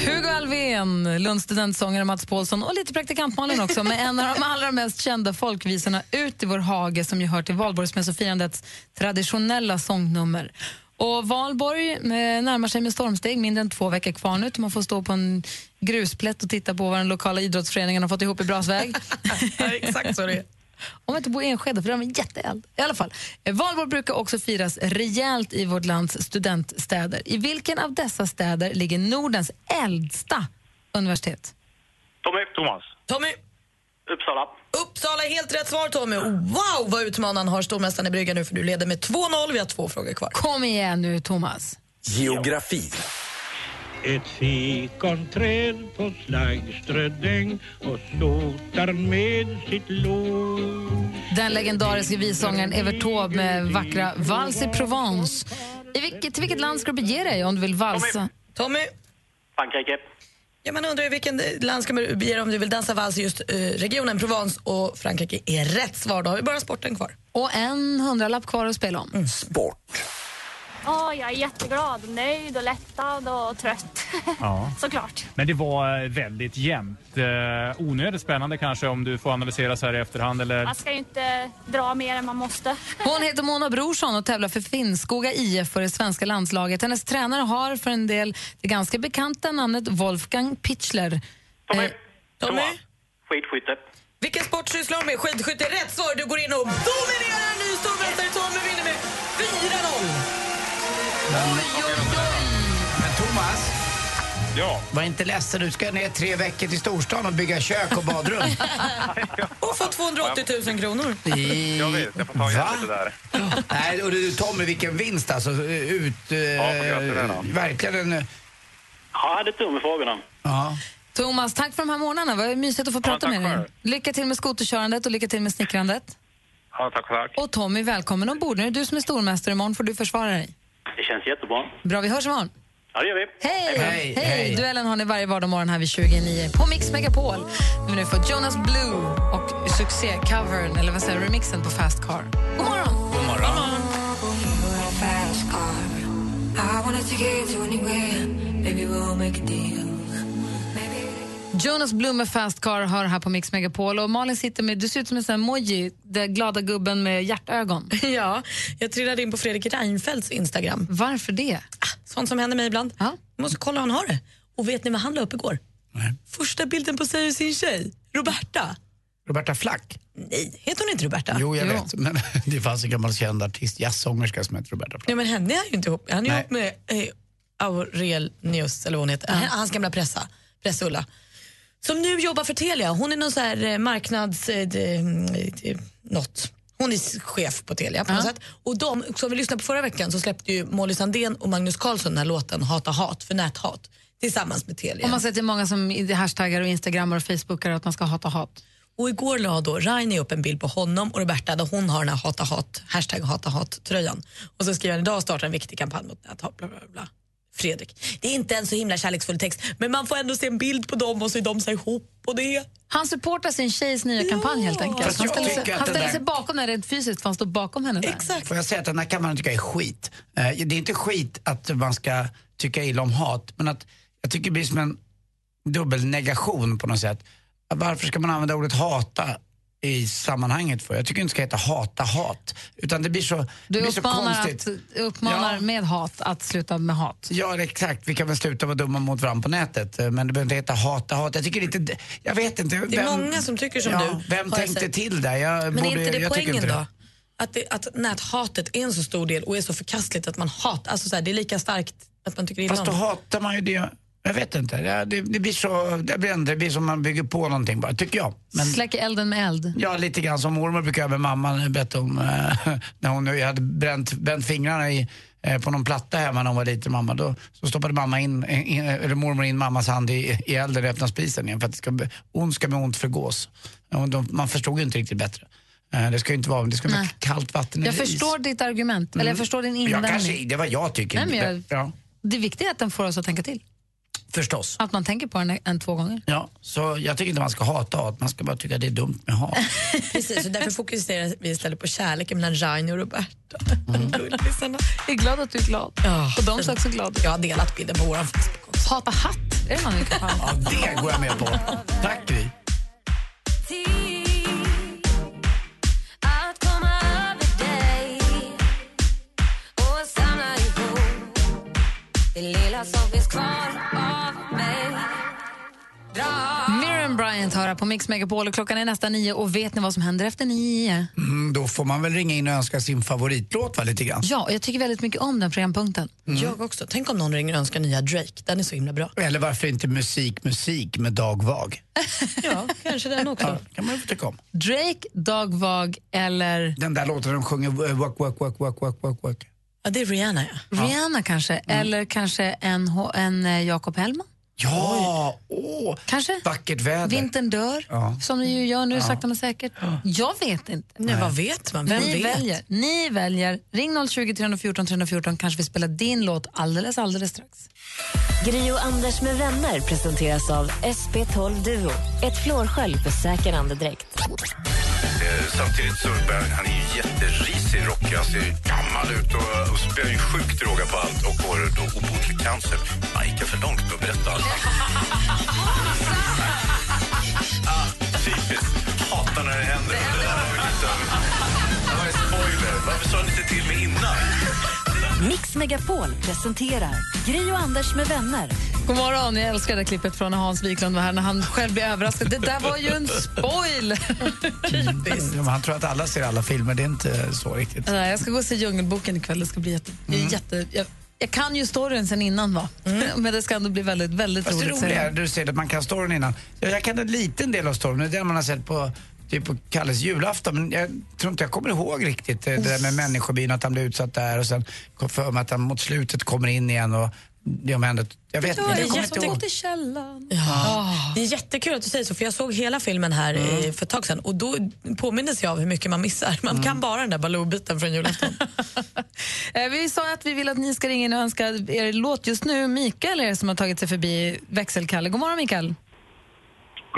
[SPEAKER 1] Hugo Alfvén, Lunds studentsångare Mats Paulsson och lite praktikant Malin också med en av de allra mest kända folkvisorna Ut i vår hage som ju hör till valborgsmässofirandets traditionella sångnummer. Och Valborg eh, närmar sig med stormsteg, mindre än två veckor kvar nu. Man får stå på en grusplätt och titta på vad den lokala idrottsföreningen har fått ihop i brasväg.
[SPEAKER 3] exakt så det är.
[SPEAKER 1] Om man inte bor i Enskede, för de är jätteeld. I alla fall, eh, valborg brukar också firas rejält i vårt lands studentstäder. I vilken av dessa städer ligger Nordens äldsta universitet?
[SPEAKER 6] Tommy. Thomas.
[SPEAKER 3] Tommy!
[SPEAKER 6] Uppsala.
[SPEAKER 3] Uppsala är helt rätt svar Tommy. Wow vad utmanaren har stormästaren i brygga nu för du leder med 2-0. Vi har två frågor kvar.
[SPEAKER 1] Kom igen nu, Thomas.
[SPEAKER 11] Geografi.
[SPEAKER 16] Ett fikonträd på Slagströdäng och sotar med sitt lår.
[SPEAKER 1] Den legendariska vissångaren Evert Taube med vackra Vals i Provence. I vilket, till vilket land ska du bege dig om du vill valsa?
[SPEAKER 3] Tommy!
[SPEAKER 13] Frankrike.
[SPEAKER 3] Ja, man undrar ju vilken land ska man bege dig om du vill dansa vals i just eh, regionen Provence och Frankrike är rätt svar. Då har vi bara sporten kvar.
[SPEAKER 1] Och en hundralapp kvar att spela om.
[SPEAKER 11] Sport.
[SPEAKER 13] Ja, jag är jätteglad, nöjd och lättad och trött. (laughs)
[SPEAKER 16] Ja.
[SPEAKER 13] Såklart.
[SPEAKER 16] Men det var eh, väldigt jämnt. Eh, onödigt spännande kanske om du får analysera så här i efterhand. Eller...
[SPEAKER 13] Man ska ju inte dra mer än man måste. (laughs)
[SPEAKER 1] Hon heter Mona Brorsson och tävlar för Finnskoga IF för det svenska landslaget. Hennes tränare har för en del det ganska bekanta namnet Wolfgang Pichler. Tommy.
[SPEAKER 3] Tommy?
[SPEAKER 13] Skidskytte.
[SPEAKER 3] Vilken sport sysslar hon med? Skidskytte är rätt svar. Du går in och dominerar en ny stormästare. Tommy vinner med 4-0. Oj, oj,
[SPEAKER 2] Men Thomas,
[SPEAKER 6] ja.
[SPEAKER 2] var inte ledsen. Du ska ner tre veckor till storstan och bygga kök och badrum.
[SPEAKER 3] och få 280 000 kronor.
[SPEAKER 6] Jag vet, jag får ta igen lite där.
[SPEAKER 2] Nej, och du, Tommy, vilken vinst alltså. Ut... Eh,
[SPEAKER 6] får jag till den då?
[SPEAKER 2] verkligen en... eh,
[SPEAKER 12] Ja, jag hade tur med frågorna.
[SPEAKER 2] Ja.
[SPEAKER 1] Thomas, tack för de här morgnarna. Vad mysigt att få prata med dig. Lycka till med skoterkörandet och lycka till med snickrandet.
[SPEAKER 6] Ja, tack, tack.
[SPEAKER 1] Och Tommy, välkommen ombord. Nu är det du som är stormästare. Imorgon får du försvara dig.
[SPEAKER 12] Det känns jättebra.
[SPEAKER 1] Bra, vi hörs imorgon.
[SPEAKER 12] Ja, det gör vi.
[SPEAKER 1] Hej!
[SPEAKER 12] Hej!
[SPEAKER 1] Duellen har ni varje vardagsmorgon här vid 29 på Mix Megapol. Vi nu får Jonas Blue och succé-covern, eller vad säger jag, remixen på Fast Car. God morgon!
[SPEAKER 24] God morgon. Fast car. I wanna take it to anywhere. Maybe we'll make a deal.
[SPEAKER 1] Jonas Blue med Fast Car hör här på Mix Megapol. Och Malin sitter med, du ser ut som en sån här emoji, den glada gubben med hjärtögon.
[SPEAKER 3] (laughs) Ja, jag trillade in på Fredrik Reinfeldts Instagram. Ah,
[SPEAKER 1] Varför det?
[SPEAKER 3] Sånt som händer mig ibland. Måste kolla hur han har det. Och vet ni vad han la upp igår? Första bilden på sig och sin tjej, Roberta.
[SPEAKER 2] Roberta Flack.
[SPEAKER 3] Nej, heter hon inte Roberta?
[SPEAKER 2] Jo, jag vet. Men (laughs) det fanns en gammal känd artist, jazzsångerska, som hette Roberta Flack.
[SPEAKER 3] Nej, men henne är han ju inte ihop Han är
[SPEAKER 2] Nej.
[SPEAKER 3] ihop med eh, Aurel Nius, eller vad hon heter. H- Hans gamla pressa, pressulla. Som nu jobbar för Telia. Hon är någon så här eh, marknads... Eh, de, de, något. Hon är s- chef på Telia på något sätt. Och de, som vi lyssnade på förra veckan så släppte ju Molly Sandén och Magnus Carlsson den här låten Hata hat för näthat tillsammans med Telia.
[SPEAKER 1] Om man säger till många som i- hashtaggar och instagrammar och facebookar att man ska hata hat.
[SPEAKER 3] Och igår la då Raini upp en bild på honom och Roberta där hon har den här hata hat, hashtag hata hat tröjan. Och så skriver han idag startar en viktig kampanj mot näthat, bla bla bla. Fredrik. Det är inte en så himla kärleksfull text, men man får ändå se en bild på dem och så är de så här ihop och det.
[SPEAKER 1] Han supportar sin tjejs nya kampanj helt enkelt.
[SPEAKER 2] Fast
[SPEAKER 1] Han
[SPEAKER 2] jag
[SPEAKER 1] ställer, sig,
[SPEAKER 2] tycker att
[SPEAKER 1] han
[SPEAKER 2] den
[SPEAKER 1] ställer
[SPEAKER 2] där-
[SPEAKER 1] sig bakom den rent fysiskt för han står bakom henne där.
[SPEAKER 2] Får jag säga att den här kammaren tycker jag är skit. Eh, Det är inte skit att man ska tycka illa om hat, men att jag tycker det blir som en dubbelnegation på något sätt. Att Varför ska man använda ordet hata i sammanhanget för? Jag tycker inte det ska heta hata hat, utan det blir så, det
[SPEAKER 1] Du
[SPEAKER 2] blir så
[SPEAKER 1] uppmanar,
[SPEAKER 2] konstigt.
[SPEAKER 1] att, uppmanar med hat att sluta med hat.
[SPEAKER 2] Ja, det är exakt. Vi kan väl sluta vara dumma mot varandra på nätet. eh, Men det behöver inte heta hata hat. Jag tycker inte... Jag vet inte.
[SPEAKER 3] Det är många som tycker som
[SPEAKER 2] ja,
[SPEAKER 3] du,
[SPEAKER 2] Vem
[SPEAKER 3] har jag
[SPEAKER 2] tänkte
[SPEAKER 3] sett.
[SPEAKER 2] till där? Jag
[SPEAKER 3] Men är
[SPEAKER 2] borde,
[SPEAKER 3] inte det
[SPEAKER 2] jag tycker
[SPEAKER 3] poängen
[SPEAKER 2] inte det.
[SPEAKER 3] då? Att, det, att näthatet är en så stor del och är så förkastligt att man hatar, alltså så här, det är lika starkt att man tycker illa
[SPEAKER 2] Fast då
[SPEAKER 3] om.
[SPEAKER 2] hatar man ju det. Jag vet inte. Det, det, det blir så... Det blir, ändå- det blir som man bygger på någonting bara, tycker jag. Men,
[SPEAKER 1] Släcker elden med eld.
[SPEAKER 2] ja, lite grann som mormor brukar göra med mamman. Bett om, eh, (laughs) när hon jag hade bränt, bränt fingrarna i, eh, på någon platta hemma när hon var liten, mamma. Då, så stoppade mamma in, in, eller mormor in mammas hand i, i elden och öppnade spisen igen. För att det ska, be- ont ska med ont förgås. Ja, de- Man förstod ju inte riktigt bättre. Eh, Det ska ju inte vara, det ska vara
[SPEAKER 1] Nej.
[SPEAKER 2] kallt vatten eller
[SPEAKER 1] Jag förstår ditt argument, eller jag förstår din
[SPEAKER 2] Mm. jag
[SPEAKER 1] invändning.
[SPEAKER 2] kanske, Det var jag
[SPEAKER 1] Nej,
[SPEAKER 2] tycker.
[SPEAKER 1] men jag-
[SPEAKER 2] ja,
[SPEAKER 1] Det viktiga är att den får oss att tänka till.
[SPEAKER 2] förstås.
[SPEAKER 1] Att man tänker på den en, en två gånger.
[SPEAKER 2] Ja, så jag tycker inte man ska hata hat, man ska bara tycka det är dumt med hat.
[SPEAKER 3] Precis, och därför fokuserar vi istället på kärleken mellan Rainer och Roberta.
[SPEAKER 1] Mm.
[SPEAKER 3] (laughs)
[SPEAKER 1] Jag är glad att du är glad. Och de är också glada.
[SPEAKER 3] Jag har delat bilden på vår Facebook
[SPEAKER 1] också. Hata hatt, är typ det man kan
[SPEAKER 2] Ja, det går jag med på. Tack Gry.
[SPEAKER 24] Att komma över dig och samla ihop det lilla som finns kvar av mig.
[SPEAKER 1] Miriam Bryant hör här på Mix Megapol och klockan är nästan nio och vet ni vad som händer efter nio?
[SPEAKER 2] Mm, då får man väl ringa in och önska sin favoritlåt va, lite grann.
[SPEAKER 1] Ja, och jag tycker väldigt mycket om den programpunkten.
[SPEAKER 2] Mm.
[SPEAKER 3] Jag också. Tänk om någon ringer och önskar nya Drake. Den är
[SPEAKER 1] (laughs)
[SPEAKER 3] så himla bra.
[SPEAKER 2] Eller varför inte musik, musik med Dag Vag?
[SPEAKER 3] Ja, kanske den också.
[SPEAKER 2] kan man ju få tycka om.
[SPEAKER 1] Drake, Dag Vag eller...
[SPEAKER 2] Den där låten de sjunger, eh, walk, walk, walk, walk, walk, walk, walk.
[SPEAKER 3] Ja, det är Rihanna, ja.
[SPEAKER 1] Rihanna kanske,
[SPEAKER 2] Mm.
[SPEAKER 1] eller kanske en, H- en eh, Jakob Hellman.
[SPEAKER 2] Ja, åh,
[SPEAKER 1] kanske?
[SPEAKER 2] vackert väder.
[SPEAKER 1] Vintern dör,
[SPEAKER 2] Ja.
[SPEAKER 1] som ni ju gör nu
[SPEAKER 2] Ja.
[SPEAKER 1] sakta men säkert. Jag vet inte.
[SPEAKER 3] Nej, vad vet man? Vem
[SPEAKER 1] ni,
[SPEAKER 3] vet?
[SPEAKER 1] Väljer, ni väljer. Ring 020 314 314 kanske vi spelar din låt alldeles, alldeles strax.
[SPEAKER 7] Gri och Anders med vänner presenteras av SP12 Duo. Ett flårskölj för säker andedräkt.
[SPEAKER 8] Eh, Samtidigt så bär han är ju jätterisig Rocky. Han ser gammal ut och, och spär ju sjukt råga på allt och har då obotlig cancer. Han gick jag för långt med att berätta allt. ah, typiskt. Hatar när det händer. Det där var ju lite av det var en spoiler. Varför sa ni inte till mig innan?
[SPEAKER 7] Mix Megapol presenterar Gri och Anders med vänner.
[SPEAKER 1] God morgon, jag älskar det här klippet från när Hans Wiklund var här när han själv blev överraskad. Det där var ju en spoiler!
[SPEAKER 2] Ja, men Han tror att alla ser alla filmer, det är inte så riktigt.
[SPEAKER 1] Nej, jag ska gå och se Djungelboken ikväll. Det ska bli jätte... det är jätte jag, jag kan ju storyn sen innan, va? (laughs) men det ska ändå bli väldigt, väldigt
[SPEAKER 2] Fast det
[SPEAKER 1] roligt.
[SPEAKER 2] roliga är, du säger att man kan storyn innan. Ja, jag kan en liten del av storyn, det är den man har sett på Typ på Kalles julafton, men jag tror inte jag kommer ihåg riktigt eh, det där med människobyn, att han blev utsatt där och sen kom för mig att han mot slutet kommer in igen och det omhändet. Jag vet
[SPEAKER 3] Ja,
[SPEAKER 2] inte,
[SPEAKER 3] det
[SPEAKER 2] jag
[SPEAKER 3] är
[SPEAKER 2] kommer inte ihåg.
[SPEAKER 3] jätte-
[SPEAKER 1] Ah.
[SPEAKER 3] Ja. Det är jättekul att du säger så, för jag såg hela filmen här eh,
[SPEAKER 1] Mm.
[SPEAKER 3] för ett tag sedan och då påminner jag av hur mycket man missar. Man kan bara den där Baloo-biten från julafton.
[SPEAKER 1] Eh, Vi sa att vi vill att ni ska ringa in och önska er låt just nu. Mikael är det som har tagit sig förbi växelkalle. God morgon, Mikael.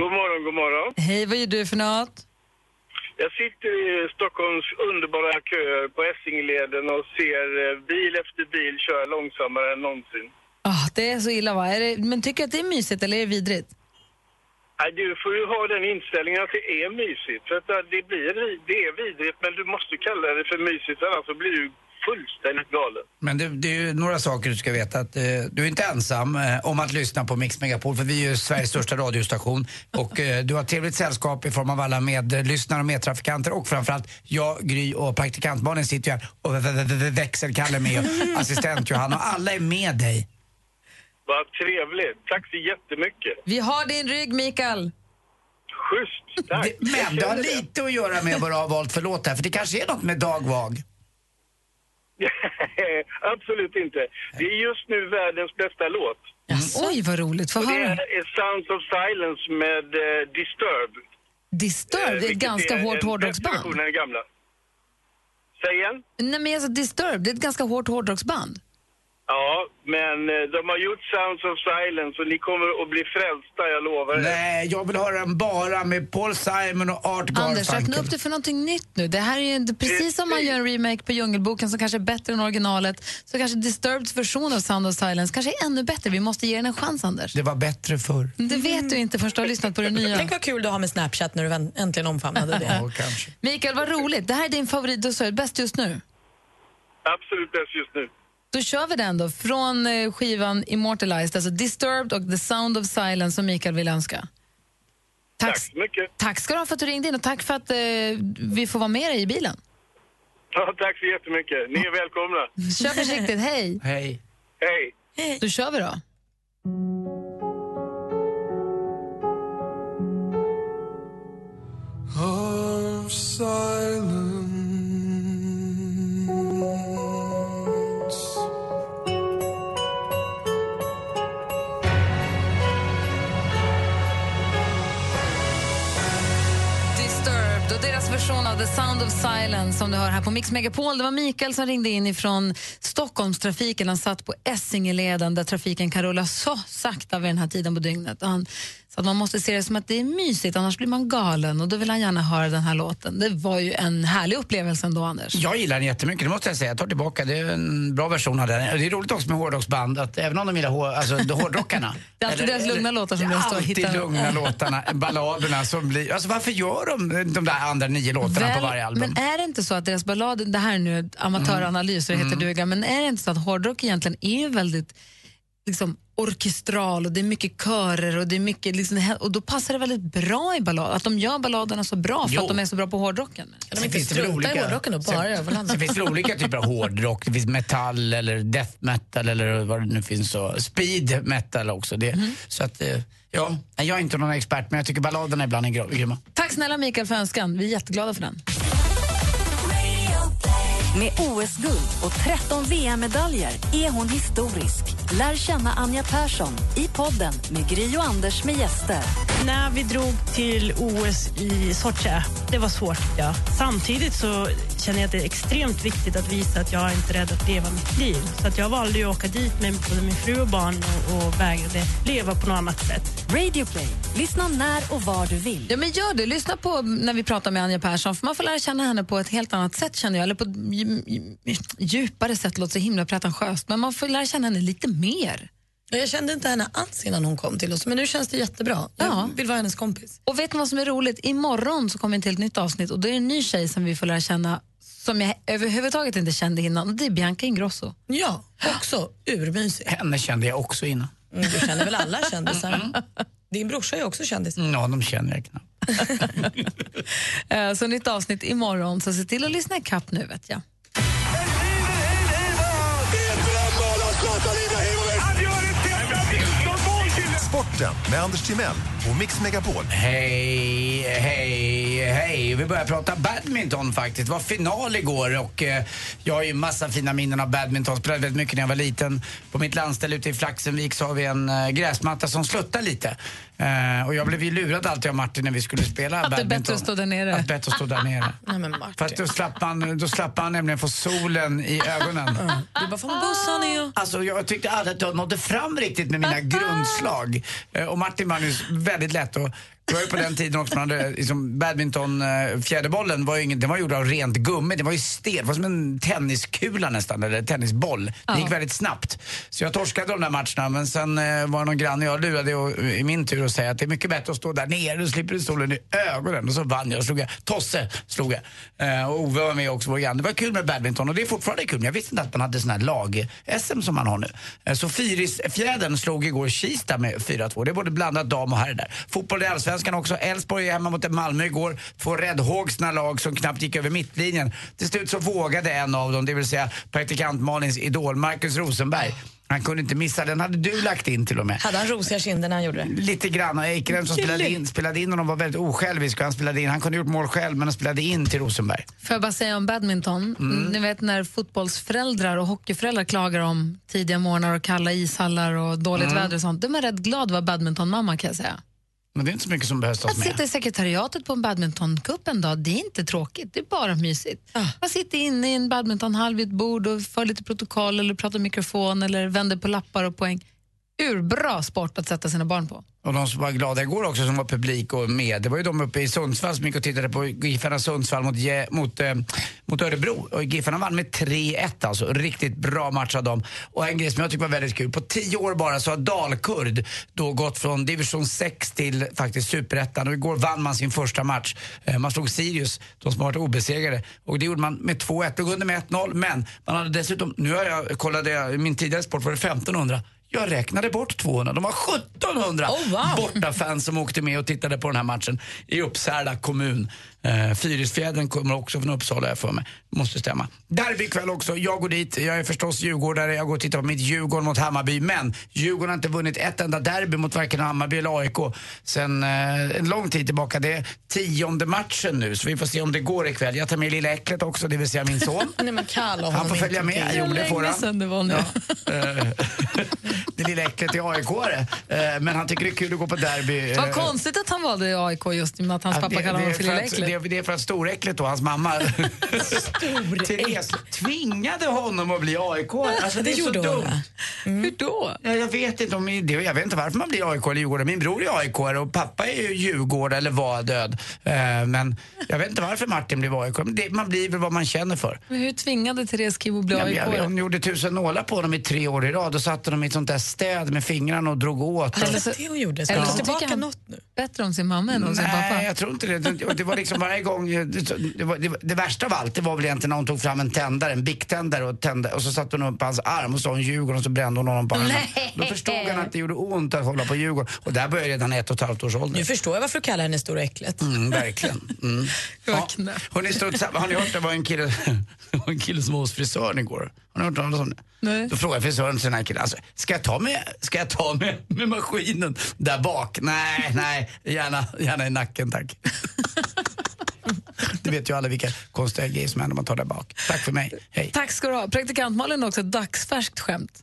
[SPEAKER 21] God morgon, god morgon.
[SPEAKER 1] Hej, vad gör du för något?
[SPEAKER 21] Jag sitter i Stockholms underbara köer på Essingleden och ser eh, bil efter bil köra långsammare än någonsin.
[SPEAKER 1] Ah, det är så illa, va? Är det, men tycker du att det är mysigt eller är det vidrigt?
[SPEAKER 21] Nej, du får ju ha den inställningen att det är mysigt. För att eh, det, blir, vi- det är vidrigt, men du måste kalla det för mysigt, annars så blir du fullständigt galen.
[SPEAKER 2] Men det, det är ju några saker du ska veta. Att, eh, du är inte ensam eh, om att lyssna på Mix Megapol, för vi är ju Sveriges största
[SPEAKER 1] (laughs)
[SPEAKER 2] radiostation. Och eh, du har trevligt sällskap i form av alla medlyssnare och medtrafikanter och framförallt jag, Gry och praktikant Malin sitter ju här och vä- vä- vä- vä- växelkalle med
[SPEAKER 1] (laughs)
[SPEAKER 2] och assistent Johanna. Alla är med dig.
[SPEAKER 21] Vad trevligt. Tack så jättemycket. (laughs)
[SPEAKER 1] Vi har din rygg, Mikael.
[SPEAKER 21] Schysst, tack.
[SPEAKER 2] Det- Men det har lite att göra med vad du har valt för låt här, för det kanske är något med Dag Vag.
[SPEAKER 21] Absolut inte. Det är just nu världens bästa låt.
[SPEAKER 1] Oj, vad roligt. Få
[SPEAKER 21] Och det
[SPEAKER 1] höra.
[SPEAKER 21] är Sounds of Silence med eh, Disturbed. Eh,
[SPEAKER 1] Disturbed, det är ett
[SPEAKER 21] vilket
[SPEAKER 1] ganska
[SPEAKER 21] är
[SPEAKER 1] hårt
[SPEAKER 21] en
[SPEAKER 1] hårdrocksband.
[SPEAKER 21] bättre version än den gamla. Säg igen?
[SPEAKER 1] Nej, men alltså, Disturbed, det är ett ganska hårt hårdrocksband.
[SPEAKER 21] Ja, men eh, de har gjort Sounds of Silence och ni kommer att bli frälsta, jag lovar er.
[SPEAKER 2] Nej, jag vill höra den bara med Paul Simon och Art
[SPEAKER 1] Anders, öppna
[SPEAKER 2] Garfunkel.
[SPEAKER 1] upp det för någonting nytt nu. Det här är ju- det- precis som man gör en remake på Djungelboken som kanske är bättre än originalet, så kanske Disturbeds version av Sound of Silence kanske är ännu bättre. Vi måste ge den en chans, Anders.
[SPEAKER 2] Det var bättre förr.
[SPEAKER 1] Det vet du inte förrän du har lyssnat på det nya.
[SPEAKER 3] Tänk vad kul du har med Snapchat när du vän- äntligen omfamnade det.
[SPEAKER 2] Ja, kanske.
[SPEAKER 1] Mikael, vad roligt. Det här är din favorit, du sa bäst just nu.
[SPEAKER 21] Absolut bäst just nu.
[SPEAKER 1] Då kör vi den då, från eh, skivan Immortalized, alltså Disturbed och The Sound of Silence som Mikael vill önska. Tack, tack
[SPEAKER 21] så mycket.
[SPEAKER 1] Tack ska du ha för att du ringde in och tack för att eh, vi får vara med dig i bilen.
[SPEAKER 21] Ja, tack så jättemycket. Ni är välkomna.
[SPEAKER 1] Kör försiktigt, (laughs) hej!
[SPEAKER 2] Hej.
[SPEAKER 21] Hej.
[SPEAKER 1] Då kör vi då.
[SPEAKER 20] of silence.
[SPEAKER 1] Disturbed och deras version av The Sound of Silence som du hör här på Mix Megapol. Det var Mikael som ringde in ifrån Stockholmstrafiken. Han satt på Essingeleden där trafiken kan rulla så sakta vid den här tiden på dygnet. Och Han, så att man måste se det som att det är mysigt, annars blir man galen och då vill han gärna höra den här låten. Det var ju en härlig upplevelse ändå, Anders.
[SPEAKER 2] Jag gillar den jättemycket, det måste jag säga. Jag tar tillbaka, det är en bra version av den. Och Det är roligt också med hårdrocksband, att även om de gillar hår, alltså, de hårdrockarna.
[SPEAKER 1] (laughs) Det är alltid
[SPEAKER 2] eller-
[SPEAKER 1] deras lugna
[SPEAKER 2] eller-
[SPEAKER 1] låtar som blir att stå och
[SPEAKER 2] alltid
[SPEAKER 1] hitta.
[SPEAKER 2] lugna låtarna, balladerna som blir... Alltså varför gör de de där andra nio låtarna på varje album?
[SPEAKER 1] Men är det inte så att deras ballader, det här är nu ett amatöranalys och det
[SPEAKER 2] Mm.
[SPEAKER 1] heter duga, men är det inte så att hårdrock egentligen är väldigt liksom, orkestral och det är mycket körer och det är mycket liksom, och då passar det väldigt bra i ballad, att de gör balladerna så bra för
[SPEAKER 2] Jo.
[SPEAKER 1] att de är så bra på hårdrocken.
[SPEAKER 2] Sen finns det väl olika- sen, sen finns det väl olika typer av hårdrock. Det finns metall eller death metal eller vad det nu finns. Och speed metal också. Det,
[SPEAKER 1] Mm.
[SPEAKER 2] Så att, eh, ja, Nej, jag är inte någon expert men jag tycker balladerna ibland är gr- grymma.
[SPEAKER 1] Tack snälla Mikael för önskan, vi är jätteglada för den.
[SPEAKER 5] Med OS-guld och 13 VM-medaljer är hon historisk. Lär känna Anja Persson i podden med Gry och Anders med gäster.
[SPEAKER 9] När vi drog till OS i Sochi, det var svårt. Ja. Samtidigt så känner jag att det är extremt viktigt att visa att jag är inte är rädd att leva mitt liv. Så att jag valde ju att åka dit med både min fru och barn och, och vägrade leva på något annat sätt.
[SPEAKER 5] Radio Play. Lyssna när och var du vill.
[SPEAKER 1] Ja, men gör det. Lyssna på när vi pratar med Anja Persson, för man får lära känna henne på ett helt annat sätt, känner jag. Eller på ett dju- dju- djupare sätt, låter så himla pretentiöst, men man får lära känna henne lite mer.
[SPEAKER 3] Jag kände inte henne alls innan hon kom till oss, men nu känns det jättebra. Jag vill vara hennes kompis.
[SPEAKER 1] Och vet ni vad som är roligt? Imorgon så kommer ett helt nytt avsnitt och då är det en ny tjej som vi får lära känna som jag överhuvudtaget inte kände innan och det är Bianca Ingrosso.
[SPEAKER 3] Ja, också urmysig.
[SPEAKER 2] Henne kände jag också innan. Mm.
[SPEAKER 3] Mm, Du känner väl alla kändisar? Din brorsa är också kändis.
[SPEAKER 2] Ja, de känner jag knappt.
[SPEAKER 1] Eh, Så nytt avsnitt imorgon, så se till att lyssna ikapp nu vet jag.
[SPEAKER 19] Sporten med Anders Timell och Mix Megapol.
[SPEAKER 2] Hej, hej, hej. Vi börjar prata badminton faktiskt. Det var final igår och eh, jag har ju massa fina minnen av badminton. Spelade väldigt mycket när jag var liten. På mitt landställe ute i Flaxenvik så har vi en eh, gräsmatta som sluttar lite. Eh, och jag blev ju lurad alltid av Martin när vi skulle spela
[SPEAKER 1] Att det är
[SPEAKER 2] badminton.
[SPEAKER 1] bättre att stå där nere.
[SPEAKER 2] Att bättre att stå där
[SPEAKER 1] (laughs)
[SPEAKER 2] nere.
[SPEAKER 3] Nej, men Martin.
[SPEAKER 2] Fast då slapp, man, då slapp man nämligen få solen i
[SPEAKER 3] (laughs)
[SPEAKER 2] ögonen.
[SPEAKER 3] Du bara, fan bussar ni ju.
[SPEAKER 2] Alltså jag tyckte aldrig att jag nådde fram riktigt med mina grundslag. Eh, Och Martin vann ju s- väldigt lätt. Och det var ju på den tiden också man hade liksom badminton, eh, fjäderbollen var ju ingen, den var gjord av rent gummi. Den var ju stel, det var som en tenniskula nästan, eller tennisboll. Det gick väldigt snabbt. Så jag torskade de där matcherna men sen eh, var det någon granne jag lurade och, eh, i min tur och säga att det är mycket bättre att stå där nere, då slipper du solen i ögonen. Och så vann jag, och slog jag. Tosse slog jag. Eh, och Ove var med också, vår granne. Det var kul med badminton och det är fortfarande kul. Men jag visste inte att man hade sån här lag-SM som man har nu. Eh, så Fyrisfjädern slog igår Kista med 4-2. Det är både blandat dam och herr där. Fotboll i Allsvenskan också. Elfsborg är hemma mot Malmö igår. Två räddhågsna lag som knappt gick över mittlinjen. Till slut så vågade en av dem, det vill säga praktikant Malins idol Marcus Rosenberg. Han kunde inte missa, den hade du lagt in till och med.
[SPEAKER 3] Hade han rosiga kinder när han gjorde det?
[SPEAKER 2] Lite grann. Och Eikrem som spelade in, spelade in och de var väldigt osjälvisk. och Han, spelade in. han kunde gjort mål själv men han spelade in till Rosenberg.
[SPEAKER 1] Får jag bara säga om badminton?
[SPEAKER 2] Mm.
[SPEAKER 1] Ni vet när fotbollsföräldrar och hockeyföräldrar klagar om tidiga morgnar och kalla ishallar och dåligt
[SPEAKER 2] Mm.
[SPEAKER 1] väder och sånt. De är rätt glada att vara badmintonmamma kan jag säga.
[SPEAKER 2] Men det är inte så mycket som behövs tas
[SPEAKER 1] Att
[SPEAKER 2] med.
[SPEAKER 1] sitta i sekretariatet på en badmintoncup en dag, det är inte tråkigt, det är bara mysigt.
[SPEAKER 2] Ah.
[SPEAKER 1] Man sitter inne i en badmintonhall vid ett bord och för lite protokoll eller pratar i mikrofon eller vänder på lappar och poäng. Urbra sport att sätta sina barn på.
[SPEAKER 2] Och de som var glada igår också som var publik och med, det var ju de uppe i Sundsvall som gick och tittade på Giffarna Sundsvall mot, Ge- mot, eh, mot Örebro. Och Giffarna vann med 3-1 alltså. Riktigt bra match av dem. Och en grej som jag tyckte var väldigt kul, på 10 år bara så har Dalkurd då gått från division 6 till faktiskt superettan. Och igår vann man sin första match. Eh, Man slog Sirius, de som har varit obesegrade. Och det gjorde man med 2-1. Låg under med 1-0, men man hade dessutom, nu har jag, kollade jag, i min tidigare sport var det 1500. Jag räknade bort 200, de var 1700 bortafans som åkte med och tittade på den här matchen i Uppsala kommun. Eh, Fyrisfjädern kommer också från Uppsala jag för mig. Måste stämma. Derby ikväll också, jag går dit. Jag är förstås djurgårdare, jag går och tittar på mitt Djurgården mot Hammarby. Men Djurgården har inte vunnit ett enda derby mot varken Hammarby eller AIK sen eh, en lång tid tillbaka. Det är tionde matchen nu, så vi får se om det går ikväll. Jag tar med lilla Äcklet också, det vill säga min son.
[SPEAKER 3] (laughs) Nej, men kalla
[SPEAKER 2] Han
[SPEAKER 3] honom
[SPEAKER 2] får
[SPEAKER 3] inte
[SPEAKER 2] följa med.
[SPEAKER 3] till.
[SPEAKER 2] Jo, det får han.
[SPEAKER 1] det var nu.
[SPEAKER 2] Eh, (laughs) det lilla äcklet är aik eh, Men han tycker det är kul att gå på derby. eh,
[SPEAKER 1] Vad konstigt att han valde AIK just i och med att hans
[SPEAKER 2] ja,
[SPEAKER 1] pappa
[SPEAKER 2] det-
[SPEAKER 1] kallar honom
[SPEAKER 2] det
[SPEAKER 1] för
[SPEAKER 2] är
[SPEAKER 1] Lilla
[SPEAKER 2] att- det,
[SPEAKER 1] Äcklet.
[SPEAKER 2] är- det är för att storäcklet då, hans mamma, Therese, tvingade honom att bli AIK. Alltså, det,
[SPEAKER 3] Det
[SPEAKER 2] är så
[SPEAKER 3] gjorde hon,
[SPEAKER 2] dumt.
[SPEAKER 1] Hur då?
[SPEAKER 2] Ja, jag, vet inte om, det- jag vet inte varför man blir AIK eller Djurgården. Min bror är AIK och pappa är ju Djurgården eller var död. Eh, Men jag vet inte varför Martin blev AIK. Men det, man blir väl vad man känner för.
[SPEAKER 1] Men hur tvingade Therese Kibo bli
[SPEAKER 2] Ja, men
[SPEAKER 1] AIK?
[SPEAKER 2] jag, hon gjorde tusen nålar på dem i tre år i rad. Då satte de i ett sånt där städ med fingrarna och drog åt.
[SPEAKER 1] Eller så-
[SPEAKER 3] Det hon gjorde. Ska
[SPEAKER 1] eller
[SPEAKER 3] hon
[SPEAKER 1] så
[SPEAKER 3] ta
[SPEAKER 1] tycker
[SPEAKER 3] tillbaka
[SPEAKER 1] han-
[SPEAKER 3] något nu?
[SPEAKER 1] Bättre om sin mamma än om sin pappa.
[SPEAKER 2] Nej, jag tror inte det. det. och Det var liksom varje gång... Det, var, det, var- det värsta av allt det var väl egentligen när hon tog fram en tändare, en biktändare och tände och så satte hon upp hans arm och sa hon Djurgården och så brände hon honom på armen.
[SPEAKER 3] Nej.
[SPEAKER 2] Då förstod han att det gjorde ont att hålla på Djurgården. Och där började redan ett och ett halvt års ålder.
[SPEAKER 3] Nu förstår jag varför du kallar henne Stora Äcklet.
[SPEAKER 2] Mm, verkligen. Mm. Ja. Har, ni har ni hört det var en kille, (laughs) en kille som var hos frisören igår? Har ni hört talas om det?
[SPEAKER 1] Nej.
[SPEAKER 2] Då frågar frisören till den här killen, alltså, ska jag ta, med, ska jag ta med, med maskinen där bak? Nej, nej, gärna, gärna i nacken tack. det vet ju alla vilka konstiga grejer som händer när man tar där bak. Tack för mig, hej.
[SPEAKER 1] Tack ska du ha. Praktikant Malin har också ett dagsfärskt skämt.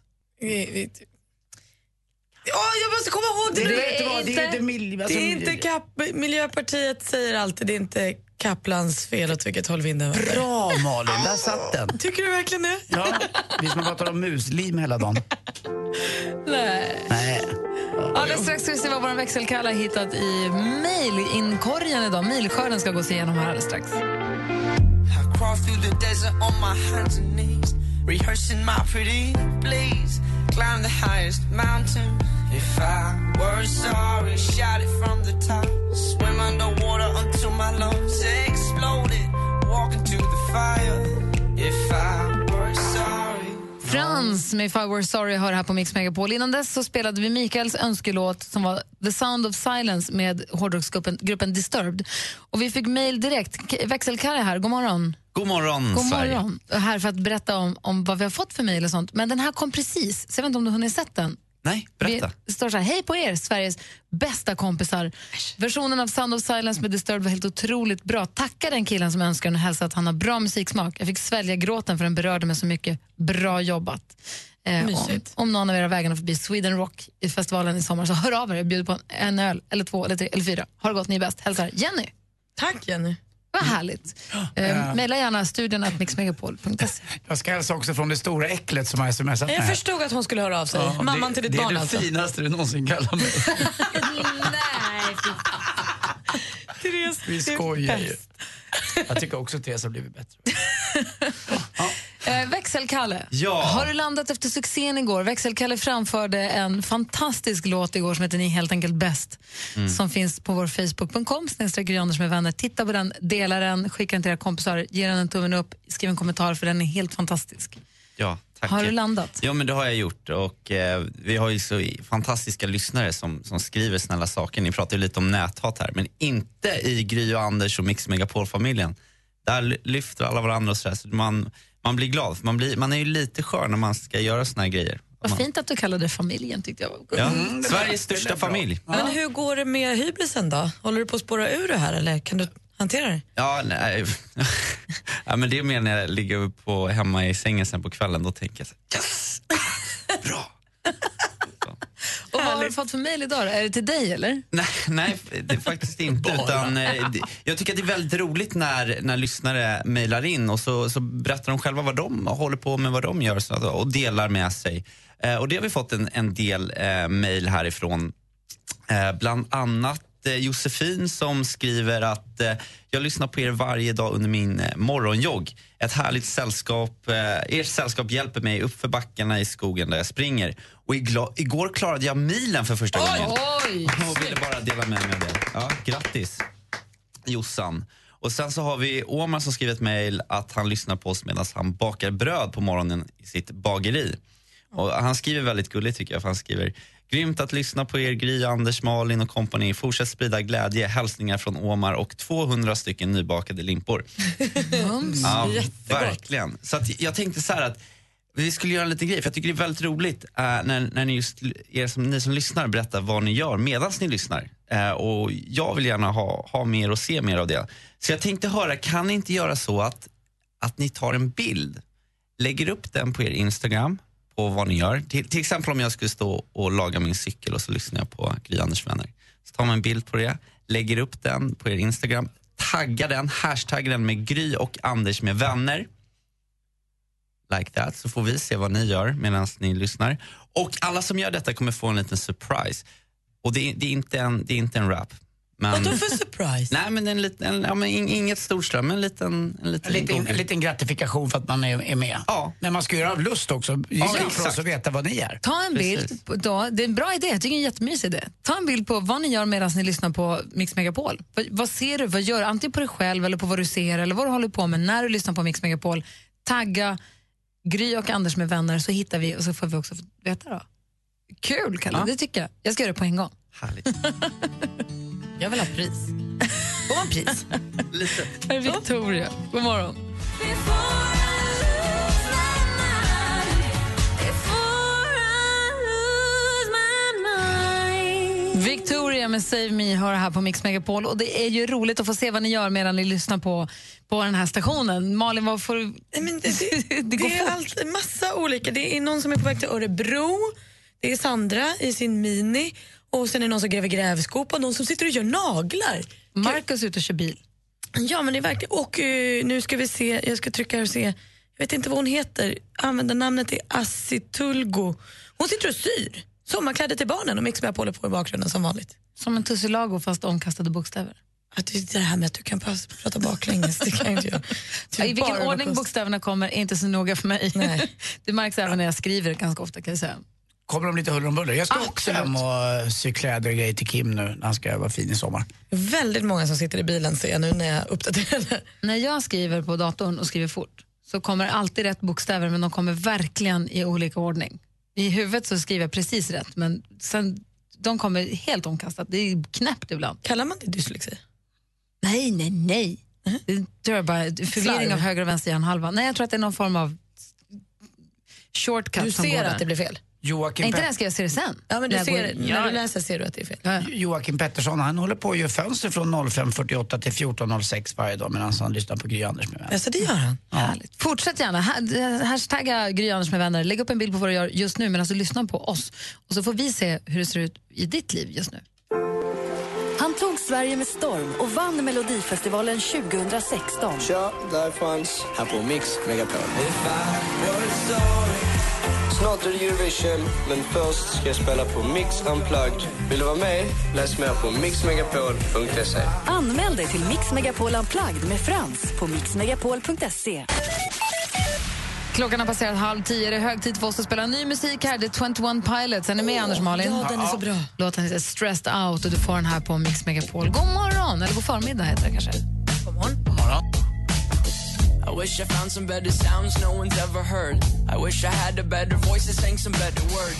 [SPEAKER 3] Åh, jag måste komma ihåg det!
[SPEAKER 1] Det är inte vad- det är inte
[SPEAKER 2] mil-
[SPEAKER 3] det
[SPEAKER 2] alltså-
[SPEAKER 3] är inte Kap, Miljöpartiet säger alltid det är inte Kaplans fel åt vilket håll vinden vänder.
[SPEAKER 2] Bra Malin, där satt den.
[SPEAKER 3] Tycker du verkligen det?
[SPEAKER 2] Ja, vi som har pratat om muslim hela dagen.
[SPEAKER 1] Nej.
[SPEAKER 2] Nej.
[SPEAKER 1] Alldeles strax ska vi se vad vår växelkalla har hittat i mailinkorgen idag. Mailskörden ska gås igenom här alldeles strax.
[SPEAKER 15] I crawl through the desert on my hands and knees, rehearsing my pretty please. Climb the highest mountain. If I were sorry, shout it from the top. Swim underwater until my lungs exploded. Walk into the fire. If I were sorry.
[SPEAKER 1] Frans med If I Were Sorry hör här på Mix Megapol. Innan dess så spelade vi Mikaels önskelåt som var The Sound of Silence med hårdrocksgruppen gruppen Disturbed. Och Vi fick mejl direkt. K- Växelkalle här, god morgon.
[SPEAKER 17] God morgon,
[SPEAKER 1] God
[SPEAKER 17] Sverige.
[SPEAKER 1] morgon. Här för att berätta om, om vad vi har fått för mejl och sånt. Men den här kom precis, så jag vet inte om du har hunnit sett den.
[SPEAKER 17] Nej,
[SPEAKER 1] berätta. Det står så här, hej på er, Sveriges bästa kompisar. Versionen av Sound of Silence med Disturbed var helt otroligt bra. Tacka den killen som önskar och hälsa att han har bra musiksmak. Jag fick svälja gråten för den berörde mig så mycket. Bra jobbat. Eh, om,
[SPEAKER 3] Mysigt.
[SPEAKER 1] om någon av er har vägarna förbi Sweden Rock i festivalen i sommar så hör av er. Jag bjuder på en öl, eller två, eller tre, eller fyra. Har det gott, ni är bäst. Hälsar Jenny.
[SPEAKER 3] Tack Jenny.
[SPEAKER 1] Vad härligt. Eh, Mejla gärna studion att mixmegapol.se.
[SPEAKER 2] Jag ska hälsa också från det stora äcklet som har smsat mig
[SPEAKER 3] Jag
[SPEAKER 2] här.
[SPEAKER 3] förstod att hon skulle höra av sig.
[SPEAKER 2] Ja, det-
[SPEAKER 3] Mamman till ditt
[SPEAKER 2] det
[SPEAKER 3] barn
[SPEAKER 2] är det
[SPEAKER 3] alltså.
[SPEAKER 2] finaste du någonsin kallar mig.
[SPEAKER 3] Therese,
[SPEAKER 2] Vi skojar ju. Jag tycker också att Therese har blivit bättre.
[SPEAKER 1] Eh, Växelkalle,
[SPEAKER 17] Ja.
[SPEAKER 1] har du landat efter succén igår? Växelkalle framförde en fantastisk låt igår som heter Ni är helt enkelt bäst
[SPEAKER 17] Mm.
[SPEAKER 1] som finns på vår facebook.com snedstreck Gry Anders med vänner. Titta på den, dela den, skicka den till era kompisar, ge den en tummen upp, skriv en kommentar för den är helt fantastisk.
[SPEAKER 17] Ja, tack.
[SPEAKER 1] Har du landat?
[SPEAKER 17] Ja, men det har jag gjort. Och, eh, vi har ju så fantastiska lyssnare som, som skriver snälla saker. Ni pratar ju lite om näthat här, men inte i Gry och Anders och Mix Megapol-familjen. Där ly- lyfter alla varandra och sådär. Så man, man blir glad. För man, blir, man är ju lite skör när man ska göra såna här grejer.
[SPEAKER 1] Vad fint att du kallade det familjen tyckte jag var gulligt.
[SPEAKER 17] Ja. Sveriges största familj.
[SPEAKER 3] Men hur går det med hybrisen då? Håller du på att spåra ur det här eller kan du hantera det?
[SPEAKER 17] Ja, nej. (laughs) ja, men det är mer när jag ligger på, hemma i sängen sen på kvällen. Då tänker jag så här,
[SPEAKER 3] Och vad
[SPEAKER 1] har du fått för mejl idag då? Är det till dig eller?
[SPEAKER 17] Nej, nej det är faktiskt inte. Utan, eh, det- jag tycker att det är väldigt roligt när, när lyssnare mejlar in och så, så berättar de själva vad de håller på med, vad de gör så att, och delar med sig. Eh, och det har vi fått en, en del eh, mejl härifrån. Eh, bland annat eh, Josefin som skriver att eh, jag lyssnar på er varje dag under min eh, morgonjogg. Ett härligt sällskap. Eh, ert sällskap hjälper mig upp för backarna i skogen där jag springer. Och igla- igår klarade jag milen för första gången.
[SPEAKER 1] Oj!
[SPEAKER 17] Jag ville bara dela med mig av det. Ja, grattis, Jossan. Och Sen så har vi Åman som skrivit mejl att han lyssnar på oss medan han bakar bröd på morgonen i sitt bageri. Och han skriver väldigt gulligt tycker jag, för han skriver Grymt att lyssna på er Gry, Anders, Malin och kompani. Fortsätt sprida glädje. Hälsningar från Omar och 200 stycken nybakade limpor. Ja, verkligen. Så att jag tänkte så här att vi skulle göra en liten grej, för jag tycker det är väldigt roligt eh, när, när ni, just, er som, ni som lyssnar berättar vad ni gör medan ni lyssnar. Eh, och Jag vill gärna ha, ha mer och se mer av det. Så jag tänkte höra, kan ni inte göra så att, att ni tar en bild, lägger upp den på er Instagram, på vad ni gör. Till, till exempel om jag skulle stå och laga min cykel och så lyssnar jag på Gry Anders vänner. Så tar man en bild på det, lägger upp den på er Instagram, taggar den, hashtaggar den med Gry och Anders med vänner like that så får vi se vad ni gör medan ni lyssnar. Och alla som gör detta kommer få en liten surprise. Och det är, det är, inte, en, det är inte en rap. Men...
[SPEAKER 3] Vadå för surprise?
[SPEAKER 17] Nej, men en liten, en, ja, men in- inget storslag, men en liten... En liten,
[SPEAKER 2] En liten, en liten gratifikation för att man är, är med. Men man ska göra av lust också. Det är
[SPEAKER 17] Ja,
[SPEAKER 2] viktigt för
[SPEAKER 17] exakt.
[SPEAKER 2] oss att veta vad ni är.
[SPEAKER 1] Ta en bild, på- då, det är en bra idé, jag tycker det är en jättemysig idé. Ta en bild på vad ni gör medan ni lyssnar på Mix Megapol. Vad, vad ser du, vad gör du? Antingen på dig själv eller på vad du ser eller vad du håller på med när du lyssnar på Mix Megapol. Tagga Gry och Anders med vänner så hittar vi och så får vi också veta då. Kul Kalle,
[SPEAKER 3] Ja.
[SPEAKER 1] det tycker jag. Jag ska göra det på en gång.
[SPEAKER 3] Jag vill ha pris. Får man (laughs) pris?
[SPEAKER 17] Lite.
[SPEAKER 1] Här är Victoria, god morgon. Victoria med Save Me hör här på Mix Megapol och det är ju roligt att få se vad ni gör medan ni lyssnar på, på den här stationen. Malin, vad får du...
[SPEAKER 3] Men det,
[SPEAKER 1] (laughs)
[SPEAKER 3] det, det är allt, massa olika. Det är någon som är på väg till Örebro, det är Sandra i sin Mini och sen är det någon som gräver grävskopa, någon som sitter och gör naglar.
[SPEAKER 1] Markus är ute och kör bil.
[SPEAKER 3] Ja, men det är verkligen... Och eh, nu ska vi se, jag ska trycka här och se. Jag vet inte vad hon heter. Användarnamnet är Assitulgo. Hon sitter och syr sommarkläder till barnen och Mix Megapol är på i bakgrunden som vanligt.
[SPEAKER 1] Som en tussilago fast omkastade bokstäver.
[SPEAKER 3] Att det är det här med att du kan pass- prata baklänges, det kan jag inte jag.
[SPEAKER 1] (laughs) I vilken
[SPEAKER 3] bara
[SPEAKER 1] ordning
[SPEAKER 3] kost.
[SPEAKER 1] bokstäverna kommer är inte så noga för mig. (laughs) det märks även när jag skriver ganska ofta kan jag säga.
[SPEAKER 2] Kommer de lite huller om buller? Jag ska också
[SPEAKER 1] Absolut.
[SPEAKER 2] hem och eh, sy kläder och grejer till Kim nu när han ska vara fin i sommar.
[SPEAKER 3] Väldigt många som sitter i bilen ser jag nu när jag uppdaterar.
[SPEAKER 1] När jag skriver på datorn och skriver fort så kommer alltid rätt bokstäver men de kommer verkligen i olika ordning. I huvudet så skriver jag precis rätt men sen, de kommer helt omkastat. Det är knäppt ibland.
[SPEAKER 3] Kallar man det dyslexi? Mm-hmm.
[SPEAKER 1] Nej, nej, nej. Det tror jag bara förvirring
[SPEAKER 3] Slarv.
[SPEAKER 1] av höger och vänster hjärnhalva. Nej, jag tror att det är någon form av shortcut
[SPEAKER 3] Du
[SPEAKER 1] som går
[SPEAKER 3] ser
[SPEAKER 1] där.
[SPEAKER 3] att det blir fel?
[SPEAKER 2] Joakim,
[SPEAKER 1] inte
[SPEAKER 2] Pet-
[SPEAKER 1] den ska jag se det sen.
[SPEAKER 3] Ja, men du
[SPEAKER 1] När jag går
[SPEAKER 3] ser,
[SPEAKER 1] in.
[SPEAKER 3] när du läser ser du att det är fel.
[SPEAKER 2] Joakim Pettersson han håller på att göra fönster från 05.48 till 14.06 varje dag medan han lyssnar på Gry Anders med vänner.
[SPEAKER 3] Alltså det gör han.
[SPEAKER 1] Fortsätt gärna. Ha- Hashtagga Gry Anders med vänner. Lägg upp en bild på vad du gör just nu medan du lyssnar på oss. Och så får vi se hur det ser ut i ditt liv just nu.
[SPEAKER 5] Han tog Sverige med storm och vann Melodifestivalen 2016.
[SPEAKER 10] Tja, där fanns här på Mix Megapol. Snart är det Eurovision, men först ska jag spela på Mix Unplugged. Vill du vara med? Läs mer på mixmegapol.se.
[SPEAKER 5] Anmäl dig till Mix Megapol Unplugged med Frans på mixmegapol.se.
[SPEAKER 1] Klockan har passerat halv tio. Det är hög tid för oss att spela ny musik här. Det är 21 Pilots. Är ni med, Anders Malin?
[SPEAKER 3] ja, den är så bra.
[SPEAKER 1] Låten heter Stressed Out och du får den här på Mix Megapol. God morgon, eller god förmiddag heter det kanske.
[SPEAKER 14] I wish I found some better sounds no one's ever heard. I wish I had a better voice that sang some better words.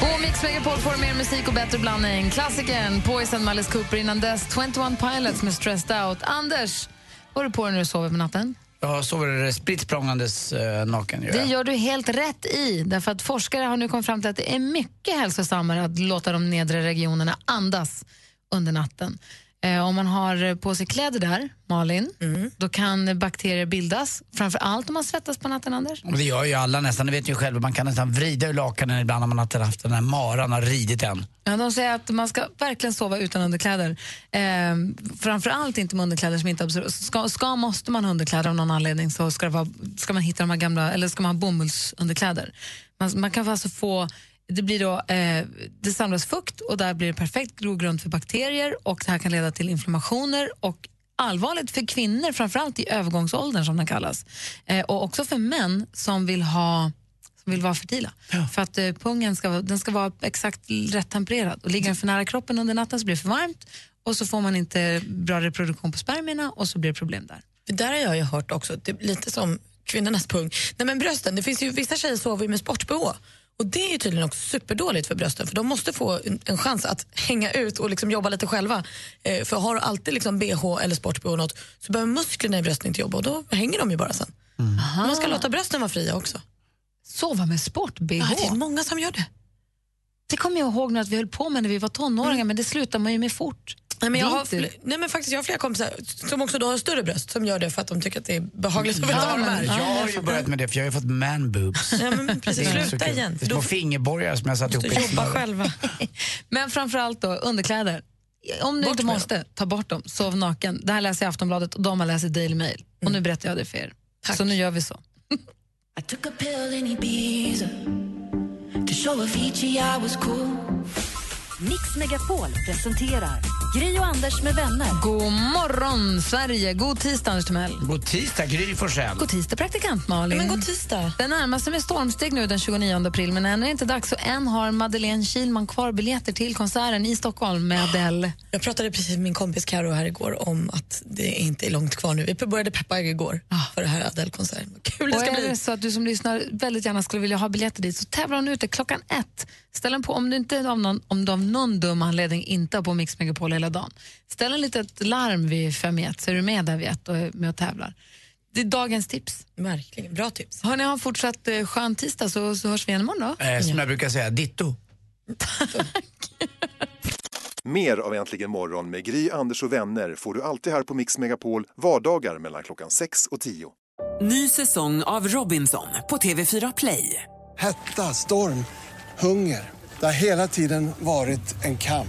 [SPEAKER 1] På Mix Megapol får du mer musik och bättre blandning. Klassikern Poison med Alice Cooper innan dess. 21 Pilots med Stressed Out. Anders, vad har du på dig när du sover på natten?
[SPEAKER 2] Jag sover spritt språngandes eh, naken. Gör
[SPEAKER 1] Det
[SPEAKER 2] jag.
[SPEAKER 1] gör du helt rätt i. Därför att Forskare har nu kommit fram till att det är mycket hälsosammare att låta de nedre regionerna andas under natten. Eh, om man har på sig kläder där, Malin, då kan bakterier bildas. Framför allt om man svettas på natten, Anders.
[SPEAKER 2] Men Det gör ju alla nästan, ni vet ju själva. Man kan nästan vrida ur lakanen ibland om man har haft den här maran har ridit en.
[SPEAKER 1] Ja, de säger att man ska verkligen sova utan underkläder. Eh, framförallt inte med underkläder som inte absor- ska, ska Måste man ha underkläder av någon anledning så ska, det vara, ska man hitta de här gamla, eller ska man ha bomullsunderkläder. Man, man kan alltså få det, blir då, eh, det samlas fukt och där blir det perfekt grogrund för bakterier och det här kan leda till inflammationer och allvarligt för kvinnor, framförallt i övergångsåldern som den kallas. Eh, och också för män som vill ha som vill vara fertila. För att eh, pungen ska, vara- den ska vara exakt rätt tempererad. Och ligger den för nära kroppen under natten så blir det för varmt och så får man inte bra reproduktion på spermierna och så blir det problem där.
[SPEAKER 3] Det där har jag ju hört också, det är lite som kvinnornas pung. Nej men brösten, det finns ju, vissa tjejer sover ju med sportbh. Och det är ju tydligen också superdåligt för brösten för de måste få en, en chans att hänga ut och liksom jobba lite själva. Eh, för har du alltid liksom bh eller sportbh något så behöver musklerna i brösten inte jobba och då hänger de ju bara sen. Man ska låta brösten vara fria också.
[SPEAKER 1] Sova med sport-bh?
[SPEAKER 3] Ja, det är många som gör det.
[SPEAKER 1] Det kommer jag ihåg nu att vi höll på med när vi var tonåringar
[SPEAKER 3] Mm.
[SPEAKER 1] men det slutar man ju med fort.
[SPEAKER 3] Nej men, jag
[SPEAKER 1] Det är
[SPEAKER 3] har,
[SPEAKER 1] inte-
[SPEAKER 3] fl- nej men faktiskt, jag har flera kompisar som också då har större bröst som gör det för att de tycker att det är behagligt att vara
[SPEAKER 2] Mm. Ja, men jag har ju
[SPEAKER 3] med.
[SPEAKER 2] börjat med det för jag har ju fått man boobs.
[SPEAKER 3] Ja, men precis.
[SPEAKER 2] Det är så
[SPEAKER 3] Sluta
[SPEAKER 2] kul.
[SPEAKER 3] igen,
[SPEAKER 2] Det
[SPEAKER 3] för
[SPEAKER 2] är små
[SPEAKER 3] då-
[SPEAKER 2] fingerborgar som jag satt ihop i
[SPEAKER 3] Måste (laughs) jobba
[SPEAKER 2] snöret.
[SPEAKER 3] själva.
[SPEAKER 1] (laughs) Men framförallt då underkläder. Om du inte måste, ta bort dem. Sov naken. Det här läser jag i Aftonbladet och de har läst i Daily Mail. Och
[SPEAKER 3] Mm.
[SPEAKER 1] nu berättar jag det för er. Så nu gör vi så.
[SPEAKER 22] I took a pill in Ibiza to show Avicii I was cool.
[SPEAKER 5] Mix Megapol presenterar Gri och Anders med vänner.
[SPEAKER 1] God morgon, Sverige! God tisdag, Anders Timell.
[SPEAKER 2] God tisdag, Gry Forssell.
[SPEAKER 1] God tisdag, praktikant Malin.
[SPEAKER 3] Men god tisdag.
[SPEAKER 1] Den närmar sig med stormsteg nu den 29 april, men än är det inte dags. Och än har Madeleine Kilman kvar biljetter till konserten i Stockholm med Adele.
[SPEAKER 3] Jag pratade precis med min kompis Karo här igår om att det inte är långt kvar nu. Vi började peppa igår för det här Adele-konserten. Vad Kul det
[SPEAKER 1] Ah. och
[SPEAKER 3] ska
[SPEAKER 1] är
[SPEAKER 3] bli.
[SPEAKER 1] det så att du som lyssnar väldigt gärna skulle vilja ha biljetter dit så tävlar hon ute klockan ett. Ställ den på, om du inte av någon, om du av någon dum anledning inte har på Mix Megapol hela dagen. Ställ en litet larm vid fem i ett så är du med där vid ett och är med och tävlar. Det är dagens tips.
[SPEAKER 3] Verkligen, bra tips.
[SPEAKER 1] Hörni, ha en fortsatt eh, skön tisdag så, så hörs vi igen imorgon då.
[SPEAKER 2] Eh, som jag brukar säga, ditto.
[SPEAKER 4] Mer av Äntligen morgon med Gry, Anders och vänner får du alltid här på Mix Megapol vardagar mellan klockan 6 och 10.
[SPEAKER 18] Ny säsong av Robinson på TV4 Play.
[SPEAKER 23] Hetta, storm, hunger. Det har hela tiden varit en kamp.